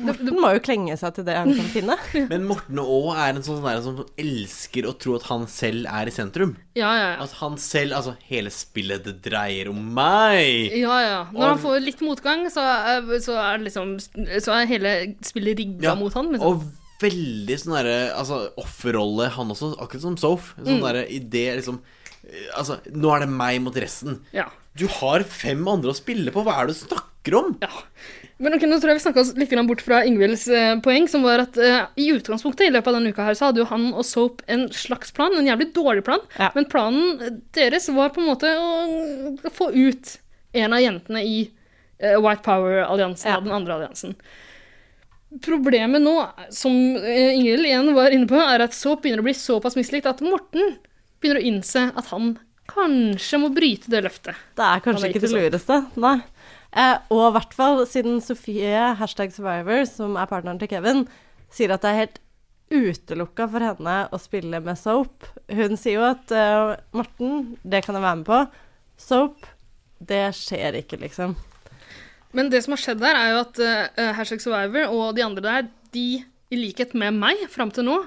Speaker 2: Morten må jo klenge seg til det han kan finne.
Speaker 1: Men Morten Aa er en sånn sånn der som elsker å tro at han selv er i sentrum.
Speaker 4: Ja, ja, ja.
Speaker 1: At han selv Altså, hele spillet det dreier om meg!
Speaker 4: Ja, ja. Når han får litt motgang, så, eh, så er det liksom Så er hele spillet rigga
Speaker 1: Ja,
Speaker 4: mot han. Liksom.
Speaker 1: Og veldig sånn derre altså, offerrolle, han også, akkurat som Soph.
Speaker 4: Mm.
Speaker 1: Sånn derre idé liksom eh, Altså, nå er det meg mot resten.
Speaker 4: Ja.
Speaker 1: Du har fem andre å spille på, hva er det du snakker om?
Speaker 4: Ja. Men ok, nå tror jeg vi snakka oss litt grann bort fra Ingvilds eh, poeng, som var at eh, i utgangspunktet i løpet av denne uka her, så hadde jo han og Soap en slags plan, en jævlig dårlig plan,
Speaker 2: Ja.
Speaker 4: men planen eh, deres var på en måte å få ut en av jentene i eh, White Power-alliansen
Speaker 2: Ja.
Speaker 4: og den andre alliansen. Problemet nå, som eh, Ingvild igjen var inne på, er at Soap begynner å bli såpass mislikt at Morten begynner å innse at han kanskje må bryte det løftet.
Speaker 2: Det er
Speaker 4: Han
Speaker 2: kanskje
Speaker 4: er
Speaker 2: ikke
Speaker 4: ikke sånn.
Speaker 2: det lureste, nei. Eh, og i hvert fall siden Sofie, hashtag survivor, som er partneren til Kevin, sier at det er helt utelukka for henne å spille med Soap. Hun sier jo at eh, Morten, det kan jeg være med på. Soap, det skjer ikke, liksom.
Speaker 4: Men det som har skjedd der, er jo at eh, Hashtag Survivor og de andre der, de, i likhet med meg fram til nå,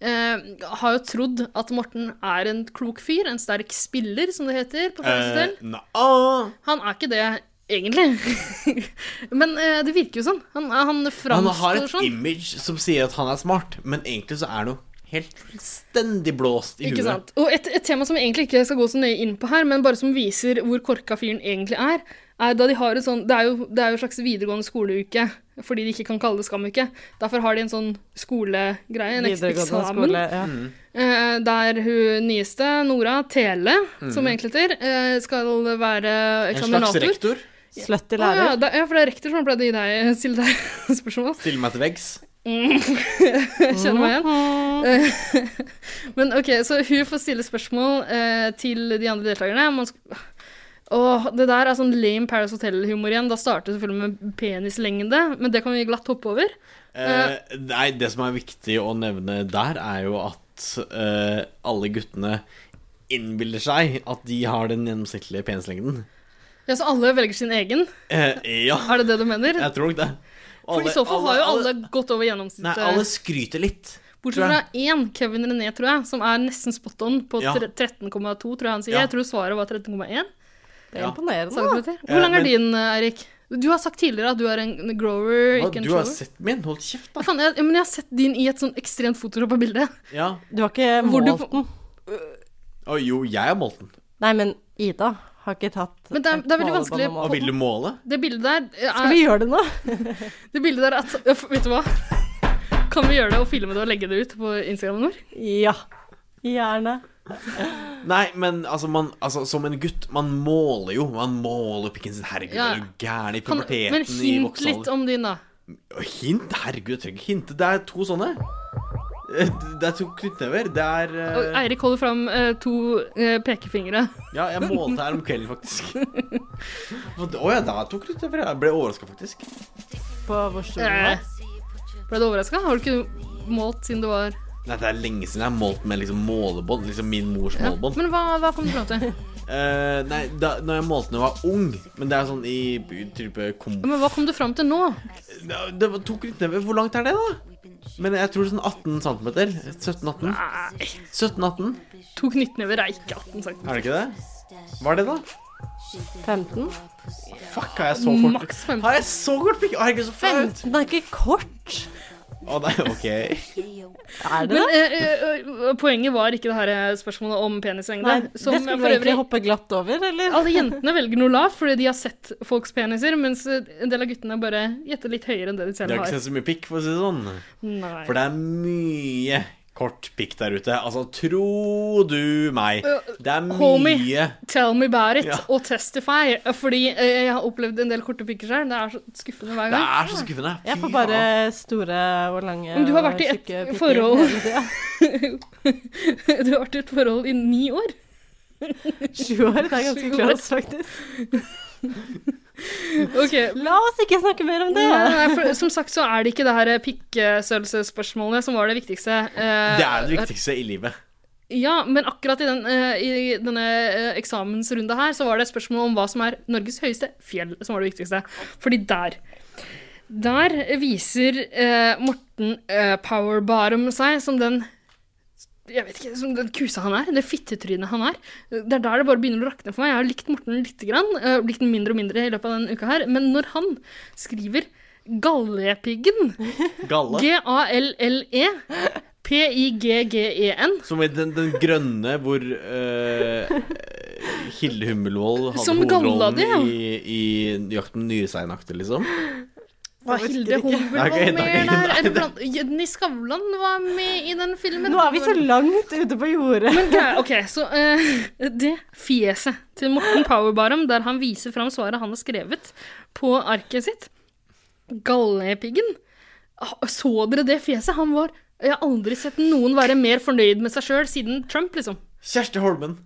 Speaker 4: eh, har jo trodd at Morten er en klok fyr, en sterk spiller, som det heter
Speaker 1: Eh.
Speaker 4: på Paradise Hotel.
Speaker 1: nei, ah.
Speaker 4: Han er ikke det, egentlig. Men eh, det virker jo sånn. Han, han
Speaker 1: Han har
Speaker 4: framstår
Speaker 1: et
Speaker 4: sånn.
Speaker 1: image som sier at han er smart, men egentlig så er han jo helt fullstendig blåst i
Speaker 4: Ikke
Speaker 1: huet.
Speaker 4: sant? Og et, et tema som jeg egentlig ikke skal gå så nøye inn på her, men bare som viser hvor korka fyren egentlig er, er da de har et sånn Det er jo, det er jo en slags videregående skoleuke, fordi de ikke kan kalle det skamuke. Derfor har de en sånn skolegreie, en eksamen,
Speaker 2: Videregående skole. Ja.
Speaker 4: eh, der hun nyeste, Nora Tele, som egentlig heter, eh, skal være
Speaker 1: Mhm. En slags
Speaker 4: eksaminator.
Speaker 1: rektor.
Speaker 2: Slutty
Speaker 4: Å, ja,
Speaker 2: lærer.
Speaker 4: det, ja, for det er rektor som pleide å gi deg, stille deg spørsmål.
Speaker 1: Stille meg til veggs.
Speaker 4: Jeg kjenner meg igjen. Eh, Men ok, så hun får stille spørsmål eh, til de andre deltakerne. Man sk- Åh, det der er sånn lame Paris Hotel-humor igjen. Da starter det selvfølgelig med penislengde, men det kan vi glatt hoppe over.
Speaker 1: Eh, nei, det som er viktig å nevne der, er jo at eh, alle guttene innbiller seg at de har den gjennomsnittlige penislengden.
Speaker 4: Ja, Så alle velger sin egen?
Speaker 1: Eh, ja,
Speaker 4: Er det det du mener?
Speaker 1: jeg tror nok det.
Speaker 4: For i så fall har jo alle gått over
Speaker 1: Nei, alle
Speaker 4: gjennomsnittet.
Speaker 1: skryter litt.
Speaker 4: Bortsett fra én, Kevin René, tror jeg, som er nesten spot on på
Speaker 1: Ja.
Speaker 4: tre- 13,2, tror jeg han sier.
Speaker 1: Ja.
Speaker 4: Jeg tror svaret var 13,1.
Speaker 2: Det er imponerende. da.
Speaker 4: centimeter. Hvor lang
Speaker 1: Eh, men-
Speaker 4: er din, Eirik? Du har sagt tidligere at du er en grower,
Speaker 1: Hva,
Speaker 4: ikke en
Speaker 1: du har
Speaker 4: shower.
Speaker 1: sett min? Hold kjeft,
Speaker 4: Hva
Speaker 1: da.
Speaker 4: faen, jeg, men jeg har sett din i et sånn ekstremt photoshoppa bilde.
Speaker 1: Ja.
Speaker 2: Du har ikke
Speaker 4: Hvor du
Speaker 2: målt den.
Speaker 1: Å, jo, jeg har målt den.
Speaker 2: Nei, men Ida Har ikke tatt
Speaker 4: Men det er- det er veldig
Speaker 2: målebånd og
Speaker 4: vanskelig-
Speaker 2: mål.
Speaker 1: Og vil du måle?
Speaker 4: Det bildet der eh,
Speaker 2: Skal
Speaker 4: er,
Speaker 2: vi gjøre det nå?
Speaker 4: Det bildet der at Øff, Vet du hva? Kan vi gjøre det og filme det og legge det ut på Instagramen vår?
Speaker 2: Ja. Gjerne.
Speaker 1: Nei, men altså, man, altså som en gutt, man måler jo. Man måler pikken sin. Herregud,
Speaker 4: Ja.
Speaker 1: er du gæren i
Speaker 4: Kan,
Speaker 1: puberteten
Speaker 4: men
Speaker 1: i
Speaker 4: hint
Speaker 1: voksen
Speaker 4: litt
Speaker 1: alder?
Speaker 4: om din, da.
Speaker 1: Hint? Herregud, jeg trenger ikke hinte. Det er to sånne. Eh, Det er to knyttnever. Det er
Speaker 4: Og
Speaker 1: eh,
Speaker 4: Eirik holder fram eh, to eh, pekefingre.
Speaker 1: Ja, jeg målte her om kvelden, faktisk. Å ja, det er to knyttnever. Jeg ble overraska, faktisk.
Speaker 2: På hvor stor den
Speaker 4: Eh,
Speaker 2: var.
Speaker 4: Ble du overraska? Har du ikke målt siden du var
Speaker 1: Nei, det er lenge siden jeg har målt med liksom målebånd. Liksom min mors
Speaker 4: ja.
Speaker 1: målebånd.
Speaker 4: Men hva, hva kom du fram til?
Speaker 1: Eh, nei, da når jeg målte da jeg var ung, men det er sånn i type kom...
Speaker 4: Men hva kom du fram til nå?
Speaker 1: Ja, Det var to knyttnever. Hvor langt er det, da? Men jeg tror det er sånn 18 cm. 17-18.
Speaker 4: Nei,
Speaker 1: 17-18,
Speaker 4: to knyttnever er ikke 18 cm.
Speaker 1: er det ikke det? Hva er det, da?
Speaker 2: 15?
Speaker 1: Fuck, har jeg så kort
Speaker 4: Maks 15.
Speaker 1: Har jeg så kort pikk? Herregud, så flaut!
Speaker 2: 15 er ikke kort!
Speaker 1: Å nei, OK.
Speaker 2: Er det
Speaker 4: Men
Speaker 2: det?
Speaker 4: eh, eh, eh, poenget var ikke det her eh, spørsmålet om penislengde.
Speaker 2: Nei, det
Speaker 4: som
Speaker 2: skulle vi
Speaker 4: for
Speaker 2: egentlig
Speaker 4: øvrig
Speaker 2: hoppe glatt over, eller?
Speaker 4: Alle jentene velger noe lavt fordi de har sett folks peniser, mens eh, en del av guttene bare gjetter litt høyere enn det de
Speaker 1: De
Speaker 4: selv
Speaker 1: har ikke
Speaker 4: har.
Speaker 1: sett så mye pikk, for å si det sånn.
Speaker 4: Nei.
Speaker 1: For det er mye kort pikk der ute. Altså, tro du meg. Det er
Speaker 4: Homie.
Speaker 1: mye.
Speaker 4: Tell me about it
Speaker 1: Ja.
Speaker 4: og testify. eh, Fordi eh, jeg har opplevd en del korte pikker selv. Det er så skuffende hver
Speaker 1: Det
Speaker 4: gang.
Speaker 1: er så skuffende. Fy
Speaker 2: Jeg får bare
Speaker 1: faen.
Speaker 2: store og lange
Speaker 4: Men du har vært i
Speaker 2: og
Speaker 4: et
Speaker 2: tjukke pikker
Speaker 4: forhold.
Speaker 2: hele tiden.
Speaker 4: du har vært i et forhold i ni år.
Speaker 2: Sju år, det er ganske
Speaker 4: Sju år.
Speaker 2: close, faktisk.
Speaker 4: Ok,
Speaker 2: La oss ikke snakke mer om det!
Speaker 4: Nei, nei, for, som sagt så er det ikke det her pikkestørrelsesspørsmålet som var det viktigste. eh,
Speaker 1: Det er det viktigste i livet.
Speaker 4: Ja, men akkurat i, den, eh, i denne eh, eksamensrunda her, så var det et spørsmål om hva som er Norges høyeste fjell, som var det viktigste. Fordi der Der viser eh, Morten eh, Powerbarum seg som den jeg vet ikke, som den kusa han er, det fittetrynet han er. Det er der det bare begynner å rakne for meg. Jeg har likt Morten lite grann, eh, likt den mindre og mindre i løpet av denne uka her, men når han skriver Gallepiggen,
Speaker 1: Galle.
Speaker 4: G-A-L-L-E, P-I-G-G-E-N,
Speaker 1: Som i den, den grønne hvor uh, Hilde Hummelvold hadde
Speaker 4: Som galla
Speaker 1: hovedrollen
Speaker 4: di, ja.
Speaker 1: i, i Jakten på nyreseinaktig, liksom.
Speaker 4: Var Hilde Humble
Speaker 1: Nei,
Speaker 4: var
Speaker 1: ok,
Speaker 4: med
Speaker 1: nei, nei,
Speaker 4: der?
Speaker 1: nei.
Speaker 4: Eller blant, Jenny Skavlan var med i den filmen.
Speaker 2: Nå er vi så langt ute på jordet.
Speaker 4: Men greia- OK, så eh, det fjeset til Morten Powerbarum, der han viser fram svaret han har skrevet på arket sitt Gallepiggen. Ah, Så dere det fjeset? Han var Jeg har aldri sett noen være mer fornøyd med seg sjøl siden Trump, liksom.
Speaker 1: Kjersti Holmen.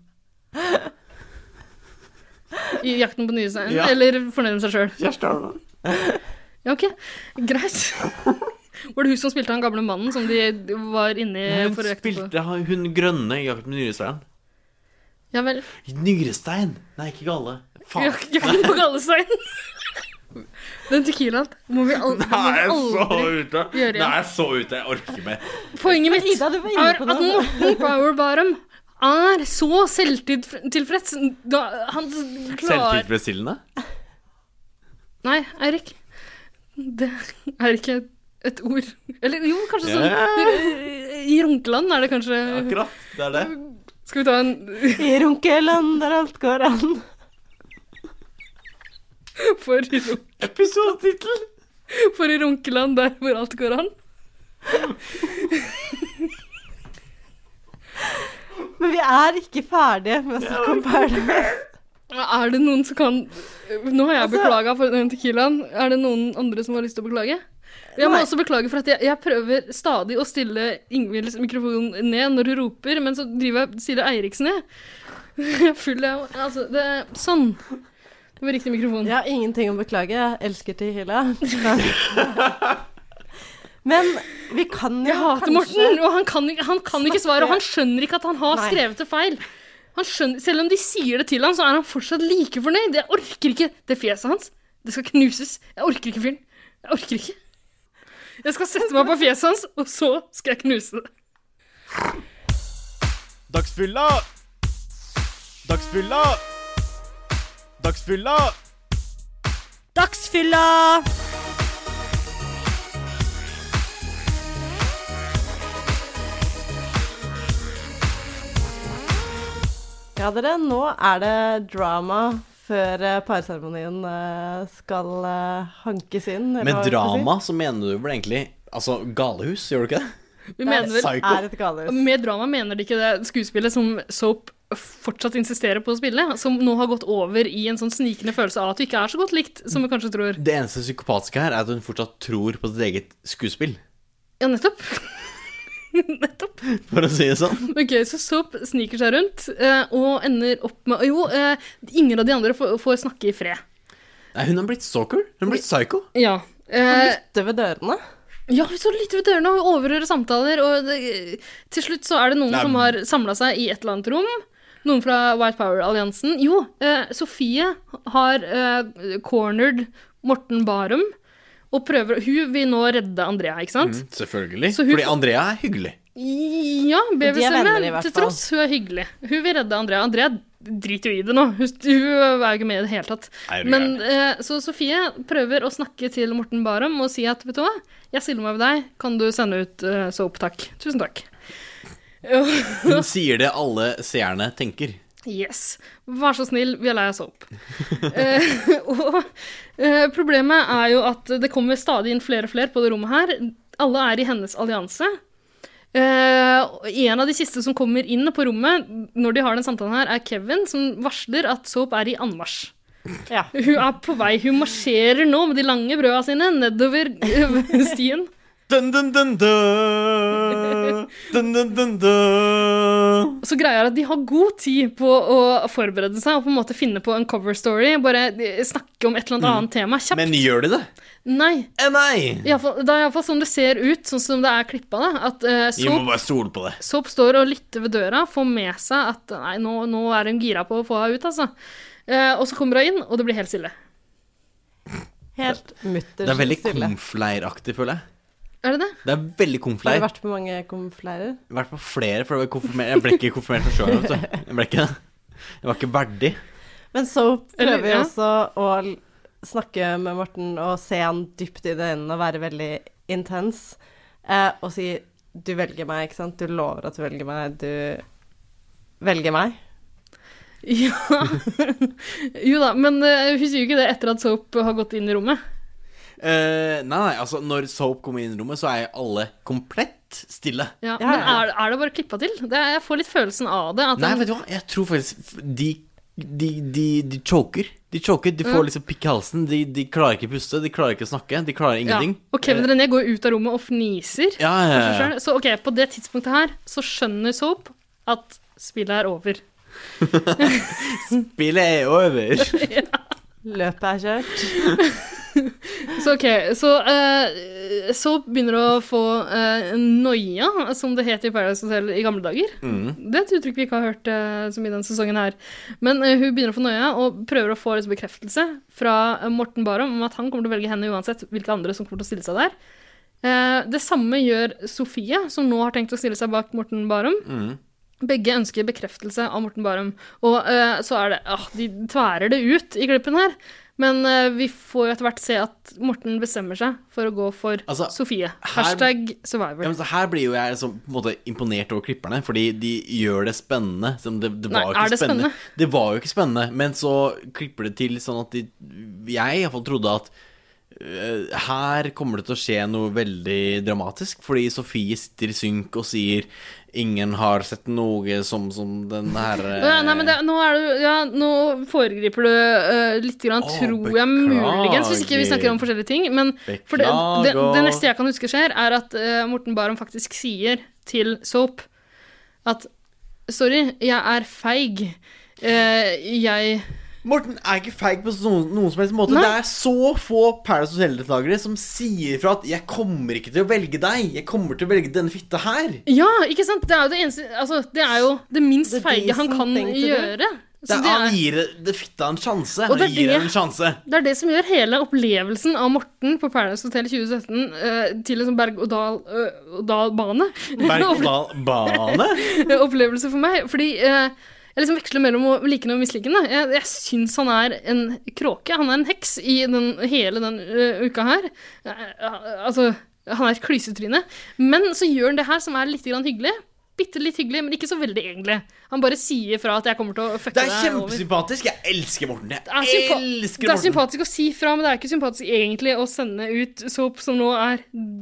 Speaker 4: I jakten på nye seier.
Speaker 1: Ja.
Speaker 4: Eller fornøyd med seg sjøl.
Speaker 1: Kjersti Holmen.
Speaker 4: Ja, OK. Greit. Var det hun som spilte han gamle mannen som de var inni
Speaker 1: Hun
Speaker 4: for å jakte Eh, på?
Speaker 1: spilte han- hun grønne i Jakten på nyrestein.
Speaker 4: Ja vel.
Speaker 1: Nyrestein! Nei, ikke galle. Faen.
Speaker 4: Jak- Jakten på Gallestein. Den tequilaen må vi, al må
Speaker 1: Nei, jeg er
Speaker 4: vi
Speaker 1: så
Speaker 4: aldri
Speaker 1: ute. Nei,
Speaker 4: gjør igjen.
Speaker 1: jeg er så ute. Jeg orker ikke mer.
Speaker 4: Poenget mitt
Speaker 2: Ida, du var inne
Speaker 4: er
Speaker 2: på
Speaker 4: at
Speaker 2: det.
Speaker 4: Morten Powerbarum er så selvtilfreds da han klarer
Speaker 1: Selvtilfredsstillende?
Speaker 4: Nei, Eirik. Det er ikke et ord. Eller jo, kanskje sånn I Runkeland er det kanskje
Speaker 1: Akkurat. Det er det.
Speaker 4: Skal vi ta en
Speaker 2: I runkeland der alt går an.
Speaker 4: for, ro-
Speaker 1: Episodetittel!
Speaker 4: for i Runkeland der hvor alt går an?
Speaker 2: Men vi er ikke ferdige med å snakke om Paradise.
Speaker 4: Er det noen som kan Nå har jeg
Speaker 2: Altså-
Speaker 4: beklaga for den tequilaen. Er det noen andre som har lyst til å beklage? Jeg må
Speaker 2: Nei.
Speaker 4: også beklage for at jeg, jeg prøver stadig å stille Ingvilds mikrofon ned når hun roper, men så driver jeg stiller Eiriksen ned. Jeg er full av Altså, det Sånn. Det var riktig mikrofon.
Speaker 2: Jeg har ingenting å beklage. Jeg elsker Tehila. Men vi kan jo
Speaker 4: Jeg hater
Speaker 2: kanskje
Speaker 4: Morten, og han kan, ikke- han kan ikke svaret. Og han skjønner ikke at han har
Speaker 2: Nei.
Speaker 4: skrevet det feil. Han skjønner, selv om de sier det til han, så er han fortsatt like fornøyd. Jeg orker ikke det fjeset hans. Det skal knuses. Jeg orker ikke fyren. Jeg orker ikke. Jeg skal sette meg på fjeset hans, og så skal jeg knuse det.
Speaker 1: Dagsfylla! Dagsfylla! Dagsfylla!
Speaker 2: Dagsfylla! Ja, dere, nå er det drama før eh, parseremonien eh, skal eh, hankes inn. eller
Speaker 1: Med
Speaker 2: hva vi skal si.
Speaker 1: drama så mener du vel egentlig Altså, galehus, gjør du ikke det?
Speaker 4: Vi mener vel
Speaker 1: Psycho.
Speaker 2: Er et galehus.
Speaker 4: Med drama mener de ikke det skuespillet som Soap fortsatt insisterer på å spille, som nå har gått over i en sånn snikende følelse av at du ikke er så godt likt som vi kanskje tror.
Speaker 1: Det eneste psykopatiske her er at hun fortsatt tror på sitt eget skuespill,
Speaker 4: Ja, nettopp. nettopp.
Speaker 1: for å si det sånn.
Speaker 4: Ok, så Soap sniker seg rundt eh, og ender opp med Jo, eh, ingen av de andre får, får snakke i fred.
Speaker 1: Nei, hun har blitt stalker. Hun har blitt psycho.
Speaker 4: Ja. Eh,
Speaker 2: Ute ved dørene.
Speaker 4: ja, vi står litt ved dørene og overhører samtaler, og det, til slutt så er det noen
Speaker 1: Nei,
Speaker 4: som har samla seg i et eller annet rom. Noen fra White Power-alliansen. Jo, eh, Sofie har eh, cornered Morten Barum, og prøver Hun vil nå redde Andrea, ikke sant?
Speaker 1: Mm, Selvfølgelig.
Speaker 4: Så hun-
Speaker 1: Fordi Andrea er hyggelig.
Speaker 4: Ja,
Speaker 2: De er venner i
Speaker 4: BWC-en
Speaker 2: hvert
Speaker 4: til
Speaker 2: fall.
Speaker 4: tross. Hun er hyggelig. Hun vil redde Andrea. Andrea driter jo i det nå. Hun, hun er jo ikke med i det hele tatt.
Speaker 1: Nei, det er
Speaker 4: Men, eh, så Sofie prøver å snakke til Morten Barum og si at vet du hva, jeg stiller meg ved deg, kan du sende ut eh, soap, takk. Tusen takk.
Speaker 1: Hun sier det alle seerne tenker.
Speaker 4: Yes. Vær så snill, vi er lei av soap. eh, og eh, problemet er jo at det kommer stadig inn flere og flere på det rommet her. Alle er i hennes allianse. Eh, og en av de siste som kommer inn på rommet når de har den samtalen her, er Kevin, som varsler at soap er i anmarsj.
Speaker 2: Ja.
Speaker 4: Hun er på vei. Hun marsjerer nå med de lange brøda sine nedover eh, stien.
Speaker 1: Dun, dun, dun, dun. Dun, dun, dun, dun.
Speaker 4: Så greia er at de har god tid på å forberede seg og på en måte finne på en cover story. Bare eh, snakke om et eller annet annet tema
Speaker 1: Mm.
Speaker 4: kjapt.
Speaker 1: Men gjør de det?
Speaker 4: Nei.
Speaker 1: Eh, nei!
Speaker 4: I alle fall- Det er iallfall sånn det ser ut, sånn som det er klippa. da, At eh,
Speaker 1: Vi må
Speaker 4: Soap,
Speaker 1: bare stole på det.
Speaker 4: Soap står og lytter ved døra, får med seg at Nei, nå, nå er hun gira på å få henne ut, altså. Eh, og så kommer hun inn, og det blir helt stille.
Speaker 2: Helt mutters
Speaker 1: Det er veldig
Speaker 2: stille.
Speaker 1: komfleiraktig, føler jeg.
Speaker 4: Er det det?
Speaker 1: Det er veldig
Speaker 2: Har du
Speaker 1: komfleir.
Speaker 2: vært på mange konfleirer?
Speaker 1: vært på flere, for jeg ble, konfirmert- jeg ble ikke konfirmert for sjøl. Jeg ble ikke det. Jeg var ikke verdig.
Speaker 2: Men så prøver
Speaker 4: Eller,
Speaker 2: vi
Speaker 4: ja.
Speaker 2: også å l- snakke med Morten og se han dypt i øynene og være veldig intens. Eh, og si 'du velger meg', ikke sant? Du lover at du velger meg. Du velger meg.
Speaker 4: Ja. jo da, men eh, hun sier jo ikke det etter at Soap har gått inn i rommet.
Speaker 1: Eh, nei, nei, altså når Soap kommer inn i rommet, så er alle komplett stille.
Speaker 4: Ja,
Speaker 2: Ja,
Speaker 4: men
Speaker 2: ja.
Speaker 4: er, er det bare klippa til? Det er, jeg får litt følelsen av det. At
Speaker 1: Nei,
Speaker 4: den-
Speaker 1: vet du hva, jeg tror faktisk f- de de, de, de choker. De choker, de får liksom pikk i halsen. De, de klarer ikke å puste, de klarer ikke å snakke, de klarer ingenting.
Speaker 4: Ja. Og Kevin René går ut av rommet og fniser.
Speaker 1: Ja, ja,
Speaker 4: for seg
Speaker 1: ja, ja.
Speaker 4: selv. Så ok, på det tidspunktet her så skjønner Soap at spillet er over.
Speaker 1: Spillet er over.
Speaker 2: Løpet er kjørt.
Speaker 4: Så ok, så eh, Soap begynner å få eh, noia, som det het i Paradise Hotel i gamle dager. Det er et uttrykk vi ikke har hørt eh, så mye denne sesongen her. Men eh, hun begynner å få noia og prøver å få liksom, bekreftelse fra eh, Morten Barum om at han kommer til å velge henne uansett hvilke andre som kommer til å stille seg der. Eh, det samme gjør Sofie, som nå har tenkt å stille seg bak Morten Barum. Begge ønsker bekreftelse av Morten Barum. Og eh, så er det ah, De tværer det ut i klippen her. Men eh, vi får jo etter hvert se at Morten bestemmer seg for å gå for
Speaker 1: Altså,
Speaker 4: Sofie. Hashtag survivor.
Speaker 1: Ja, men så her blir jo jeg liksom, på en måte imponert over klipperne, fordi de gjør det spennende. Som det, det var
Speaker 4: Nei,
Speaker 1: jo ikke
Speaker 4: er det
Speaker 1: spennende. Det var jo ikke spennende, men så klipper det til sånn at de Jeg iallfall trodde at øh, her kommer det til å skje noe veldig dramatisk, fordi Sofie sitter i synk og sier 'Ingen har sett noe som, som den herre
Speaker 4: Å ja, nei, men det, nå, er det, ja, nå foregriper du eh, litt, grann,
Speaker 1: Å,
Speaker 4: tror jeg muligens, hvis ikke vi snakker om forskjellige ting. Men for det, det, det
Speaker 1: eh, Beklager.
Speaker 4: neste jeg kan huske skjer, er at eh, Morten Barum faktisk sier til Soap at Sorry, jeg er feig. Eh, jeg
Speaker 1: Morten er ikke feig på noen, noen som helst måte.
Speaker 4: Nei.
Speaker 1: Det er så få Paradise Hotel-deltakere som sier fra at 'jeg kommer ikke til å velge deg', 'jeg kommer til å velge denne fitta her'.
Speaker 4: Ja, ikke sant? Det er jo det eneste Altså, det er jo det minst
Speaker 2: The
Speaker 4: feige han
Speaker 2: decent
Speaker 4: kan
Speaker 2: thing to do.
Speaker 4: gjøre.
Speaker 1: Det
Speaker 4: Så
Speaker 1: er,
Speaker 4: det
Speaker 1: han
Speaker 4: er,
Speaker 1: gir det- det fitta en sjanse.
Speaker 4: Og
Speaker 1: Han
Speaker 4: det er
Speaker 1: gir
Speaker 4: det-
Speaker 1: henne en sjanse.
Speaker 4: det er det som gjør hele opplevelsen av Morten på Paradise Hotel 2017 eh, til en sånn eh, berg-og-dal-bane.
Speaker 1: Berg-og-dal-bane?
Speaker 4: eh, opplevelse for meg. Fordi eh, jeg liksom veksler mellom å like ham og mislike ham. Jeg, jeg syns han er en kråke. Han er en heks i den, hele den eh, uka her. Eh, eh, altså, han er et klysetryne. Men så gjør han det her som er litt grann hyggelig. bitte litt hyggelig, men ikke så veldig, egentlig. Han bare sier fra at jeg kommer til å fucke
Speaker 1: Det
Speaker 4: deg
Speaker 1: er
Speaker 4: over.
Speaker 1: kjempesympatisk! Jeg elsker Morten! Jeg
Speaker 4: Det er, sympa
Speaker 1: elsker
Speaker 4: det er
Speaker 1: Morten!
Speaker 4: sympatisk å si fra, men det er ikke sympatisk egentlig å sende ut Soap, som nå er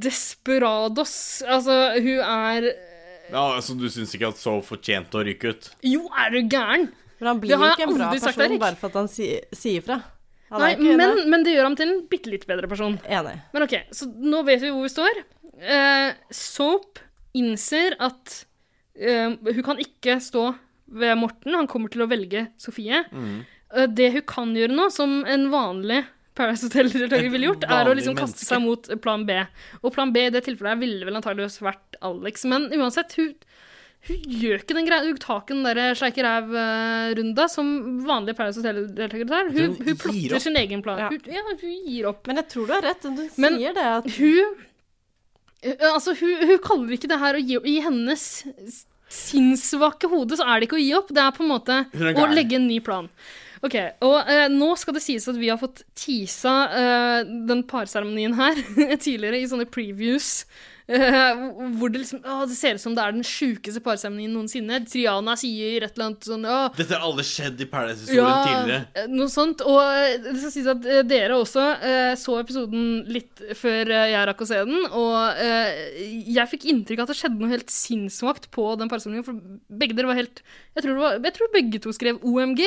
Speaker 4: desperados. Altså, hun er
Speaker 1: Ja, altså, du syns ikke at Soap fortjente å ryke ut?
Speaker 4: Jo, er du gæren?
Speaker 2: Men han blir
Speaker 4: Det har
Speaker 2: jo
Speaker 4: jeg
Speaker 2: ikke en bra
Speaker 4: aldri sagt,
Speaker 2: person
Speaker 4: Erik.
Speaker 2: bare for at han si, sier fra. Han
Speaker 4: Nei,
Speaker 2: er ikke
Speaker 4: men, men det gjør ham til en bitte litt bedre person.
Speaker 2: enig.
Speaker 4: Men ok, så nå vet vi hvor vi står. Eh, Soap innser at eh, hun kan ikke stå ved Morten. Han kommer til å velge Sofie.
Speaker 1: Mm.
Speaker 4: Eh, det hun kan gjøre nå, som en vanlig Paradise Hotel-deltaker ville gjort,
Speaker 1: Et
Speaker 4: er å
Speaker 1: vanlig
Speaker 4: liksom kaste
Speaker 1: menneske.
Speaker 4: seg mot plan B. Og plan B i det tilfellet her ville vel antageligvis vært Alex. Men uansett, hun, hun gjør ikke den greia. Hun tar ikke den derre sleike ræv-runda eh, som vanlige Paradise Hotel-deltakere tar. Hun,
Speaker 1: Hun
Speaker 4: hun
Speaker 1: gir opp.
Speaker 4: plotter sin egen plan.
Speaker 2: Ja.
Speaker 4: Hun, ja, hun gir opp.
Speaker 2: Men jeg tror du har rett. Du
Speaker 4: Men-
Speaker 2: sier det at
Speaker 4: Hun Altså, hun, hun kaller ikke det her å gi opp. I hennes s- sinnssvake hode så er det ikke å gi opp. Det er på en måte
Speaker 1: Hun er
Speaker 4: å
Speaker 1: gæren.
Speaker 4: legge en ny plan. Ok, og eh, Nå skal det sies at vi har fått teasa eh, den parseremonien her tidligere i sånne previews. eh, hvor det liksom å, Det ser ut som det er den sjukeste parseremonien noensinne. Triana sier et eller annet sånn Å,
Speaker 1: Dette har alle skjedd i Paradise-historien tidligere.
Speaker 4: eh, Noe sånt. Og eh, det skal sies at eh, dere også eh, så episoden litt før eh, jeg rakk å se den, og eh, jeg fikk inntrykk av at det skjedde noe helt sinnssvakt på den parsamlingen, for begge dere var helt Jeg tror, det var, jeg tror begge to skrev OMG.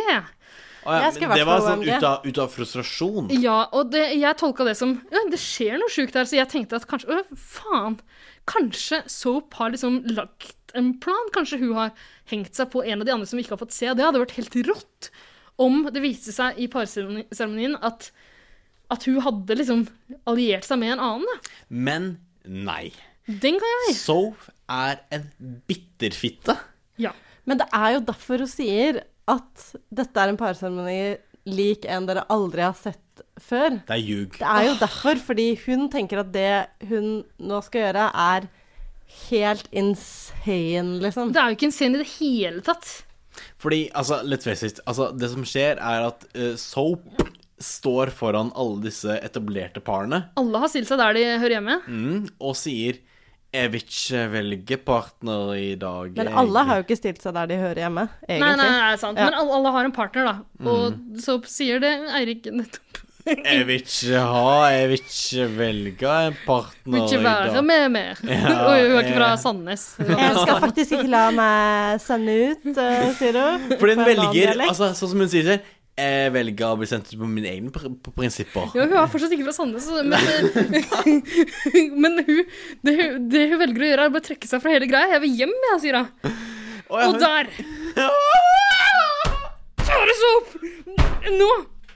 Speaker 1: Å, ja,
Speaker 2: Jeg skal i
Speaker 1: men det
Speaker 2: hvert
Speaker 1: var
Speaker 2: fall
Speaker 1: sånn
Speaker 2: være med.
Speaker 1: ut av, ut av frustrasjon.
Speaker 4: Ja, og det, jeg tolka det som ja, Det skjer noe sjukt her, så jeg tenkte at kanskje Å, faen. Kanskje Soap har liksom lagt en plan? Kanskje hun har hengt seg på en av de andre som vi ikke har fått se? Det hadde vært helt rått om det viste seg i parseremonien at, at hun hadde liksom alliert seg med en annen. da.
Speaker 1: Men nei.
Speaker 4: Den kan jeg.
Speaker 1: Soap er en bitterfitte.
Speaker 4: Ja.
Speaker 2: Men det er jo derfor hun sier at dette er en parseremoni lik en dere aldri har sett før.
Speaker 1: Det er ljug.
Speaker 2: Det er jo derfor, fordi hun tenker at det hun nå skal gjøre, er helt insane, liksom.
Speaker 4: Det er jo ikke en scene i det hele tatt.
Speaker 1: Fordi, altså, let's face it altså, Det som skjer er at eh, Soap står foran alle disse etablerte parene
Speaker 4: Alle har stilt seg der de hører hjemme.
Speaker 1: mm, Og sier Jeg vil ikke velge partner i dag
Speaker 2: Men alle har jo ikke stilt seg der de hører hjemme,
Speaker 4: Nei, nei,
Speaker 2: egentlig.
Speaker 4: nei, det er sant.
Speaker 2: Ja.
Speaker 4: Men alle, alle har en partner, da. Og Soap sier det Eirik nettopp.
Speaker 1: Jeg vil ikke ha Jeg vil ikke velge en
Speaker 4: Vil
Speaker 1: partner
Speaker 4: ikke
Speaker 1: i
Speaker 4: være
Speaker 1: dag
Speaker 4: med mer.
Speaker 1: Ja,
Speaker 4: Oi, hun er ikke fra
Speaker 1: eh.
Speaker 4: Sandnes.
Speaker 2: Jeg skal faktisk ikke la meg sende ut, eh, sier hun.
Speaker 1: Fordi hun
Speaker 2: På en annen
Speaker 1: velger
Speaker 2: dialekt.
Speaker 1: altså, Sånn som hun sier selv, Jeg velger å bli sendt ut på mine egne pr pr- prinsipper
Speaker 4: Ja, hun er fortsatt ikke fra Sandnes, så- men, men hun, det, hun, det hun velger å gjøre, er å bare trekke seg fra hele greia. 'Jeg vil hjem', jeg, sier hun.
Speaker 1: Å, ja,
Speaker 4: Og
Speaker 1: hun-
Speaker 4: der Kjære Soap! Nå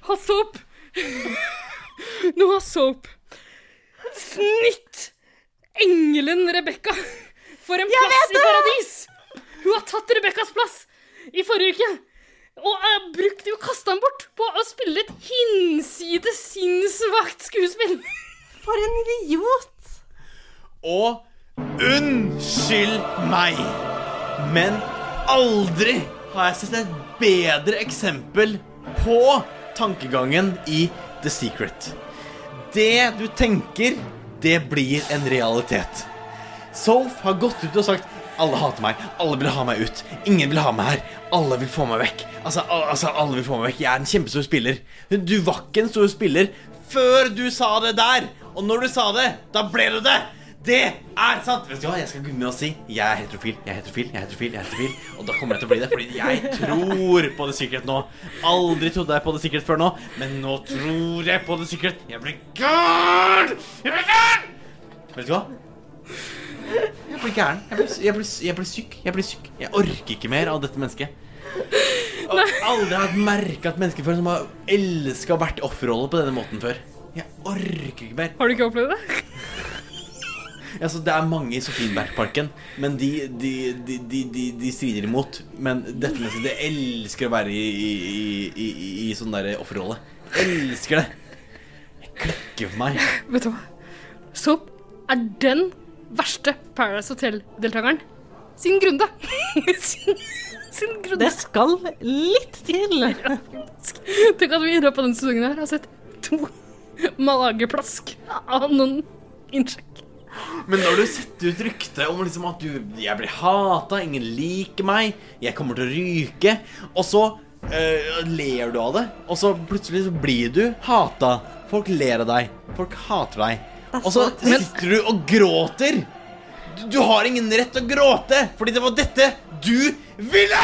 Speaker 4: har Soap Nå har Soap snitt engelen Rebekka for en plass i paradis! Hun har tatt Rebekkas plass i forrige uke. Og eh, brukt jo kasta den bort på å spille et hinsides sinnssvakt skuespill.
Speaker 2: For en idiot!
Speaker 1: Og unnskyld meg, men aldri har jeg sett et bedre eksempel på tankegangen i The Secret. Det du tenker, det blir en realitet. Soph har gått ut og sagt alle hater meg, alle vil ha meg ut, ingen vil ha meg her, alle vil få meg vekk. Altså, al altså alle vil få meg vekk, jeg er en kjempestor spiller. Men Du var ikke en stor spiller før du sa det der, og når du sa det, da ble du det. Det er sant! Vet du hva, jeg skal begynne med å si jeg er heterofil, jeg er heterofil, jeg er heterofil, jeg er heterofil. Og da kommer jeg til å bli det, fordi jeg tror på det sikkert nå. Aldri trodde jeg på det sikkert før nå, men nå tror jeg på det sikkert. Jeg blir gæren! Jeg blir gæren! Vet du hva? Jeg blir gæren. Jeg blir, jeg blir, jeg blir syk. Jeg blir syk. Jeg orker ikke mer av dette mennesket. Og aldri har jeg merka et menneske før som har elska å vært i offerrollen på denne måten før. Jeg orker ikke mer.
Speaker 4: Har du ikke opplevd det?
Speaker 1: Altså, det er mange i Sofienbergparken, men de, de, de, de, de, de strider imot. Men dette mennesket det elsker å være i, i, i, i, i sånn der offerrolle. Elsker det. Jeg klekker for meg.
Speaker 4: Vet du hva? Soap er den verste Paradise Hotel-deltakeren siden Grunde. siden, siden Grunde.
Speaker 2: Det skal litt til.
Speaker 4: Tenk at vi i løpet av denne sesongen her har sett to mageplask av noen innsjekk.
Speaker 1: Men når du setter ut rykte om liksom at du, jeg blir hata, ingen liker meg, jeg kommer til å ryke, og så eh, ler du av det, og så plutselig så blir du hata. Folk ler av deg. Folk hater deg. Og så sitter du og gråter. Du, du har ingen rett til å gråte, fordi det var dette du ville!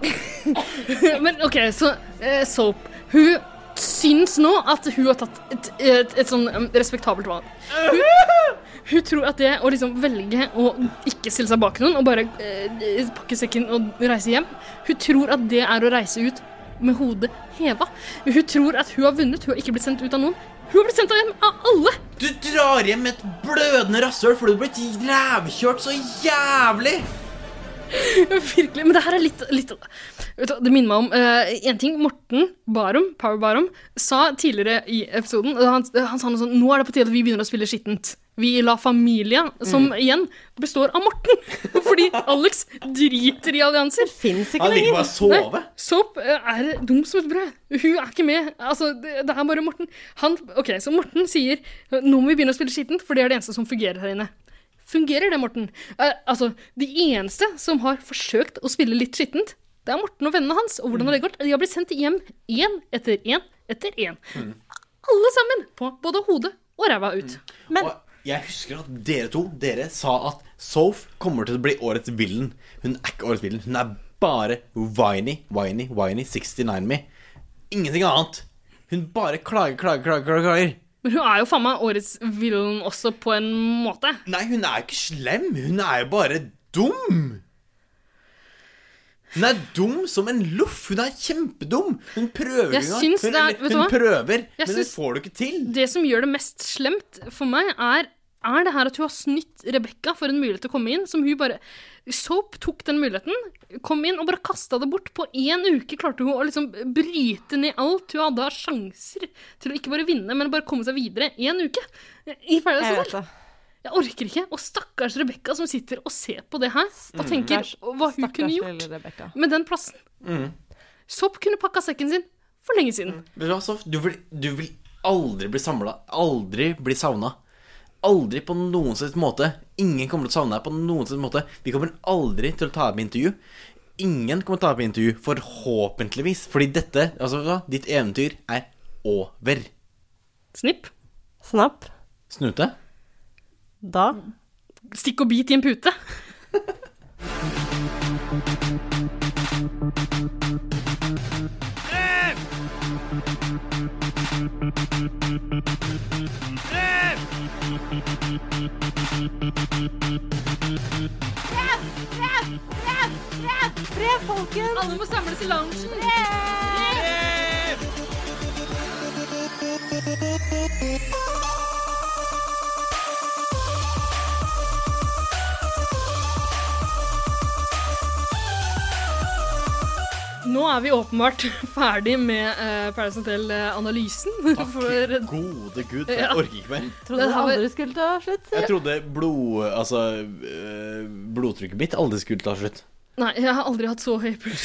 Speaker 4: Men OK, så eh, Soap. Hun syns nå at hun har tatt et, et, et sånn em, respektabelt valg. Hun, hun tror at det å liksom velge å ikke stille seg bak noen og bare eh, pakke sekken og reise hjem, hun tror at det er å reise ut med hodet heva. Hun tror at hun har vunnet, hun har ikke blitt sendt ut av noen. Hun har blitt sendt hjem av alle!
Speaker 1: Du drar hjem med et blødende rasshøl fordi du ble rævkjørt så jævlig!
Speaker 4: Virkelig. Men det her er litt, litt Vet du hva, Det minner meg om én ting. Morten Barum, Power Barum sa tidligere i episoden eh, han, han sa noe sånn Nå er det på tide at vi begynner å spille skittent. Vi i La Familia, som igjen består av Morten. Fordi Alex driter i allianser.
Speaker 2: Fins ikke
Speaker 1: Han liker
Speaker 2: lenger.
Speaker 1: bare å sove.
Speaker 4: Soap eh, er dum som et brød. Hun er ikke med. Altså, det, det er bare Morten. Han, ok, Så Morten sier nå må vi begynne å spille skittent, for det er det eneste som fungerer her inne. Fungerer det, Morten? Eh, altså, De eneste som har forsøkt å spille litt skittent, det er Morten og vennene hans. Og hvordan har det gått? De har blitt sendt hjem én etter én etter én. Alle sammen på både hodet og ræva ut.
Speaker 2: Men
Speaker 1: Og jeg husker at dere to dere sa at Soph kommer til å bli årets villain. Hun er ikke årets villain. Hun er bare whiny, whiny, whiny 69-me. Ingenting annet. Hun bare klager, klager, klager, klager. klager.
Speaker 4: Men hun er jo faen meg årets villain også, på en måte.
Speaker 1: Nei, hun er ikke slem. Hun er jo bare dum. Hun er dum som en loff. Hun er kjempedum. Hun prøver
Speaker 4: Jeg
Speaker 1: ikke engang.
Speaker 4: syns
Speaker 1: Hun,
Speaker 4: det er- vet du
Speaker 1: hun
Speaker 4: hva?
Speaker 1: prøver,
Speaker 4: Jeg
Speaker 1: men det
Speaker 4: syns-
Speaker 1: får du ikke til.
Speaker 4: Det som gjør det mest slemt for meg, er er det her at hun har snytt Rebekka for en mulighet til å komme inn? Som hun bare Soap tok den muligheten, kom inn og bare kasta det bort. På én uke klarte hun å liksom bryte ned alt. Hun hadde sjanser til å ikke bare vinne, men bare komme seg videre én uke. I Paradise
Speaker 2: jeg vet
Speaker 4: Hotel.
Speaker 2: det.
Speaker 4: Jeg orker ikke. Og stakkars Rebekka som sitter og ser på det her og tenker
Speaker 2: Stakkars-
Speaker 4: hva
Speaker 2: Mm.
Speaker 4: hun kunne
Speaker 2: Stakkars
Speaker 4: gjort
Speaker 2: lille Mm. Rebecca.
Speaker 4: med den plassen. Soap kunne pakka sekken sin for lenge siden.
Speaker 2: Mm.
Speaker 1: Vet du hva, Sof? Du vil, du vil aldri bli samla. Aldri bli savna. Aldri på noen slags måte. Ingen kommer til å savne deg på noen slags måte. Vi kommer aldri til å ta opp intervju. Ingen kommer til å ta opp intervju, forhåpentligvis. Fordi dette, altså, vet du hva, ditt eventyr er over.
Speaker 4: Snipp.
Speaker 2: Snapp.
Speaker 1: Snute?
Speaker 2: Da.
Speaker 4: Stikk og bit i en pute.
Speaker 2: Brev, folkens!
Speaker 4: Alle må samles i loungen. Nå er vi åpenbart ferdig med eh, Paradise Hotel-analysen. For
Speaker 1: Takk gode gud, for
Speaker 4: Ja.
Speaker 1: jeg orker ikke mer.
Speaker 2: Trodde
Speaker 4: Den
Speaker 2: det
Speaker 4: har vi-
Speaker 2: aldri skulle ta slutt. sier jeg.
Speaker 1: Jeg trodde blod... Altså, øh, blodtrykket mitt aldri skulle ta slutt.
Speaker 4: Nei, jeg har aldri hatt så høy puls.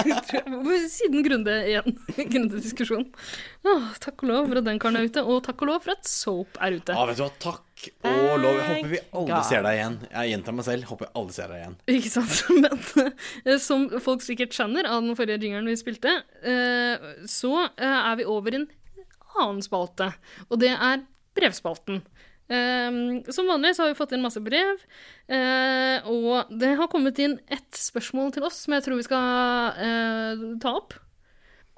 Speaker 4: tror jeg. Siden Grunde igjen. Grunde-diskusjon. Åh, takk og lov for at den karen er ute, og takk og lov for at Soap er ute.
Speaker 1: Ja, Ah, vet du hva, takk og lov. Jeg håper vi aldri
Speaker 2: God.
Speaker 1: ser deg igjen. Jeg gjentar meg selv. Håper jeg aldri ser deg igjen.
Speaker 4: Ikke sant? Men eh, som folk sikkert skjønner av den forrige jingeren vi spilte, eh, så eh, er vi over i en annen spalte, og det er brevspalten. Eh, Som vanlig så har vi fått inn masse brev, eh, og det har kommet inn ett spørsmål til oss som jeg tror vi skal eh, ta opp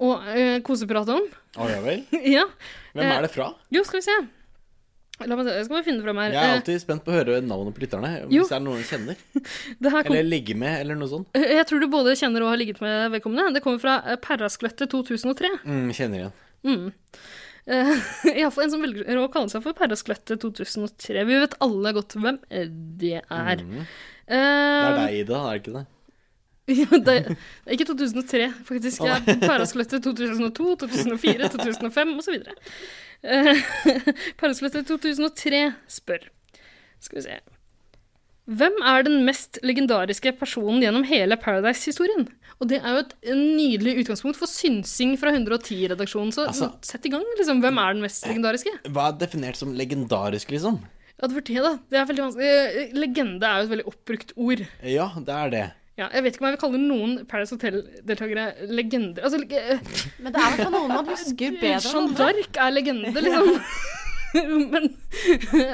Speaker 4: og eh, koseprate om.
Speaker 1: Å ja vel?
Speaker 4: Ja.
Speaker 1: Hvem
Speaker 4: Eh,
Speaker 1: er det fra?
Speaker 4: Jo, skal vi se. La meg se. Jeg skal bare finne fram her.
Speaker 1: Jeg er
Speaker 4: Eh,
Speaker 1: alltid spent på å høre navnet på lytterne.
Speaker 4: jo.
Speaker 1: Hvis det er noen jeg kjenner.
Speaker 4: Det her kom
Speaker 1: Eller ligger med, eller noe sånt.
Speaker 4: Jeg tror du både kjenner og har ligget med vedkommende. Det kommer fra eh, Perraskløttet 2003.
Speaker 1: Mm, kjenner igjen.
Speaker 4: Eh, Iallfall en som velger å kalle seg for Perraskløttet 2003. Vi vet alle godt hvem eh, det er.
Speaker 1: Mm.
Speaker 4: Eh,
Speaker 1: Det er deg, Ida, er det ikke det?
Speaker 4: Ja, det er ikke 2003, faktisk. Jeg er Peraskløttet 2002, 2004, 2005 osv. Eh, Peraskløttet 2003 spør Skal vi se Hvem er den mest legendariske personen gjennom hele Paradise-historien? Og det er jo et nydelig utgangspunkt for synsing fra 110-redaksjonen. Så
Speaker 1: Altså-
Speaker 4: sett i gang, liksom. Hvem er den mest legendariske?
Speaker 1: Hva er definert som legendarisk, liksom?
Speaker 4: Ja, det var det, da. Det er veldig vanskelig. Eh, Legende er jo et veldig oppbrukt ord.
Speaker 1: Ja, det er det.
Speaker 4: Ja, jeg vet ikke om jeg vil kalle noen Paradise Hotel-deltakere legender. Altså, eh,
Speaker 2: Men det er i hvert fall noen man husker bedre enn
Speaker 4: Jeanne
Speaker 2: andre.
Speaker 4: d'Arc er legende, liksom. men,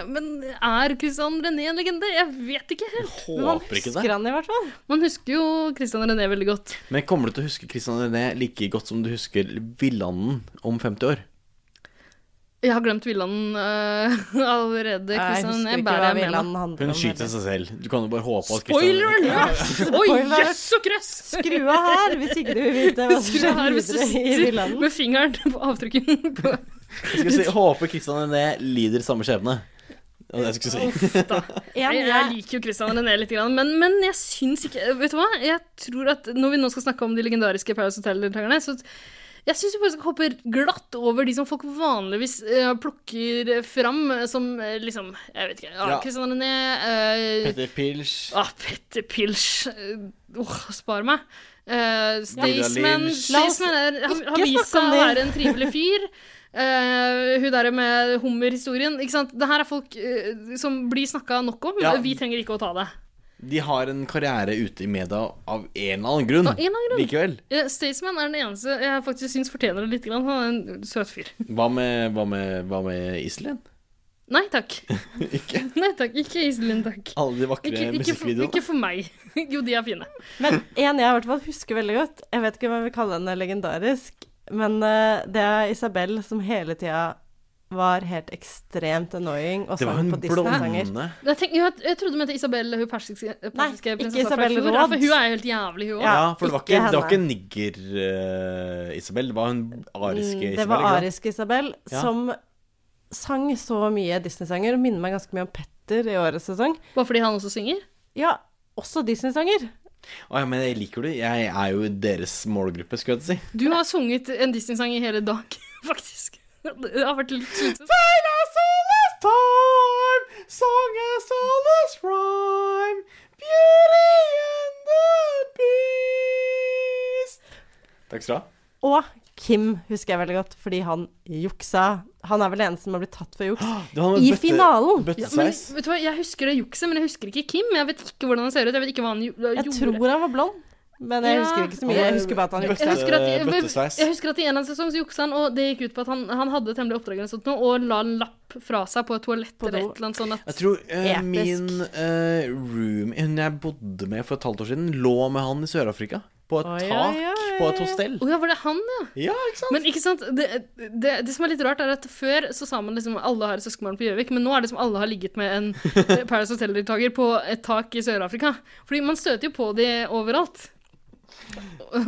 Speaker 4: men er Christian René en legende? Jeg vet ikke helt.
Speaker 1: Håper ikke det.
Speaker 2: Husker han i hvert fall.
Speaker 4: Man husker jo Christian René veldig godt.
Speaker 1: Men kommer du til å huske Christian René like godt som du husker Villanden om 50 år?
Speaker 4: Jeg har glemt Villanden eh, allerede.
Speaker 2: Jeg
Speaker 4: Christian
Speaker 2: husker
Speaker 4: René
Speaker 2: ikke hva
Speaker 4: bærer jeg med meg.
Speaker 2: Villand handler
Speaker 1: Hun
Speaker 2: om.
Speaker 1: skyter seg selv. Du kan jo bare håpe at
Speaker 4: Spoiler
Speaker 1: Christian
Speaker 4: alert! Oi,
Speaker 2: Spoiler.
Speaker 4: jøss og krøss!
Speaker 2: Skru av her hvis ikke du vil vite hva som
Speaker 4: Skru her
Speaker 2: skjer
Speaker 4: hvis du
Speaker 2: videre i
Speaker 4: sitter
Speaker 2: Villanden.
Speaker 4: med fingeren på avtrykken på
Speaker 1: Jeg skulle si, Håper Christian René lider samme skjebne. Det var det jeg skulle si.
Speaker 2: En
Speaker 4: Jeg, jeg
Speaker 2: jeg,
Speaker 4: liker jo Christian René litt, grann, men, men jeg syns ikke Vet du hva? Jeg tror at Når vi nå skal snakke om de legendariske Paradise Hotel-deltakerne, så jeg syns vi bare skal hoppe glatt over de som folk vanligvis eh, plukker fram eh, som eh, liksom Jeg vet ikke. Ja,
Speaker 1: Ja.
Speaker 4: Christian René eh,
Speaker 1: Petter Pilsch.
Speaker 4: Ah, Petter Pilsch. Eh, Åh, spar meg. Uh, Staysman
Speaker 1: Lynch.
Speaker 4: Staysman er- har, har
Speaker 2: ikke snakke
Speaker 4: vist seg
Speaker 2: om
Speaker 4: å
Speaker 2: det.
Speaker 4: være en trivelig fyr. Eh, hun derre med hummerhistorien. Ikke sant? Det her er folk eh, som blir snakka nok om.
Speaker 1: Ja.
Speaker 4: Vi trenger ikke å ta det.
Speaker 1: De har en karriere ute i media av en eller annen grunn.
Speaker 4: Av en eller annen grunn.
Speaker 1: Likevel.
Speaker 4: Uh, Staysman er den eneste jeg faktisk syns fortjener det litt. Grann. Han er en søt fyr.
Speaker 1: Hva med, hva med, hva med Iselin?
Speaker 4: Nei takk.
Speaker 1: Ikke
Speaker 4: Nei takk. Ikke Iselin, takk.
Speaker 1: alle de vakre
Speaker 4: Ikke, ikke, for,
Speaker 1: musikkvideoene?
Speaker 4: ikke for meg. Jo, de er fine.
Speaker 2: men en jeg i hvert fall husker veldig godt, jeg vet ikke om jeg vil kalle henne legendarisk, men eh, det er Isabel som hele tida var helt ekstremt annoying og
Speaker 1: Det var
Speaker 2: sang
Speaker 1: hun
Speaker 2: på Disney-sanger.
Speaker 1: blonde
Speaker 4: Jeg, tenk, jeg, jeg trodde du mente Isabel, hun persiske, persiske
Speaker 2: ikke
Speaker 4: prinsessa fra
Speaker 2: Isabel
Speaker 4: fjor.
Speaker 2: Råd.
Speaker 4: Ja, for hun er jo helt jævlig, hun òg.
Speaker 1: Ja,
Speaker 2: Ja,
Speaker 1: for det var
Speaker 2: ikke
Speaker 1: ikke, det var ikke
Speaker 2: henne.
Speaker 1: nigger-Isabel. det var hun ariske Isabel.
Speaker 2: Mm, Det var
Speaker 1: ikke sant?
Speaker 2: arisk Isabel
Speaker 1: Ja.
Speaker 2: som sang så mye Disney-sanger og minner meg ganske mye om Petter i årets sesong.
Speaker 4: Bare fordi han også synger?
Speaker 2: Ja, også Disney-sanger.
Speaker 1: Å, ja, men jeg liker det. Jeg er jo deres målgruppe, skulle jeg til å si.
Speaker 4: Du har sunget en Disney-sang i hele dag, faktisk. Det har vært litt slitsomt.
Speaker 1: Sail us all this time, song us all this rhyme, beauty and the beast. Takk skal du ha.
Speaker 2: Og Kim husker jeg veldig godt, fordi han juksa. Han er vel den eneste som har blitt tatt for juks.
Speaker 1: Det var med
Speaker 2: I
Speaker 1: bøtte-
Speaker 2: finalen.
Speaker 4: Ja, men
Speaker 1: Bøttesveis.
Speaker 4: vet du hva, Jeg husker det jukset, men jeg husker ikke Kim. Jeg vet ikke hvordan han ser ut. Jeg vet ikke hva han jo-
Speaker 2: Jeg
Speaker 4: gjorde.
Speaker 2: tror han var blond, men jeg
Speaker 4: Ja.
Speaker 2: husker ikke så mye. Jeg husker bare at han
Speaker 1: Bøtte-
Speaker 4: jeg
Speaker 2: juksa.
Speaker 4: husker, at,
Speaker 1: Bøttesveis.
Speaker 4: jeg husker at i en eller annen sesong så juksa han, og det gikk ut på at han, han hadde et hemmelig oppdrag eller sånt noe, og la en lapp fra seg på et toalett
Speaker 2: På
Speaker 4: eller
Speaker 2: do.
Speaker 4: et eller annet sånt. At,
Speaker 1: Jeg tror eh,
Speaker 2: Episk.
Speaker 1: min eh, room Hun jeg bodde med for et halvt år siden, lå med han i Sør-Afrika. På et
Speaker 2: Oi,
Speaker 1: tak
Speaker 2: oi, oi,
Speaker 1: på et hostell.
Speaker 4: Å ja, var det han, ja?
Speaker 1: Ja, ikke sant?
Speaker 4: Men ikke sant, det, det, det som er litt rart er at før så sa man liksom alle har et søskenbarn på Gjøvik, men nå er det som alle har ligget med en eh, Paradise Hotel-deltaker på et tak i Sør-Afrika. Fordi man støter jo på de overalt.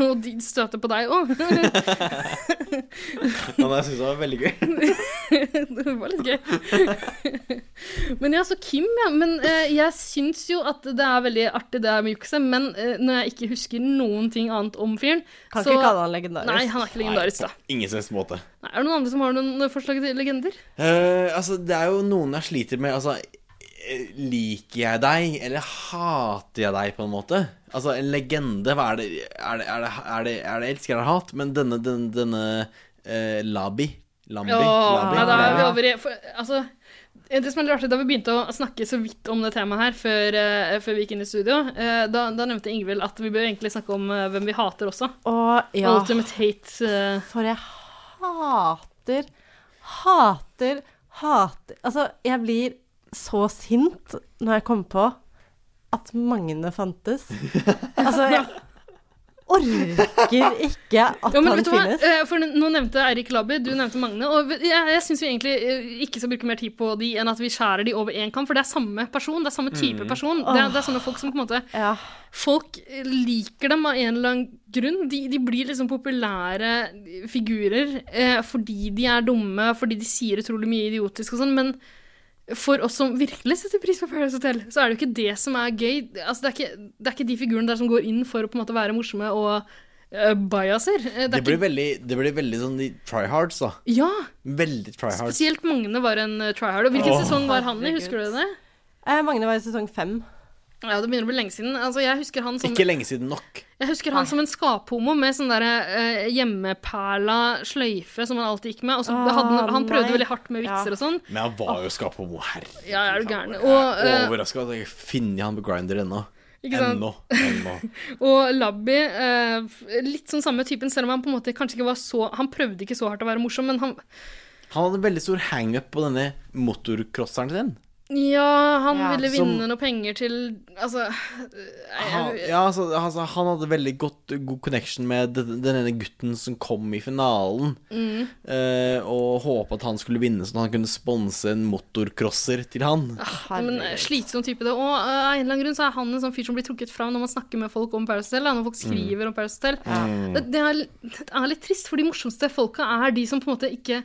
Speaker 4: Og de støter på deg òg.
Speaker 1: Men jeg synes det var veldig gøy.
Speaker 4: Det var litt gøy. Men ja, så Kim, ja. Men eh, jeg syns jo at det er veldig artig det her med jukset, men eh, når jeg ikke husker noen ting annet om fyren,
Speaker 2: Kan
Speaker 4: så
Speaker 2: ikke kalle han
Speaker 4: Nei,
Speaker 2: legendarisk.
Speaker 4: han er ikke legendarisk, da.
Speaker 1: Ingen slags måte.
Speaker 4: Nei, er det noen andre som har noen forslag til legender?
Speaker 1: Eh, altså, det er jo noen jeg sliter med. Altså, eh, liker jeg deg, eller hater jeg deg, på en måte? Altså, en legende, hva er det Er det, er det, er det, er det elsker eller hat? Men denne, denne, denne eh, Labi Lambi?
Speaker 4: Åh,
Speaker 1: Labi?
Speaker 4: nei, da er vi
Speaker 2: Ja.
Speaker 4: over i for, altså, Det som er litt artig, Da vi begynte å snakke så vidt om det temaet her før, eh, før vi gikk inn i studio, eh, da, da nevnte Ingvild at vi bør egentlig snakke om eh, hvem vi hater også.
Speaker 2: Og ja,
Speaker 4: Ultimate hate. eh,
Speaker 2: for jeg hater, hater, hater Altså, jeg blir så sint når jeg kommer på at Magne fantes. Altså, jeg orker ikke at
Speaker 4: ja, men
Speaker 2: han
Speaker 4: vet du hva?
Speaker 2: finnes.
Speaker 4: Eh, For nå nevnte Eirik Labbi, du nevnte Magne. Og jeg, jeg syns vi egentlig eh, ikke skal bruke mer tid på de enn at vi skjærer de over én kam, for det er samme person. Det er samme type
Speaker 1: Mm.
Speaker 4: person. Det er, det er sånne folk som på en måte
Speaker 2: Ja.
Speaker 4: Folk liker dem av en eller annen grunn. De, de blir liksom populære figurer eh, fordi de er dumme, fordi de sier utrolig mye idiotisk og sånn, men for oss som virkelig setter pris på Paradise Hotel, så er det jo ikke det som er gøy. Altså, det, er ikke, det er ikke de figurene der som går inn for å på en måte være morsomme og eh, biaser. Eh,
Speaker 1: Det
Speaker 4: er
Speaker 1: blir
Speaker 4: ikke,
Speaker 1: veldig, det blir veldig sånn de tryhards, da.
Speaker 4: ja,
Speaker 1: Veldig tryhards.
Speaker 4: spesielt Magne var en eh, tryhard. Og hvilken sesong var han i, husker du det?
Speaker 2: Eh, Magne var i sesong fem.
Speaker 4: Ja, det begynner å bli lenge siden. Altså, jeg husker han som,
Speaker 1: Ikke lenge siden nok.
Speaker 4: jeg husker han som en skaphomo med sånn derre eh, hjemmeperla sløyfe som han alltid gikk med. Og så
Speaker 2: Ah,
Speaker 4: hadde han, han prøvde
Speaker 2: nei.
Speaker 4: veldig hardt med
Speaker 2: Ja.
Speaker 4: vitser og sånn.
Speaker 1: Men han var jo skaphomo. Herregud.
Speaker 4: Ja, er du gæren?
Speaker 1: Jeg
Speaker 4: Og,
Speaker 1: er
Speaker 4: eh,
Speaker 1: overraska at jeg finner han på Grinder ennå.
Speaker 4: Ikke sant?
Speaker 1: Ennå. ennå.
Speaker 4: Og Labby, eh, f- litt sånn samme typen, selv om han på en måte kanskje ikke var så Han prøvde ikke så hardt å være morsom, men han
Speaker 1: Han hadde en veldig stor hangup på denne motorcrosseren sin.
Speaker 4: Ja, han
Speaker 2: Ja.
Speaker 4: ville
Speaker 1: Som-
Speaker 4: vinne noe penger til Altså
Speaker 1: Han, ja, altså, altså, han hadde veldig godt, god connection med den, den ene gutten som kom i finalen.
Speaker 4: Mm.
Speaker 1: eh, og håpa at han skulle vinne, sånn at han kunne sponse en motorcrosser til han.
Speaker 4: Men eh, slitsom type det. Og eh, av en eller annen grunn så er han en sånn fyr som blir trukket fram når man snakker med folk om Paris Hotel. da, Når
Speaker 2: Mm.
Speaker 4: folk skriver om Paris Hotel. Det, det, er, det er litt trist, for de morsomste folka er de som på en måte ikke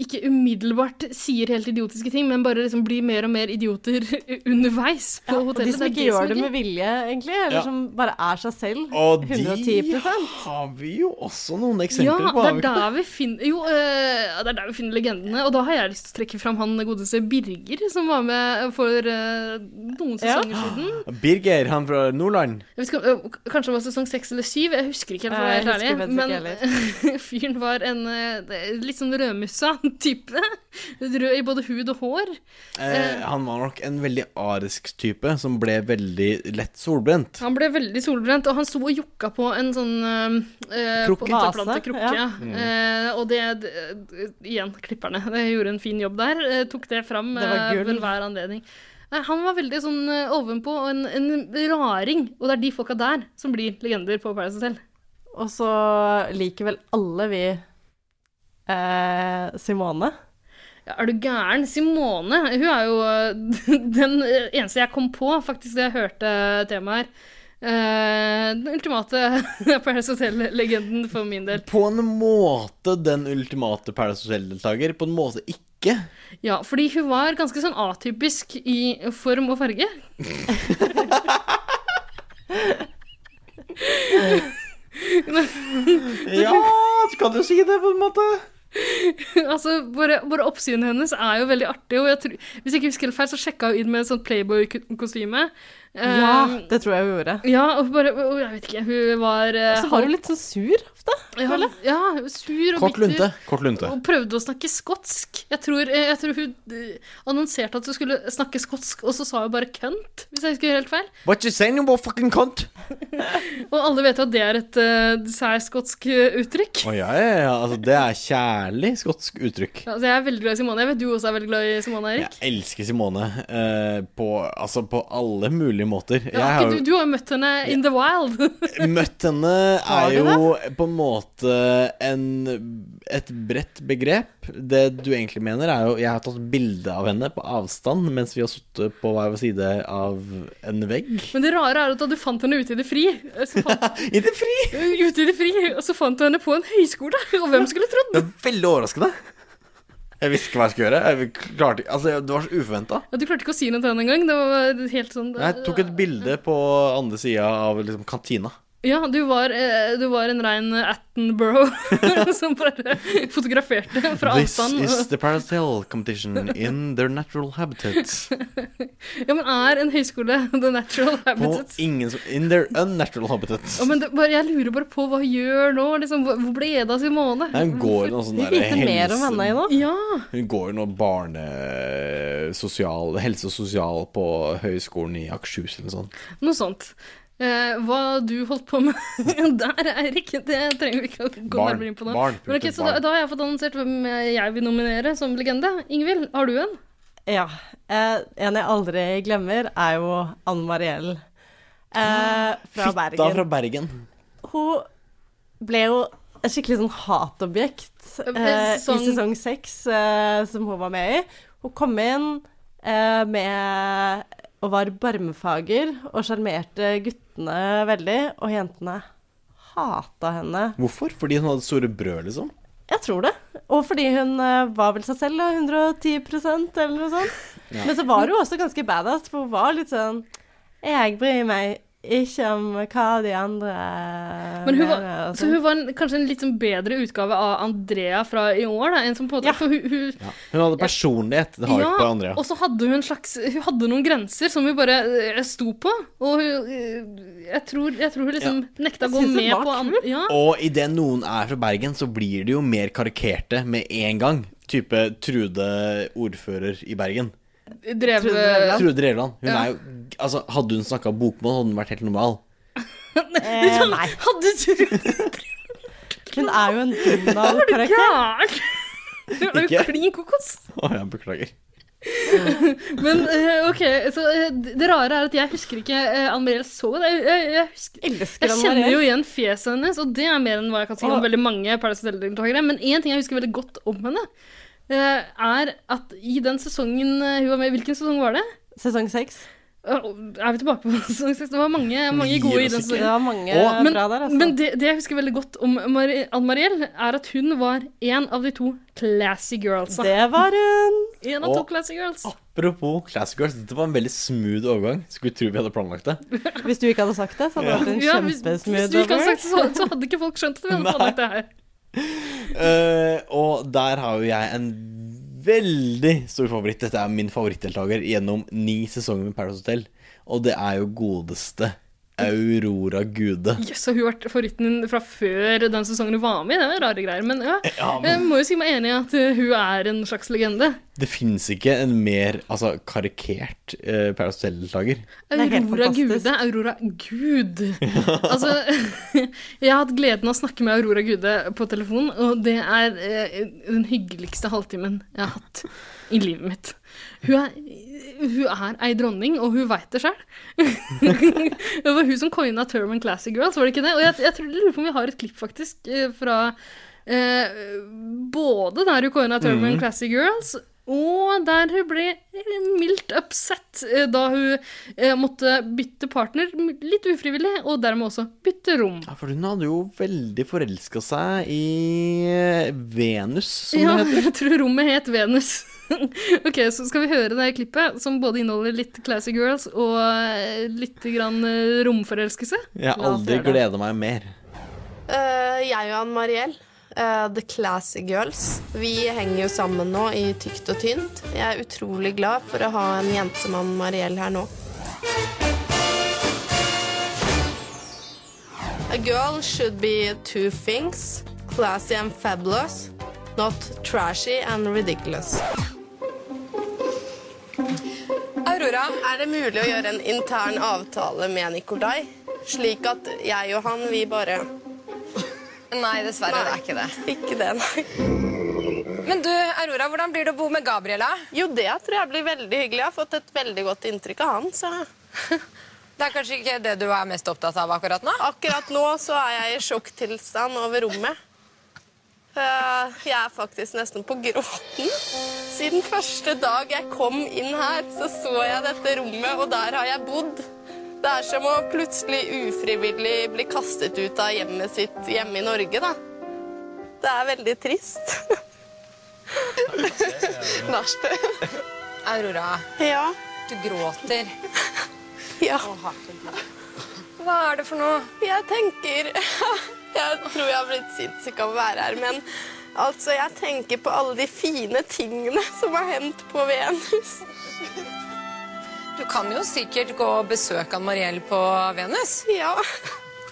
Speaker 4: ikke umiddelbart sier helt idiotiske ting, men bare liksom blir mer og mer idioter underveis på
Speaker 2: Og
Speaker 4: hotellet.
Speaker 2: de som
Speaker 4: er
Speaker 2: ikke gjør det
Speaker 4: er
Speaker 2: med vilje, egentlig, eller
Speaker 1: Ja.
Speaker 2: som bare er seg selv.
Speaker 1: Og de
Speaker 2: 110
Speaker 1: har vi jo også noen
Speaker 4: Ja,
Speaker 1: eksempler på.
Speaker 4: det er der vi finner Jo, eh, det er der vi finner legendene. Og da har jeg lyst til å trekke fram han godeste Birger, som var med for eh,
Speaker 2: Ja.
Speaker 4: noen sesonger siden.
Speaker 1: Birger, han fra Nordland.
Speaker 4: Jeg vet ikke, om- øh, kanskje det var sesong seks eller syv, jeg husker ikke helt. for å
Speaker 2: Jeg
Speaker 4: være
Speaker 2: husker faktisk
Speaker 4: helt
Speaker 2: ikke
Speaker 4: ærlig. Men fyren var en eh, det- litt sånn rødmussa type. Rød i både hud og hår.
Speaker 1: Eh, han var nok en veldig arisk type som ble veldig lett solbrent.
Speaker 4: Han ble veldig solbrent, og han sto og jokka på en sånn eh,
Speaker 1: Krukke.
Speaker 4: potetplante-
Speaker 2: Vase,
Speaker 4: krukke,
Speaker 2: ja.
Speaker 4: ja. Eh, og det, det Igjen, klipperne. De gjorde en fin jobb der. eh, tok det fram
Speaker 2: Det var
Speaker 4: eh,
Speaker 2: gull.
Speaker 4: ved hver anledning. Nei, han var veldig sånn eh, ovenpå og en, en raring. Og det er de folka der som blir legender på Paradise Hotel.
Speaker 2: Og så liker vel alle vi eh, Simone.
Speaker 4: Ja, Er du gæren? Simone, hun er jo eh, den eneste jeg kom på, faktisk, da jeg hørte temaet her. Eh, den ultimate Paradise Hotel-legenden for min del.
Speaker 1: På en måte den ultimate Paradise Hotel-deltaker, på en måte ikke.
Speaker 4: Ja, fordi hun var ganske sånn atypisk i form og farge.
Speaker 1: Ja, du kan jo si det, på en måte.
Speaker 4: altså, bare, bare oppsynet hennes er jo veldig artig, og jeg tror, hvis jeg ikke husker helt feil, så sjekka hun inn med et sånt Playboy-kostyme. Eh,
Speaker 2: Um, det tror jeg hun gjorde.
Speaker 4: ja, og hun bare og Jeg vet ikke, hun var eh,
Speaker 2: Så var hun litt sånn sur ofte.
Speaker 4: ja, ja, sur og
Speaker 1: Kort
Speaker 4: bitter.
Speaker 1: lunte. Kort lunte.
Speaker 4: Og prøvde å snakke skotsk. Jeg tror, eh, jeg tror hun eh, annonserte at hun skulle snakke skotsk, og så sa hun bare 'kønt', hvis jeg husker helt feil.
Speaker 1: What you saying about fucking cunt?
Speaker 4: Og alle vet jo at det er et uh, særskotsk eh, uttrykk.
Speaker 1: Å ja, ja, ja. Altså, det er kjærlig skotsk uttrykk.
Speaker 4: Ja, Altså, jeg er veldig glad i Simone. Jeg vet du også er veldig glad i Simone,
Speaker 1: Jeg
Speaker 4: Erik.
Speaker 1: elsker Simone eh, på, altså, på alle mulige måter.
Speaker 4: Ja,
Speaker 1: Jeg har jo
Speaker 4: ikke, du, du har jo møtt henne in the wild.
Speaker 1: Møtt henne er
Speaker 2: Har du
Speaker 1: jo på en måte en, et bredt begrep. Det du egentlig mener, er jo Jeg har tatt bilde av henne på avstand mens vi har sittet på hver vår side av en vegg.
Speaker 4: Men det rare er at da du fant henne ute i det fri, eh, så fant,
Speaker 1: I det fri!
Speaker 4: ute i det fri og så fant du henne på en høyskole. Og hvem skulle trodd?
Speaker 1: Det er veldig overraskende. Jeg visste ikke hva jeg skulle gjøre. Jeg klarte, ikke- altså, det var så uventa.
Speaker 4: Ja, du klarte ikke å si noe til henne engang. Det var helt sånn
Speaker 1: Jeg tok et bilde på andre sida av liksom, kantina.
Speaker 4: Ja, du var, eh, du var en rein Attenborough som bare fotograferte fra
Speaker 1: This
Speaker 4: avstand.
Speaker 1: is the Paracel competition in their natural habitat.
Speaker 4: Ja, men er en høyskole the natural
Speaker 1: På
Speaker 4: habitat?
Speaker 1: ingen som In their unnatural habitat.
Speaker 4: Ja, men det, bare, jeg lurer bare på hva hun gjør nå. Liksom, hvor hvor ble det av Simone?
Speaker 1: Nei, hun går i noe sånn
Speaker 2: Vi
Speaker 1: der
Speaker 2: vite mer om henne nå.
Speaker 4: Ja,
Speaker 1: Hun går i noe barnesosial Helse og sosial på høyskolen i Akershus eller noe sånt.
Speaker 4: noe sånt. Eh, hva du holdt på med der, Eirik, det trenger vi ikke å gå
Speaker 1: Barn.
Speaker 4: nærmere inn på nå.
Speaker 1: Barn,
Speaker 4: Men ok,
Speaker 1: punktum,
Speaker 4: så da,
Speaker 1: barn.
Speaker 4: da har jeg fått annonsert hvem jeg vil nominere som legende. Ingvild, har du en?
Speaker 2: Ja. Eh, en jeg aldri glemmer, er jo Anne Mariell eh,
Speaker 1: Da
Speaker 2: fra Bergen.
Speaker 1: fra Bergen.
Speaker 2: Hun ble jo et skikkelig sånn hatobjekt eh,
Speaker 4: Sesong-
Speaker 2: i sesong seks, eh, som hun var med i. Hun kom inn eh, med og var barmfager og sjarmerte guttene veldig, og jentene hata henne.
Speaker 1: Hvorfor? Fordi hun hadde store brød, liksom?
Speaker 2: Jeg tror det. Og fordi hun eh, var vel seg selv, da. 110 eller noe sånt. Men så var hun også ganske badass, for hun var litt sånn Jeg bryr meg Ikke om hva de andre
Speaker 4: Men hun var,
Speaker 2: mener og
Speaker 4: så
Speaker 2: sånn.
Speaker 4: hun var en, kanskje en litt sånn bedre utgave av Andrea fra i år, da. En som på en måte,
Speaker 2: Ja.
Speaker 4: for hun, hun,
Speaker 1: Hun hadde personlighet. Det har jo ikke på Andrea.
Speaker 4: og så hadde hun en slags Hun hadde noen grenser som hun bare eh, sto på. Og hun eh, Jeg tror, jeg tror hun liksom nekta å
Speaker 2: Jeg
Speaker 4: gå
Speaker 2: synes hun
Speaker 4: med
Speaker 2: var
Speaker 4: på an-
Speaker 2: kul.
Speaker 4: ja.
Speaker 1: Og idet noen er fra Bergen, så blir de jo mer karikerte med en gang. Type Trude ordfører i Bergen.
Speaker 4: Drev eh, Hun
Speaker 1: Trude Drevland. Hun
Speaker 4: Ja.
Speaker 1: er jo altså, Hadde hun snakka bokmål, hadde hun vært helt normal.
Speaker 2: Eh, nei.
Speaker 4: Hadde Trude
Speaker 2: Hun er jo en Donald-karakter.
Speaker 4: gæren? Hun er jo
Speaker 1: Ikke?
Speaker 4: klin kokos.
Speaker 1: Å, jeg beklager.
Speaker 4: Men eh, OK, så eh, det rare er at jeg husker ikke uh, Ann Mariell så det. Jeg, jeg, jeg, husker,
Speaker 2: Elsker
Speaker 4: jeg
Speaker 2: Ann
Speaker 4: kjenner
Speaker 2: Mariell.
Speaker 4: jo igjen fjeset hennes, og det er mer enn hva jeg kan si om
Speaker 2: Åh.
Speaker 4: veldig mange Paradise Hotel-deltakere. Men én ting jeg husker veldig godt om henne, eh, er at i den sesongen eh, hun var med Hvilken sesong var det?
Speaker 2: Sesong seks.
Speaker 4: Åh, Er vi tilbake på sesong seks? Det var mange, mange
Speaker 1: Gir
Speaker 4: gode i
Speaker 1: oss
Speaker 4: den
Speaker 1: ikke.
Speaker 2: Det
Speaker 4: sesongen.
Speaker 2: var mange
Speaker 1: Å,
Speaker 4: Men,
Speaker 2: bra der, altså.
Speaker 4: men det, det jeg husker veldig godt om Mari- Ann Mariell, er at hun var en av de to classy girlsa.
Speaker 2: det var hun.
Speaker 4: En av
Speaker 1: Og-
Speaker 4: to classy girls.
Speaker 1: Apropos Classic Girls, dette var en veldig smooth overgang. Skulle tro vi hadde planlagt det.
Speaker 2: Hvis du ikke hadde sagt det, så hadde det vært en
Speaker 4: Ja, hvis, hvis du
Speaker 2: kjempesmooth
Speaker 4: ikke hadde
Speaker 2: over.
Speaker 4: sagt det, så, så hadde ikke folk skjønt at vi hadde
Speaker 1: Nei.
Speaker 4: planlagt det her.
Speaker 1: Eh, og der har jo jeg en veldig stor favoritt. Dette er min favorittdeltaker gjennom ni sesonger med Paradise Hotel. Og det er jo godeste Aurora Gude.
Speaker 4: Jøss, yes, og hun har vært favoritten din fra før den sesongen hun var med i. Det er rare greier. Men ja, jeg må jo si meg enig i at eh, hun er en slags legende.
Speaker 1: Det fins ikke en mer altså, karikert uh, Paradise Hotel-deltaker.
Speaker 2: er helt
Speaker 4: Aurora
Speaker 2: fantastisk.
Speaker 4: Gude, Aurora Gud. Altså, jeg har hatt gleden av å snakke med Aurora Gude på telefon, og det er eh, den hyggeligste halvtimen jeg har hatt i livet mitt. Hun er, hun er ei dronning, og hun veit det sjøl. det var hun som coina Turman Classic Girls, var det ikke det? Og jeg, jeg tror, lurer på om vi har et klipp, faktisk, eh, fra eh, både der hun coina Turman Classic Girls, og der hun ble mildt upset eh, da hun eh, måtte bytte partner, m- litt ufrivillig, og dermed også bytte rom.
Speaker 1: Ja, for hun hadde jo veldig forelska seg i eh, Venus, som
Speaker 4: Ja,
Speaker 1: det heter.
Speaker 4: jeg tror rommet het Venus. ok, så skal vi høre det her klippet, som både inneholder litt Classy Girls og eh, litt grann eh, romforelskelse.
Speaker 1: Jeg har
Speaker 2: La oss
Speaker 1: aldri
Speaker 2: gjøre det.
Speaker 1: gleda meg mer.
Speaker 10: Eh, jeg og Ann Mariell, eh, The Classy Girls, vi henger jo sammen nå i tykt og tynt. Jeg er utrolig glad for å ha en jente som Ann Mariell her nå. A girl should be two things, classy and fabulous, not trashy and ridiculous. Aurora, er det mulig å gjøre en intern avtale med Nikolai? Slik at jeg og han, vi bare
Speaker 9: Nei, dessverre. Det er ikke det.
Speaker 10: Ikke det, nei.
Speaker 9: Men du, Aurora, hvordan blir det å bo med Gabriela?
Speaker 10: Jo, det tror jeg blir veldig hyggelig. Jeg har fått et veldig godt inntrykk av han. Så
Speaker 9: Det er kanskje ikke det du er mest opptatt av akkurat nå?
Speaker 10: akkurat nå så er jeg i sjokktilstand over rommet. Eh, Jeg er faktisk nesten på gråten. Siden første dag jeg kom inn her, så så jeg dette rommet, og der har jeg bodd. Det er som å plutselig ufrivillig bli kastet ut av hjemmet sitt hjemme i Norge, da. Det er veldig trist. Nachspiel.
Speaker 9: Aurora,
Speaker 10: ja.
Speaker 9: du gråter.
Speaker 10: Ja.
Speaker 9: Hva er det for noe?
Speaker 10: Jeg tenker Jeg tror jeg har blitt sinnssyk av å være her, men altså, jeg tenker på alle de fine tingene som har hendt på Venus.
Speaker 9: Du kan jo sikkert gå og besøke Ann Mariell på Venus.
Speaker 10: Ja,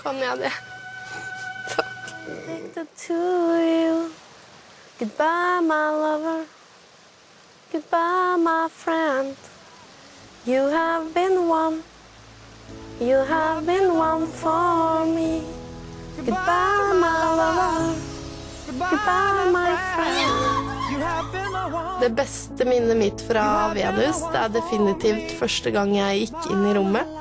Speaker 10: kan jeg det?
Speaker 5: Take the two of you. Goodbye, my lover. Goodbye, my friend. You have been one. You have been one for me. Goodbye, my lover. Goodbye, my friend.
Speaker 10: Det beste minnet mitt fra Venus det er definitivt første gang jeg gikk inn i rommet.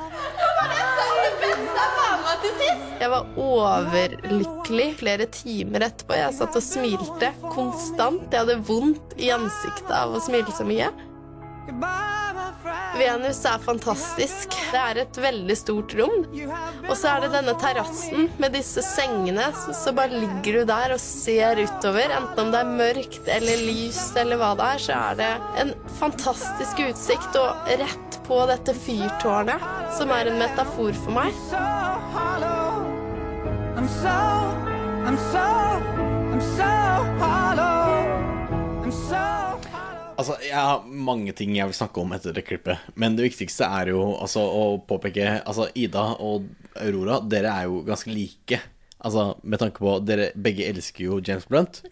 Speaker 10: Jeg var overlykkelig flere timer etterpå. Jeg satt og smilte konstant. Jeg hadde vondt i ansiktet av å smile så mye. Venus er fantastisk. Det er et veldig stort rom. Og så er det denne terrassen med disse sengene. Så, så bare ligger du der og ser utover. Enten om det er mørkt eller lyst eller hva det er, så er det en fantastisk utsikt. Og rett på dette fyrtårnet, som er en metafor for meg.
Speaker 11: I'm so, I'm so, I'm so hollow. I'm so.
Speaker 1: Altså, Jeg har mange ting jeg vil snakke om etter det klippet. Men det viktigste er jo altså, å påpeke Altså, Ida og Aurora, dere er jo ganske like. Altså, Med tanke på Dere begge elsker jo James Blunt.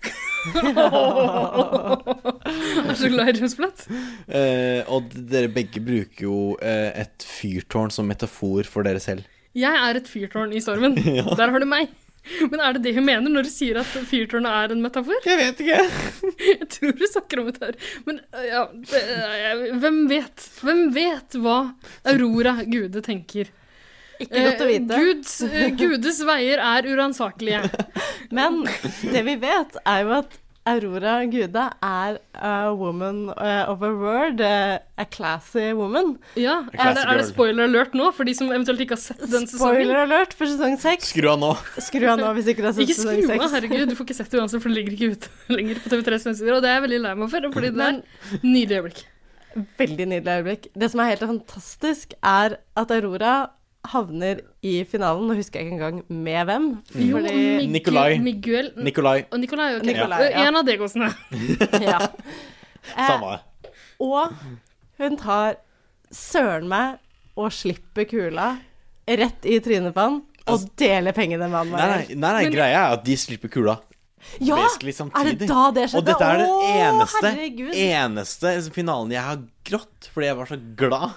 Speaker 4: Jeg er så glad i James Blunt.
Speaker 1: Eh, og dere begge bruker jo eh, et fyrtårn som metafor for dere selv.
Speaker 4: Jeg er et fyrtårn i stormen.
Speaker 1: Ja.
Speaker 4: Der har du meg. Men er det det hun mener når hun sier at fyrtårnet er en metafor?
Speaker 1: Jeg vet ikke.
Speaker 4: Jeg tror hun snakker om et her. Men øh, ja, det, jeg- hvem vet? Hvem vet hva Aurora Gude tenker?
Speaker 2: Ikke godt å
Speaker 4: Eh,
Speaker 2: vite.
Speaker 4: Guds, eh, Gudes veier er uransakelige.
Speaker 2: Men det vi vet, er jo at Aurora Gude er a woman eh, of a word, eh, a classy woman.
Speaker 4: Ja, Er det, er det spoiler alert nå, for de som eventuelt ikke har sett den sesongen?
Speaker 2: Spoiler alert for sesong seks.
Speaker 1: Skru av nå.
Speaker 2: Skru av nå hvis ikke du har sett
Speaker 4: Ikke
Speaker 2: sesong
Speaker 4: skru av,
Speaker 2: seks.
Speaker 4: herregud. Du får ikke sett det uansett, for det ligger ikke ute lenger på TV3 sine sider. Og det er jeg veldig lei meg for, fordi det er et nydelig øyeblikk.
Speaker 2: Veldig nydelig øyeblikk. Det som er helt fantastisk, er at Aurora havner i finalen, nå husker jeg ikke engang med hvem.
Speaker 4: Jo,
Speaker 2: fordi-
Speaker 4: Miguel-
Speaker 1: Nikolai.
Speaker 4: Miguel
Speaker 1: Nikolai.
Speaker 4: Og Nikolai, ok.
Speaker 2: Nikolai,
Speaker 4: Eh,
Speaker 2: ja.
Speaker 4: En av degosene.
Speaker 2: ja. Eh,
Speaker 1: Samme.
Speaker 2: Og hun tar søren meg og slipper kula rett i trynet på han og deler pengene med han.
Speaker 1: Altså- Nei, nei,
Speaker 2: Mariel.
Speaker 1: nei, nei greia er at de slipper kula.
Speaker 2: Ja,
Speaker 1: basically samtidig.
Speaker 2: er det da det skjedde?
Speaker 1: Og dette er
Speaker 2: Å,
Speaker 1: den eneste,
Speaker 2: herregud.
Speaker 1: eneste finalen jeg har grått fordi jeg var så glad.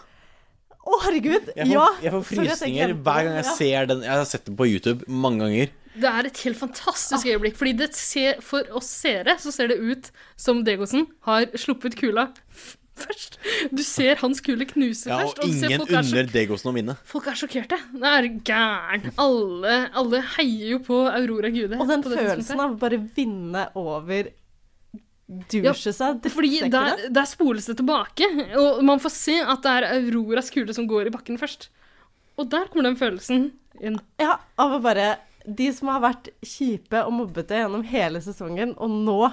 Speaker 2: Å, herregud!
Speaker 1: Jeg får,
Speaker 2: ja.
Speaker 1: jeg får
Speaker 2: sorry at jeg
Speaker 1: frysninger
Speaker 2: glemte
Speaker 1: hver
Speaker 2: det.
Speaker 1: gang jeg
Speaker 2: Ja.
Speaker 1: ser den. Jeg har sett den på YouTube mange ganger.
Speaker 4: Det er et helt fantastisk
Speaker 2: Ah.
Speaker 4: øyeblikk, fordi det ser, for oss seere så ser det ut som Degosen har sluppet kula f- først. Du ser hans kule knuse
Speaker 1: Ja,
Speaker 4: først,
Speaker 1: og
Speaker 4: og du ser
Speaker 1: ingen
Speaker 4: folk er, sjok
Speaker 1: unner Degosen å vinne.
Speaker 4: folk er sjokkerte. Det er gæren. Alle, alle heier jo på Aurora Gude.
Speaker 2: Og den
Speaker 4: på det tidspunktet.
Speaker 2: følelsen av å bare vinne over
Speaker 4: Ja,
Speaker 2: dusje seg det
Speaker 4: Fordi
Speaker 2: frister ikke
Speaker 4: der,
Speaker 2: det.
Speaker 4: der spoles det tilbake, og man får se at det er Auroras kule som går i bakken først. Og der kommer den følelsen inn.
Speaker 2: Ja, av å bare De som har vært kjipe og mobbete gjennom hele sesongen, og nå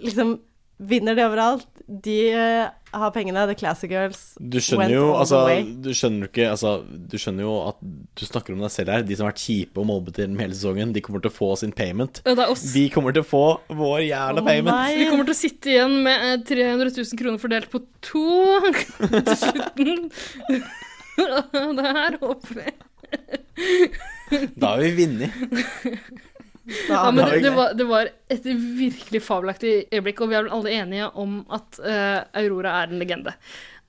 Speaker 2: liksom vinner de overalt, de eh, har pengene, The Classic Girls
Speaker 1: Du skjønner
Speaker 2: went
Speaker 1: jo
Speaker 2: all the
Speaker 1: altså,
Speaker 2: way.
Speaker 1: Du skjønner jo ikke altså, Du skjønner jo at du snakker om deg selv her. De som har vært kjipe og mobbete gjennom hele sesongen, de kommer til å få sin payment.
Speaker 4: Ja, det er oss.
Speaker 1: De kommer til å få vår jævla payment.
Speaker 4: Vi kommer til å sitte igjen med eh, 300 000 kroner fordelt på to til slutten. Det her håper vi.
Speaker 1: Da har vi vunnet.
Speaker 4: Ja, men det,
Speaker 1: det
Speaker 4: det, var, det var et virkelig fabelaktig øyeblikk, og vi er vel alle enige om at eh, Aurora er en legende.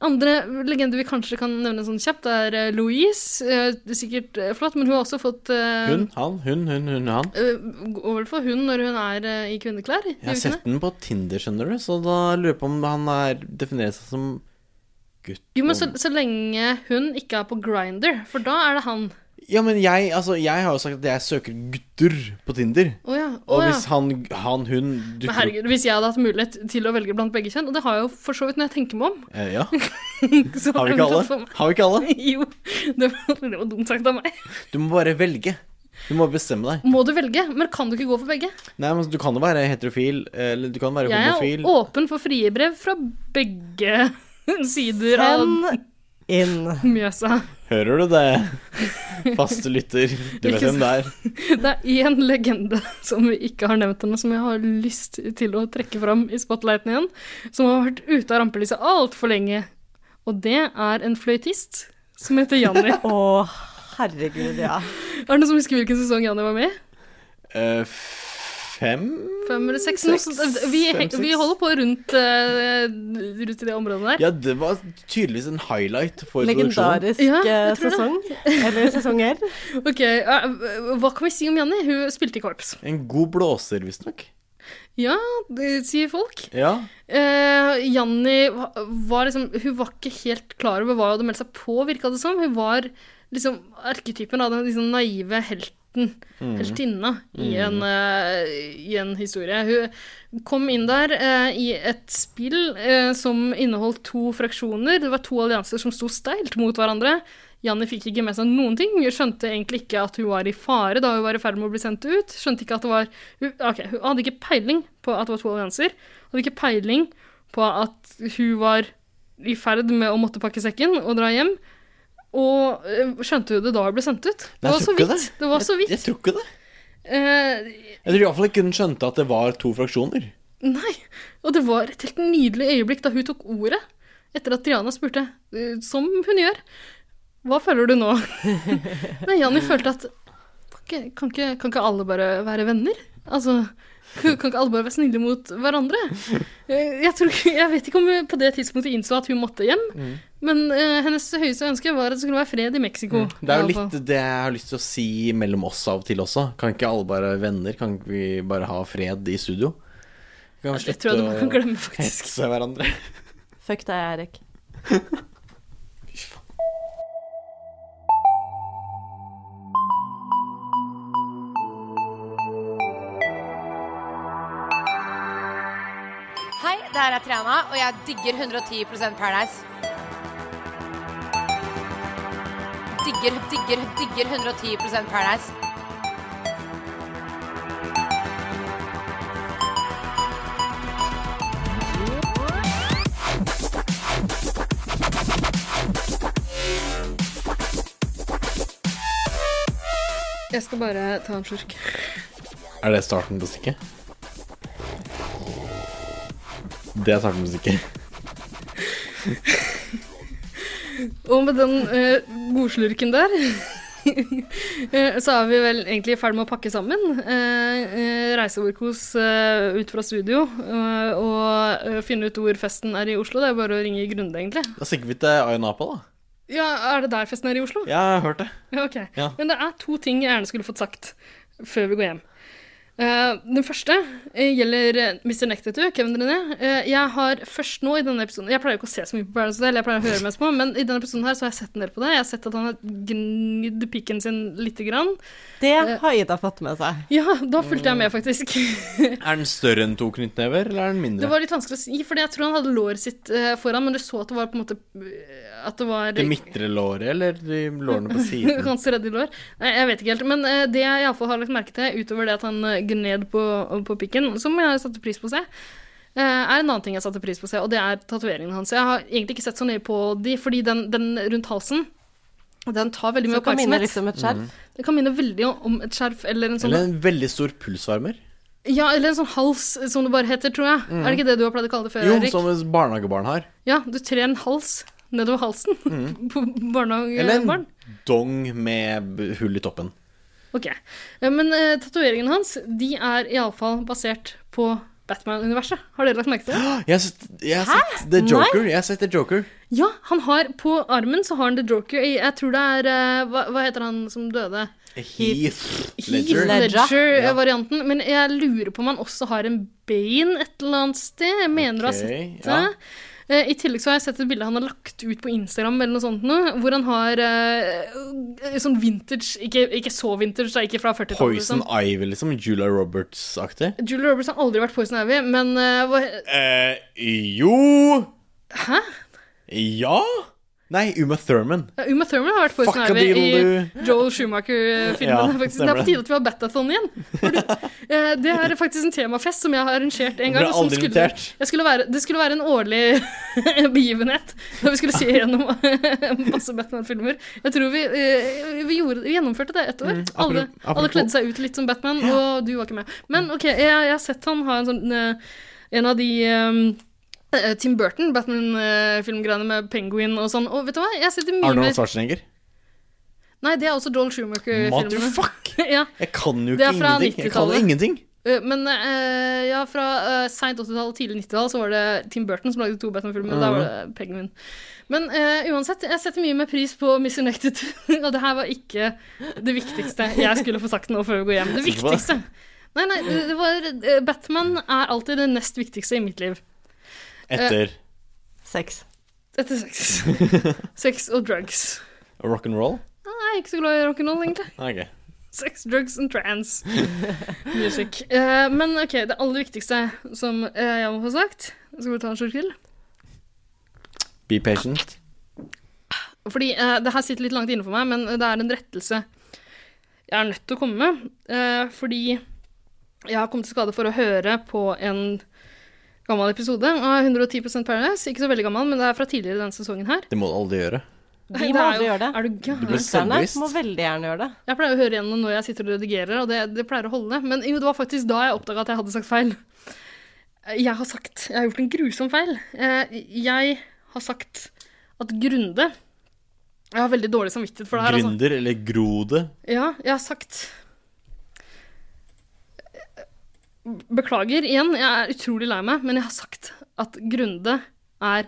Speaker 4: Andre legender vi kanskje kan nevne sånn kjapt, er eh, Louise. eh, det er sikkert eh, flott, men hun har også fått eh,
Speaker 1: Hun, han, hun, hun, hun, han.
Speaker 4: eh, går vel for hun når hun er eh, i kvinneklær? gjør
Speaker 1: Jeg har
Speaker 4: hun ikke
Speaker 1: sett
Speaker 4: det?
Speaker 1: den på Tinder, skjønner du, så da lurer jeg på om han er, definerer seg som gutt.
Speaker 4: Jo, men
Speaker 1: og-
Speaker 4: så, så lenge hun ikke er på Grinder, for da er det han.
Speaker 1: Ja, men jeg, altså, jeg har jo sagt at jeg søker gutter på Tinder.
Speaker 4: Å ja. Å,
Speaker 1: Og
Speaker 4: ja.
Speaker 1: hvis han, han hun
Speaker 4: Men
Speaker 1: dukker opp
Speaker 4: herregud, Hvis jeg hadde hatt mulighet til å velge blant begge kjønn, og det har jeg jo for så vidt når jeg tenker meg om
Speaker 1: Eh, Ja.
Speaker 4: så
Speaker 1: Har vi
Speaker 4: jeg
Speaker 1: ikke
Speaker 4: fått
Speaker 1: alle?
Speaker 4: for meg-
Speaker 1: Har vi ikke alle?
Speaker 4: Jo, det var, det var dumt sagt av meg.
Speaker 1: Du må bare velge. Du må bestemme deg.
Speaker 4: Må du velge, men kan du ikke gå for begge?
Speaker 1: Nei, men altså, Du kan jo være heterofil, eller du kan være
Speaker 4: Jeg er
Speaker 1: homofil.
Speaker 4: åpen for frie brev fra begge sider av
Speaker 2: Send inn.
Speaker 4: Mjøsa.
Speaker 1: Hører du det? Faste lytter. Du vet
Speaker 4: Ikke
Speaker 1: hvem det er.
Speaker 4: Det er én legende som vi ikke har nevnt ennå, som jeg har lyst til å trekke fram i spotlighten igjen, som har vært ute av rampelyset altfor lenge. Og det er en fløytist som heter Janni.
Speaker 2: Å, herregud, ja.
Speaker 4: Er det noen som husker hvilken sesong Janni var med i?
Speaker 1: Eh, fem
Speaker 4: Fem eller seks?
Speaker 1: Seks,
Speaker 4: noe sånt. vi,
Speaker 1: fem, seks.
Speaker 4: vi holder på rundt, eh, rundt i det området der.
Speaker 1: Ja, det var tydeligvis en highlight for produksjonen.
Speaker 2: Legendarisk
Speaker 4: Ja,
Speaker 2: eh,
Speaker 4: jeg tror det.
Speaker 2: sesong. Eller sesonger.
Speaker 4: Ok, eh, Hva kan vi si om Janni? Hun spilte i korps.
Speaker 1: En god blåser, visstnok.
Speaker 4: Ja, det sier folk.
Speaker 1: Ja.
Speaker 4: Eh, Janni va- var liksom Hun var ikke helt klar over hva hun hadde meldt seg på, virka det som. Hun var liksom arketypen av den liksom naive helten helten,
Speaker 12: Mm.
Speaker 4: heltinna, i,
Speaker 12: Mm.
Speaker 4: en, eh, i en historie. Hun kom inn der eh, i et spill eh, som inneholdt to fraksjoner. Det var to allianser som sto steilt mot hverandre. Janni fikk ikke med seg noen ting. Hun skjønte egentlig ikke at hun var i fare da hun var i ferd med å bli sendt ut. Skjønte ikke at det var hun, ah, ok, hun hadde ikke peiling på at det var to allianser. Hadde ikke peiling på at hun var i ferd med å måtte pakke sekken og dra hjem. Og eh, skjønte hun det da hun ble sendt ut? Det
Speaker 1: Nei,
Speaker 4: var
Speaker 1: jeg
Speaker 4: så
Speaker 1: tror ikke
Speaker 4: vidt. Det. var så vidt.
Speaker 1: Jeg tror ikke det.
Speaker 4: Eh,
Speaker 1: Jeg tror iallfall ikke hun skjønte at det var to fraksjoner.
Speaker 4: nei. Og det var et helt nydelig øyeblikk da hun tok ordet etter at Diana spurte, eh, som hun gjør, hva føler du nå? nei, Janni følte at "Kan ikke- kan ikke, kan ikke alle bare være venner? Altså, kan kan ikke alle bare være snille mot hverandre? Eh, Jeg, tror, ikke- jeg vet ikke om hun på det tidspunktet innså at hun måtte hjem,
Speaker 1: Mm.
Speaker 4: men eh, hennes høyeste ønske var at det skulle være fred i Mexico.
Speaker 1: Mm. Det er jo
Speaker 4: i alle fall.
Speaker 1: litt det jeg har lyst til å si mellom oss av og til også. Kan ikke alle bare være venner? Kan ikke vi bare ha fred i studio? Kan vi
Speaker 4: det tror jeg du kan glemme, faktisk.
Speaker 1: hetse hverandre?
Speaker 2: Fuck deg, Erik.
Speaker 13: Hei, det her er Triana, og jeg digger 110 Paradise. Digger, digger, digger 110 Paradise.
Speaker 4: Jeg skal bare ta en slurk.
Speaker 1: Er det starten på stykket? Det er starten på stykket.
Speaker 4: Og med den eh, godslurken der eh, så er vi vel egentlig i ferd med å pakke sammen. Eh, eh, reise over kos eh, ut fra studio eh, og eh, finne ut hvor festen er i Oslo. Det er bare å ringe Grunde, egentlig.
Speaker 1: Da stikker vi til Ayanapa, da.
Speaker 4: Ja, Er det der festen er i Oslo?
Speaker 1: Ja, jeg har hørt det.
Speaker 4: Ja, ok.
Speaker 1: Ja.
Speaker 4: Men det er to ting jeg gjerne skulle fått sagt før vi går hjem. Eh, den første eh, gjelder eh, Mr. Nektetu, Kevin René. Eh, jeg har først nå i denne episoden Jeg pleier jo ikke å se så mye på Paradise Hotel, jeg pleier å høre mest på, men i denne episoden her så har jeg sett en del på det. Jeg har sett at han har gnidd pikken sin lite grann.
Speaker 2: Det har Ida fått med seg.
Speaker 4: Ja, da fulgte jeg med,
Speaker 1: Mm.
Speaker 4: faktisk.
Speaker 1: Er den større enn to knyttnever, eller er den mindre?
Speaker 4: Det var litt vanskelig å si, fordi jeg tror han hadde låret sitt eh, foran, men du så at det var på en måte eh, At det var
Speaker 1: Det midtre låret, eller de lårene på siden?
Speaker 4: Ganske redd i lår. Nei, jeg vet ikke helt. Men eh, det jeg iallfall har lagt merke til, utover det at han eh, gned på, på pikken, som jeg satte pris på å se, eh, er en annen ting jeg satte pris på å se, og det er tatoveringene hans. Jeg har egentlig ikke sett så nøye på de, fordi den, den rundt halsen den tar veldig mye
Speaker 2: Så kan minne
Speaker 4: oppmerksomhet.
Speaker 2: litt om et skjerf. Mhm.
Speaker 4: Det kan minne veldig om et skjerf eller en sånn
Speaker 1: Eller en veldig stor pulsvarmer?
Speaker 4: Ja, eller en sånn hals, som det bare heter, tror jeg.
Speaker 1: Mhm.
Speaker 4: Er det ikke det du har pleid å kalle det før,
Speaker 1: Jo,
Speaker 4: Erik?
Speaker 1: som et barnehagebarn har.
Speaker 4: Ja, du trer en hals nedover halsen på
Speaker 1: Mm. Eller
Speaker 4: barnehagebarn.
Speaker 1: en dong med b- hull i toppen.
Speaker 4: Ok. Eh, Men uh, tatoveringene hans de er iallfall basert på Batman-universet. Har dere lagt merke til det?
Speaker 1: Jeg har sett, jeg har
Speaker 4: Hæ?
Speaker 1: sett The
Speaker 4: Nei.
Speaker 1: Joker. Jeg har sett The Joker.
Speaker 4: Ja, han har På armen så har han The Joker. i- Jeg tror det er eh, hva, hva heter han som døde?
Speaker 1: Heath Ledger.
Speaker 4: Heath Ledger-varianten.
Speaker 1: Ja.
Speaker 4: Men jeg lurer på om han også har en Bane et eller annet sted. Jeg mener du har
Speaker 1: Ok,
Speaker 4: sett det.
Speaker 1: ja.
Speaker 4: Eh, I tillegg så har jeg sett et bilde han har lagt ut på Instagram, eller noe sånt nå, hvor han har eh, sånn vintage Ikke, ikke så vintage, da, ikke fra 40-tallet.
Speaker 1: Poison
Speaker 4: liksom.
Speaker 1: Ivy, liksom. Julia Roberts-aktig.
Speaker 4: Julie Roberts har aldri vært Poison Ivy, men eh, hva,
Speaker 1: Eh, jo
Speaker 4: Hæ?
Speaker 1: Ja? Nei, Uma Thurman.
Speaker 4: Ja, Uma Thurman har vært Poison
Speaker 1: Fuck a
Speaker 4: Ivy i
Speaker 1: doodle
Speaker 4: Joel Schumacher-filmen.
Speaker 1: Ja,
Speaker 4: faktisk. Det er
Speaker 1: stemmer
Speaker 4: på
Speaker 1: det.
Speaker 4: tide at vi har Batathon igjen. Har du- eh, Det er faktisk en temafest som jeg har arrangert en gang.
Speaker 1: Ble
Speaker 4: og som
Speaker 1: aldri
Speaker 4: skulle,
Speaker 1: invitert.
Speaker 4: jeg skulle være, det skulle være en årlig begivenhet da vi skulle se gjennom masse Batman-filmer. Jeg tror vi, eh, vi, gjorde, vi gjennomførte det ett år.
Speaker 12: Mm, apro-
Speaker 4: alle, alle
Speaker 12: apropos-
Speaker 4: kledde seg ut litt som Batman, og du var ikke med. Men OK, jeg, jeg har sett han ha en sånn eh, En av de eh, eh, Tim Burton, Batman-filmgreiene med Penguin og sånn. Og vet du hva? Jeg sitter mye
Speaker 1: Arnold
Speaker 4: mer
Speaker 1: Schwarzenegger.
Speaker 4: Nei, det er også Joel Schumacher-filmene.
Speaker 1: Motherfuck!
Speaker 4: ja.
Speaker 1: Jeg kan jo
Speaker 4: Det
Speaker 1: ikke
Speaker 4: er fra
Speaker 1: ingenting. Jeg kan
Speaker 4: 90-tallet.
Speaker 1: ingenting.
Speaker 4: Eh, Men eh, ja, fra uh, seint 80-tall og tidlig 90-tall så var det Tim Burton som lagde to Batman-filmer. og Da var det Penguin. Men eh, uansett, jeg setter mye mer pris på Miss United. og det her var ikke det viktigste jeg skulle få sagt nå før vi går hjem. Det
Speaker 12: Sikker på det?
Speaker 4: viktigste. Nei, nei, det det var, eh, Batman er alltid det nest viktigste i mitt liv. Eh.
Speaker 1: Etter
Speaker 2: Sex.
Speaker 4: Etter sex. sex og drugs.
Speaker 1: rock and roll?
Speaker 4: Nei, jeg er ikke så glad i rock'n'roll, egentlig.
Speaker 1: Ok.
Speaker 4: Sex, drugs and trans music. Eh, men OK, det aller viktigste som eh, jeg må få sagt Skal vi ta en slurk til?
Speaker 1: Be patient.
Speaker 4: Fordi eh, det her sitter litt langt inne for meg, men det er en rettelse jeg er nødt til å komme med. eh, fordi jeg har kommet til skade for å høre på en gammel episode av 110 Paradise. Ikke så veldig gammel, men det er fra tidligere denne sesongen her.
Speaker 1: Det må du aldri gjøre.
Speaker 2: De
Speaker 4: Det
Speaker 2: må
Speaker 4: er
Speaker 2: aldri
Speaker 4: jo-
Speaker 2: gjøre det.
Speaker 4: Er du gæren?
Speaker 1: Du ble selvbevisst.
Speaker 2: Må veldig gjerne gjøre det.
Speaker 4: Jeg pleier å høre igjennom når jeg sitter og redigerer, og det, det pleier å holde. Men jo, det var faktisk da jeg oppdaga at jeg hadde sagt feil. Jeg har sagt Jeg har gjort en grusom feil. Eh, Jeg har sagt at Grunde Jeg har veldig dårlig samvittighet for det her. altså.
Speaker 1: Gründer eller grode.
Speaker 4: Ja, jeg har sagt Beklager igjen, jeg er utrolig lei meg, men jeg har sagt at Grunde er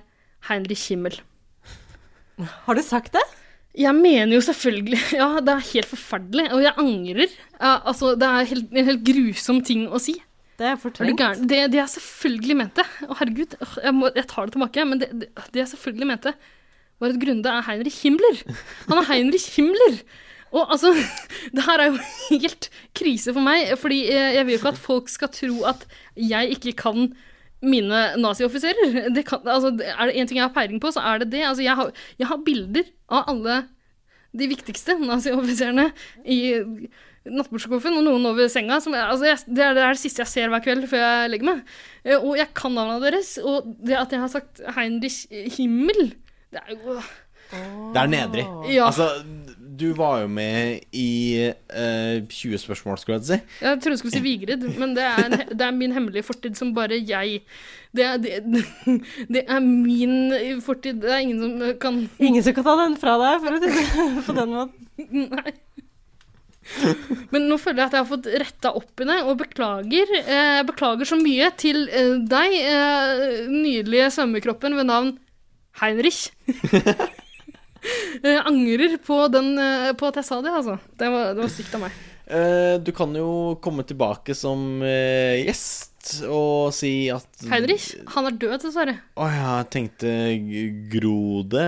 Speaker 4: Heinrich Himmel.
Speaker 2: Har du sagt det?
Speaker 4: Jeg mener jo selvfølgelig Ja, det er helt forferdelig, og jeg angrer. Ja, altså, det er helt, en helt grusom ting å si.
Speaker 2: Det er
Speaker 4: fortrengt. Det, det, jeg selvfølgelig mente Å, herregud, åh, jeg, må, jeg tar det tilbake, men det, det, det jeg selvfølgelig mente, var at Grunde er Heinrich Himmler. Han er Heinrich Himmler! Og altså, det her er jo helt krise for meg, fordi eh, jeg vil jo ikke at folk skal tro at jeg ikke kan mine nazioffiserer. Det kan, altså, det- er det én ting jeg har peiling på, så er det det. Altså, jeg, har, jeg har bilder av alle de viktigste nazioffiserene i nattbordskuffen, og noen over senga. Som, jeg- altså, jeg, det, er, det er det siste jeg ser hver kveld før jeg legger meg. Eh, Og jeg kan navnene deres. Og det at jeg har sagt Heinrich Himmel, det er jo
Speaker 1: Det er nedrig.
Speaker 4: Ja.
Speaker 1: Altså, du var jo med i eh, 20 spørsmål, skulle jeg til å si.
Speaker 4: Jeg trodde du skulle si Vigrid, men det er, en- det er min hemmelige fortid som bare jeg det er, det, det er min fortid. Det er ingen som kan
Speaker 2: Ingen som kan ta den fra deg, for å si det på den måten.
Speaker 4: Nei. Men nå føler jeg at jeg har fått retta opp i det, og beklager. Eh, Jeg beklager så mye til eh, deg, eh, nydelige svømmekroppen ved navn Heinrich. Jeg angrer på, den, eh, på at jeg sa det, altså. Det var, det var stygt av meg.
Speaker 1: Eh, du kan jo komme tilbake som eh, gjest og si at
Speaker 4: Heinrich, han er død, dessverre.
Speaker 1: Å ja, jeg tenkte g- grode.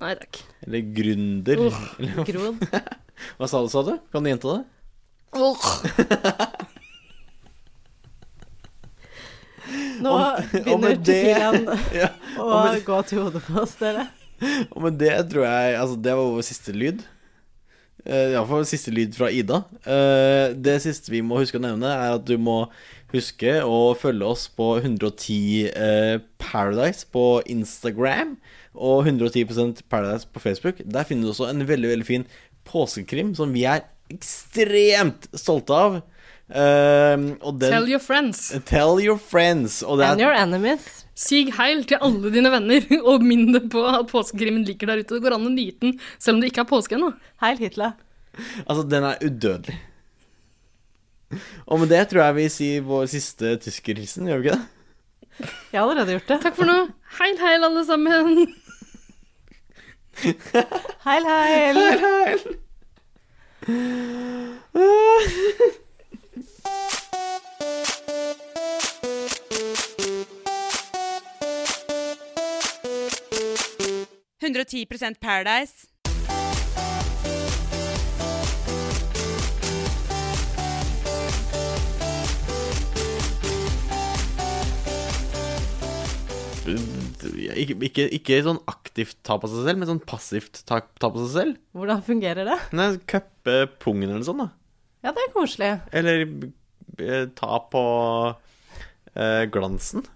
Speaker 4: Nei takk.
Speaker 1: Eller gründer.
Speaker 4: Åh,
Speaker 1: Eller-
Speaker 4: grod.
Speaker 1: Hva sa du, sa du? Kan du gjenta det?
Speaker 2: Nå
Speaker 1: Og- og
Speaker 2: begynner
Speaker 1: med det-
Speaker 2: Tequilaen
Speaker 1: Ja,
Speaker 2: å
Speaker 1: og med-
Speaker 2: gå til hodet på oss, dere.
Speaker 1: Og med det tror jeg Altså, det var vår siste lyd. Uh, Iallfall siste lyd fra Ida. Eh, det siste vi må huske å nevne, er at du må huske å følge oss på 110 eh, Paradise på Instagram og 110 Paradise på Facebook. Der finner du også en veldig, veldig fin påskekrim som vi er ekstremt stolte av. Eh, og den,
Speaker 4: Tell your friends.
Speaker 1: Tell your friends. Og det er
Speaker 2: enemies.
Speaker 4: Sig heil til alle dine venner, og minn deg på at påskekrimmen ligger der ute. Det går an å nyte den selv om det ikke er påske ennå.
Speaker 2: Heil Hitler.
Speaker 1: Altså, den er udødelig. Og med det tror jeg vi sier vår siste tyskerhilsen, gjør vi ikke det?
Speaker 2: Jeg har allerede gjort det.
Speaker 4: Takk for nå. Heil, heil, alle sammen.
Speaker 2: Heil, heil.
Speaker 4: Heil,
Speaker 13: Paradise.
Speaker 3: 110 Paradise.
Speaker 1: Ikke, ikke, ikke sånn aktivt ta på seg selv, men sånn passivt ta, ta på seg selv.
Speaker 2: Hvordan fungerer det?
Speaker 1: Nei, Cuppe pungen eller sånn, da.
Speaker 2: Ja, det er koselig.
Speaker 1: Eller eh, ta på eh, glansen.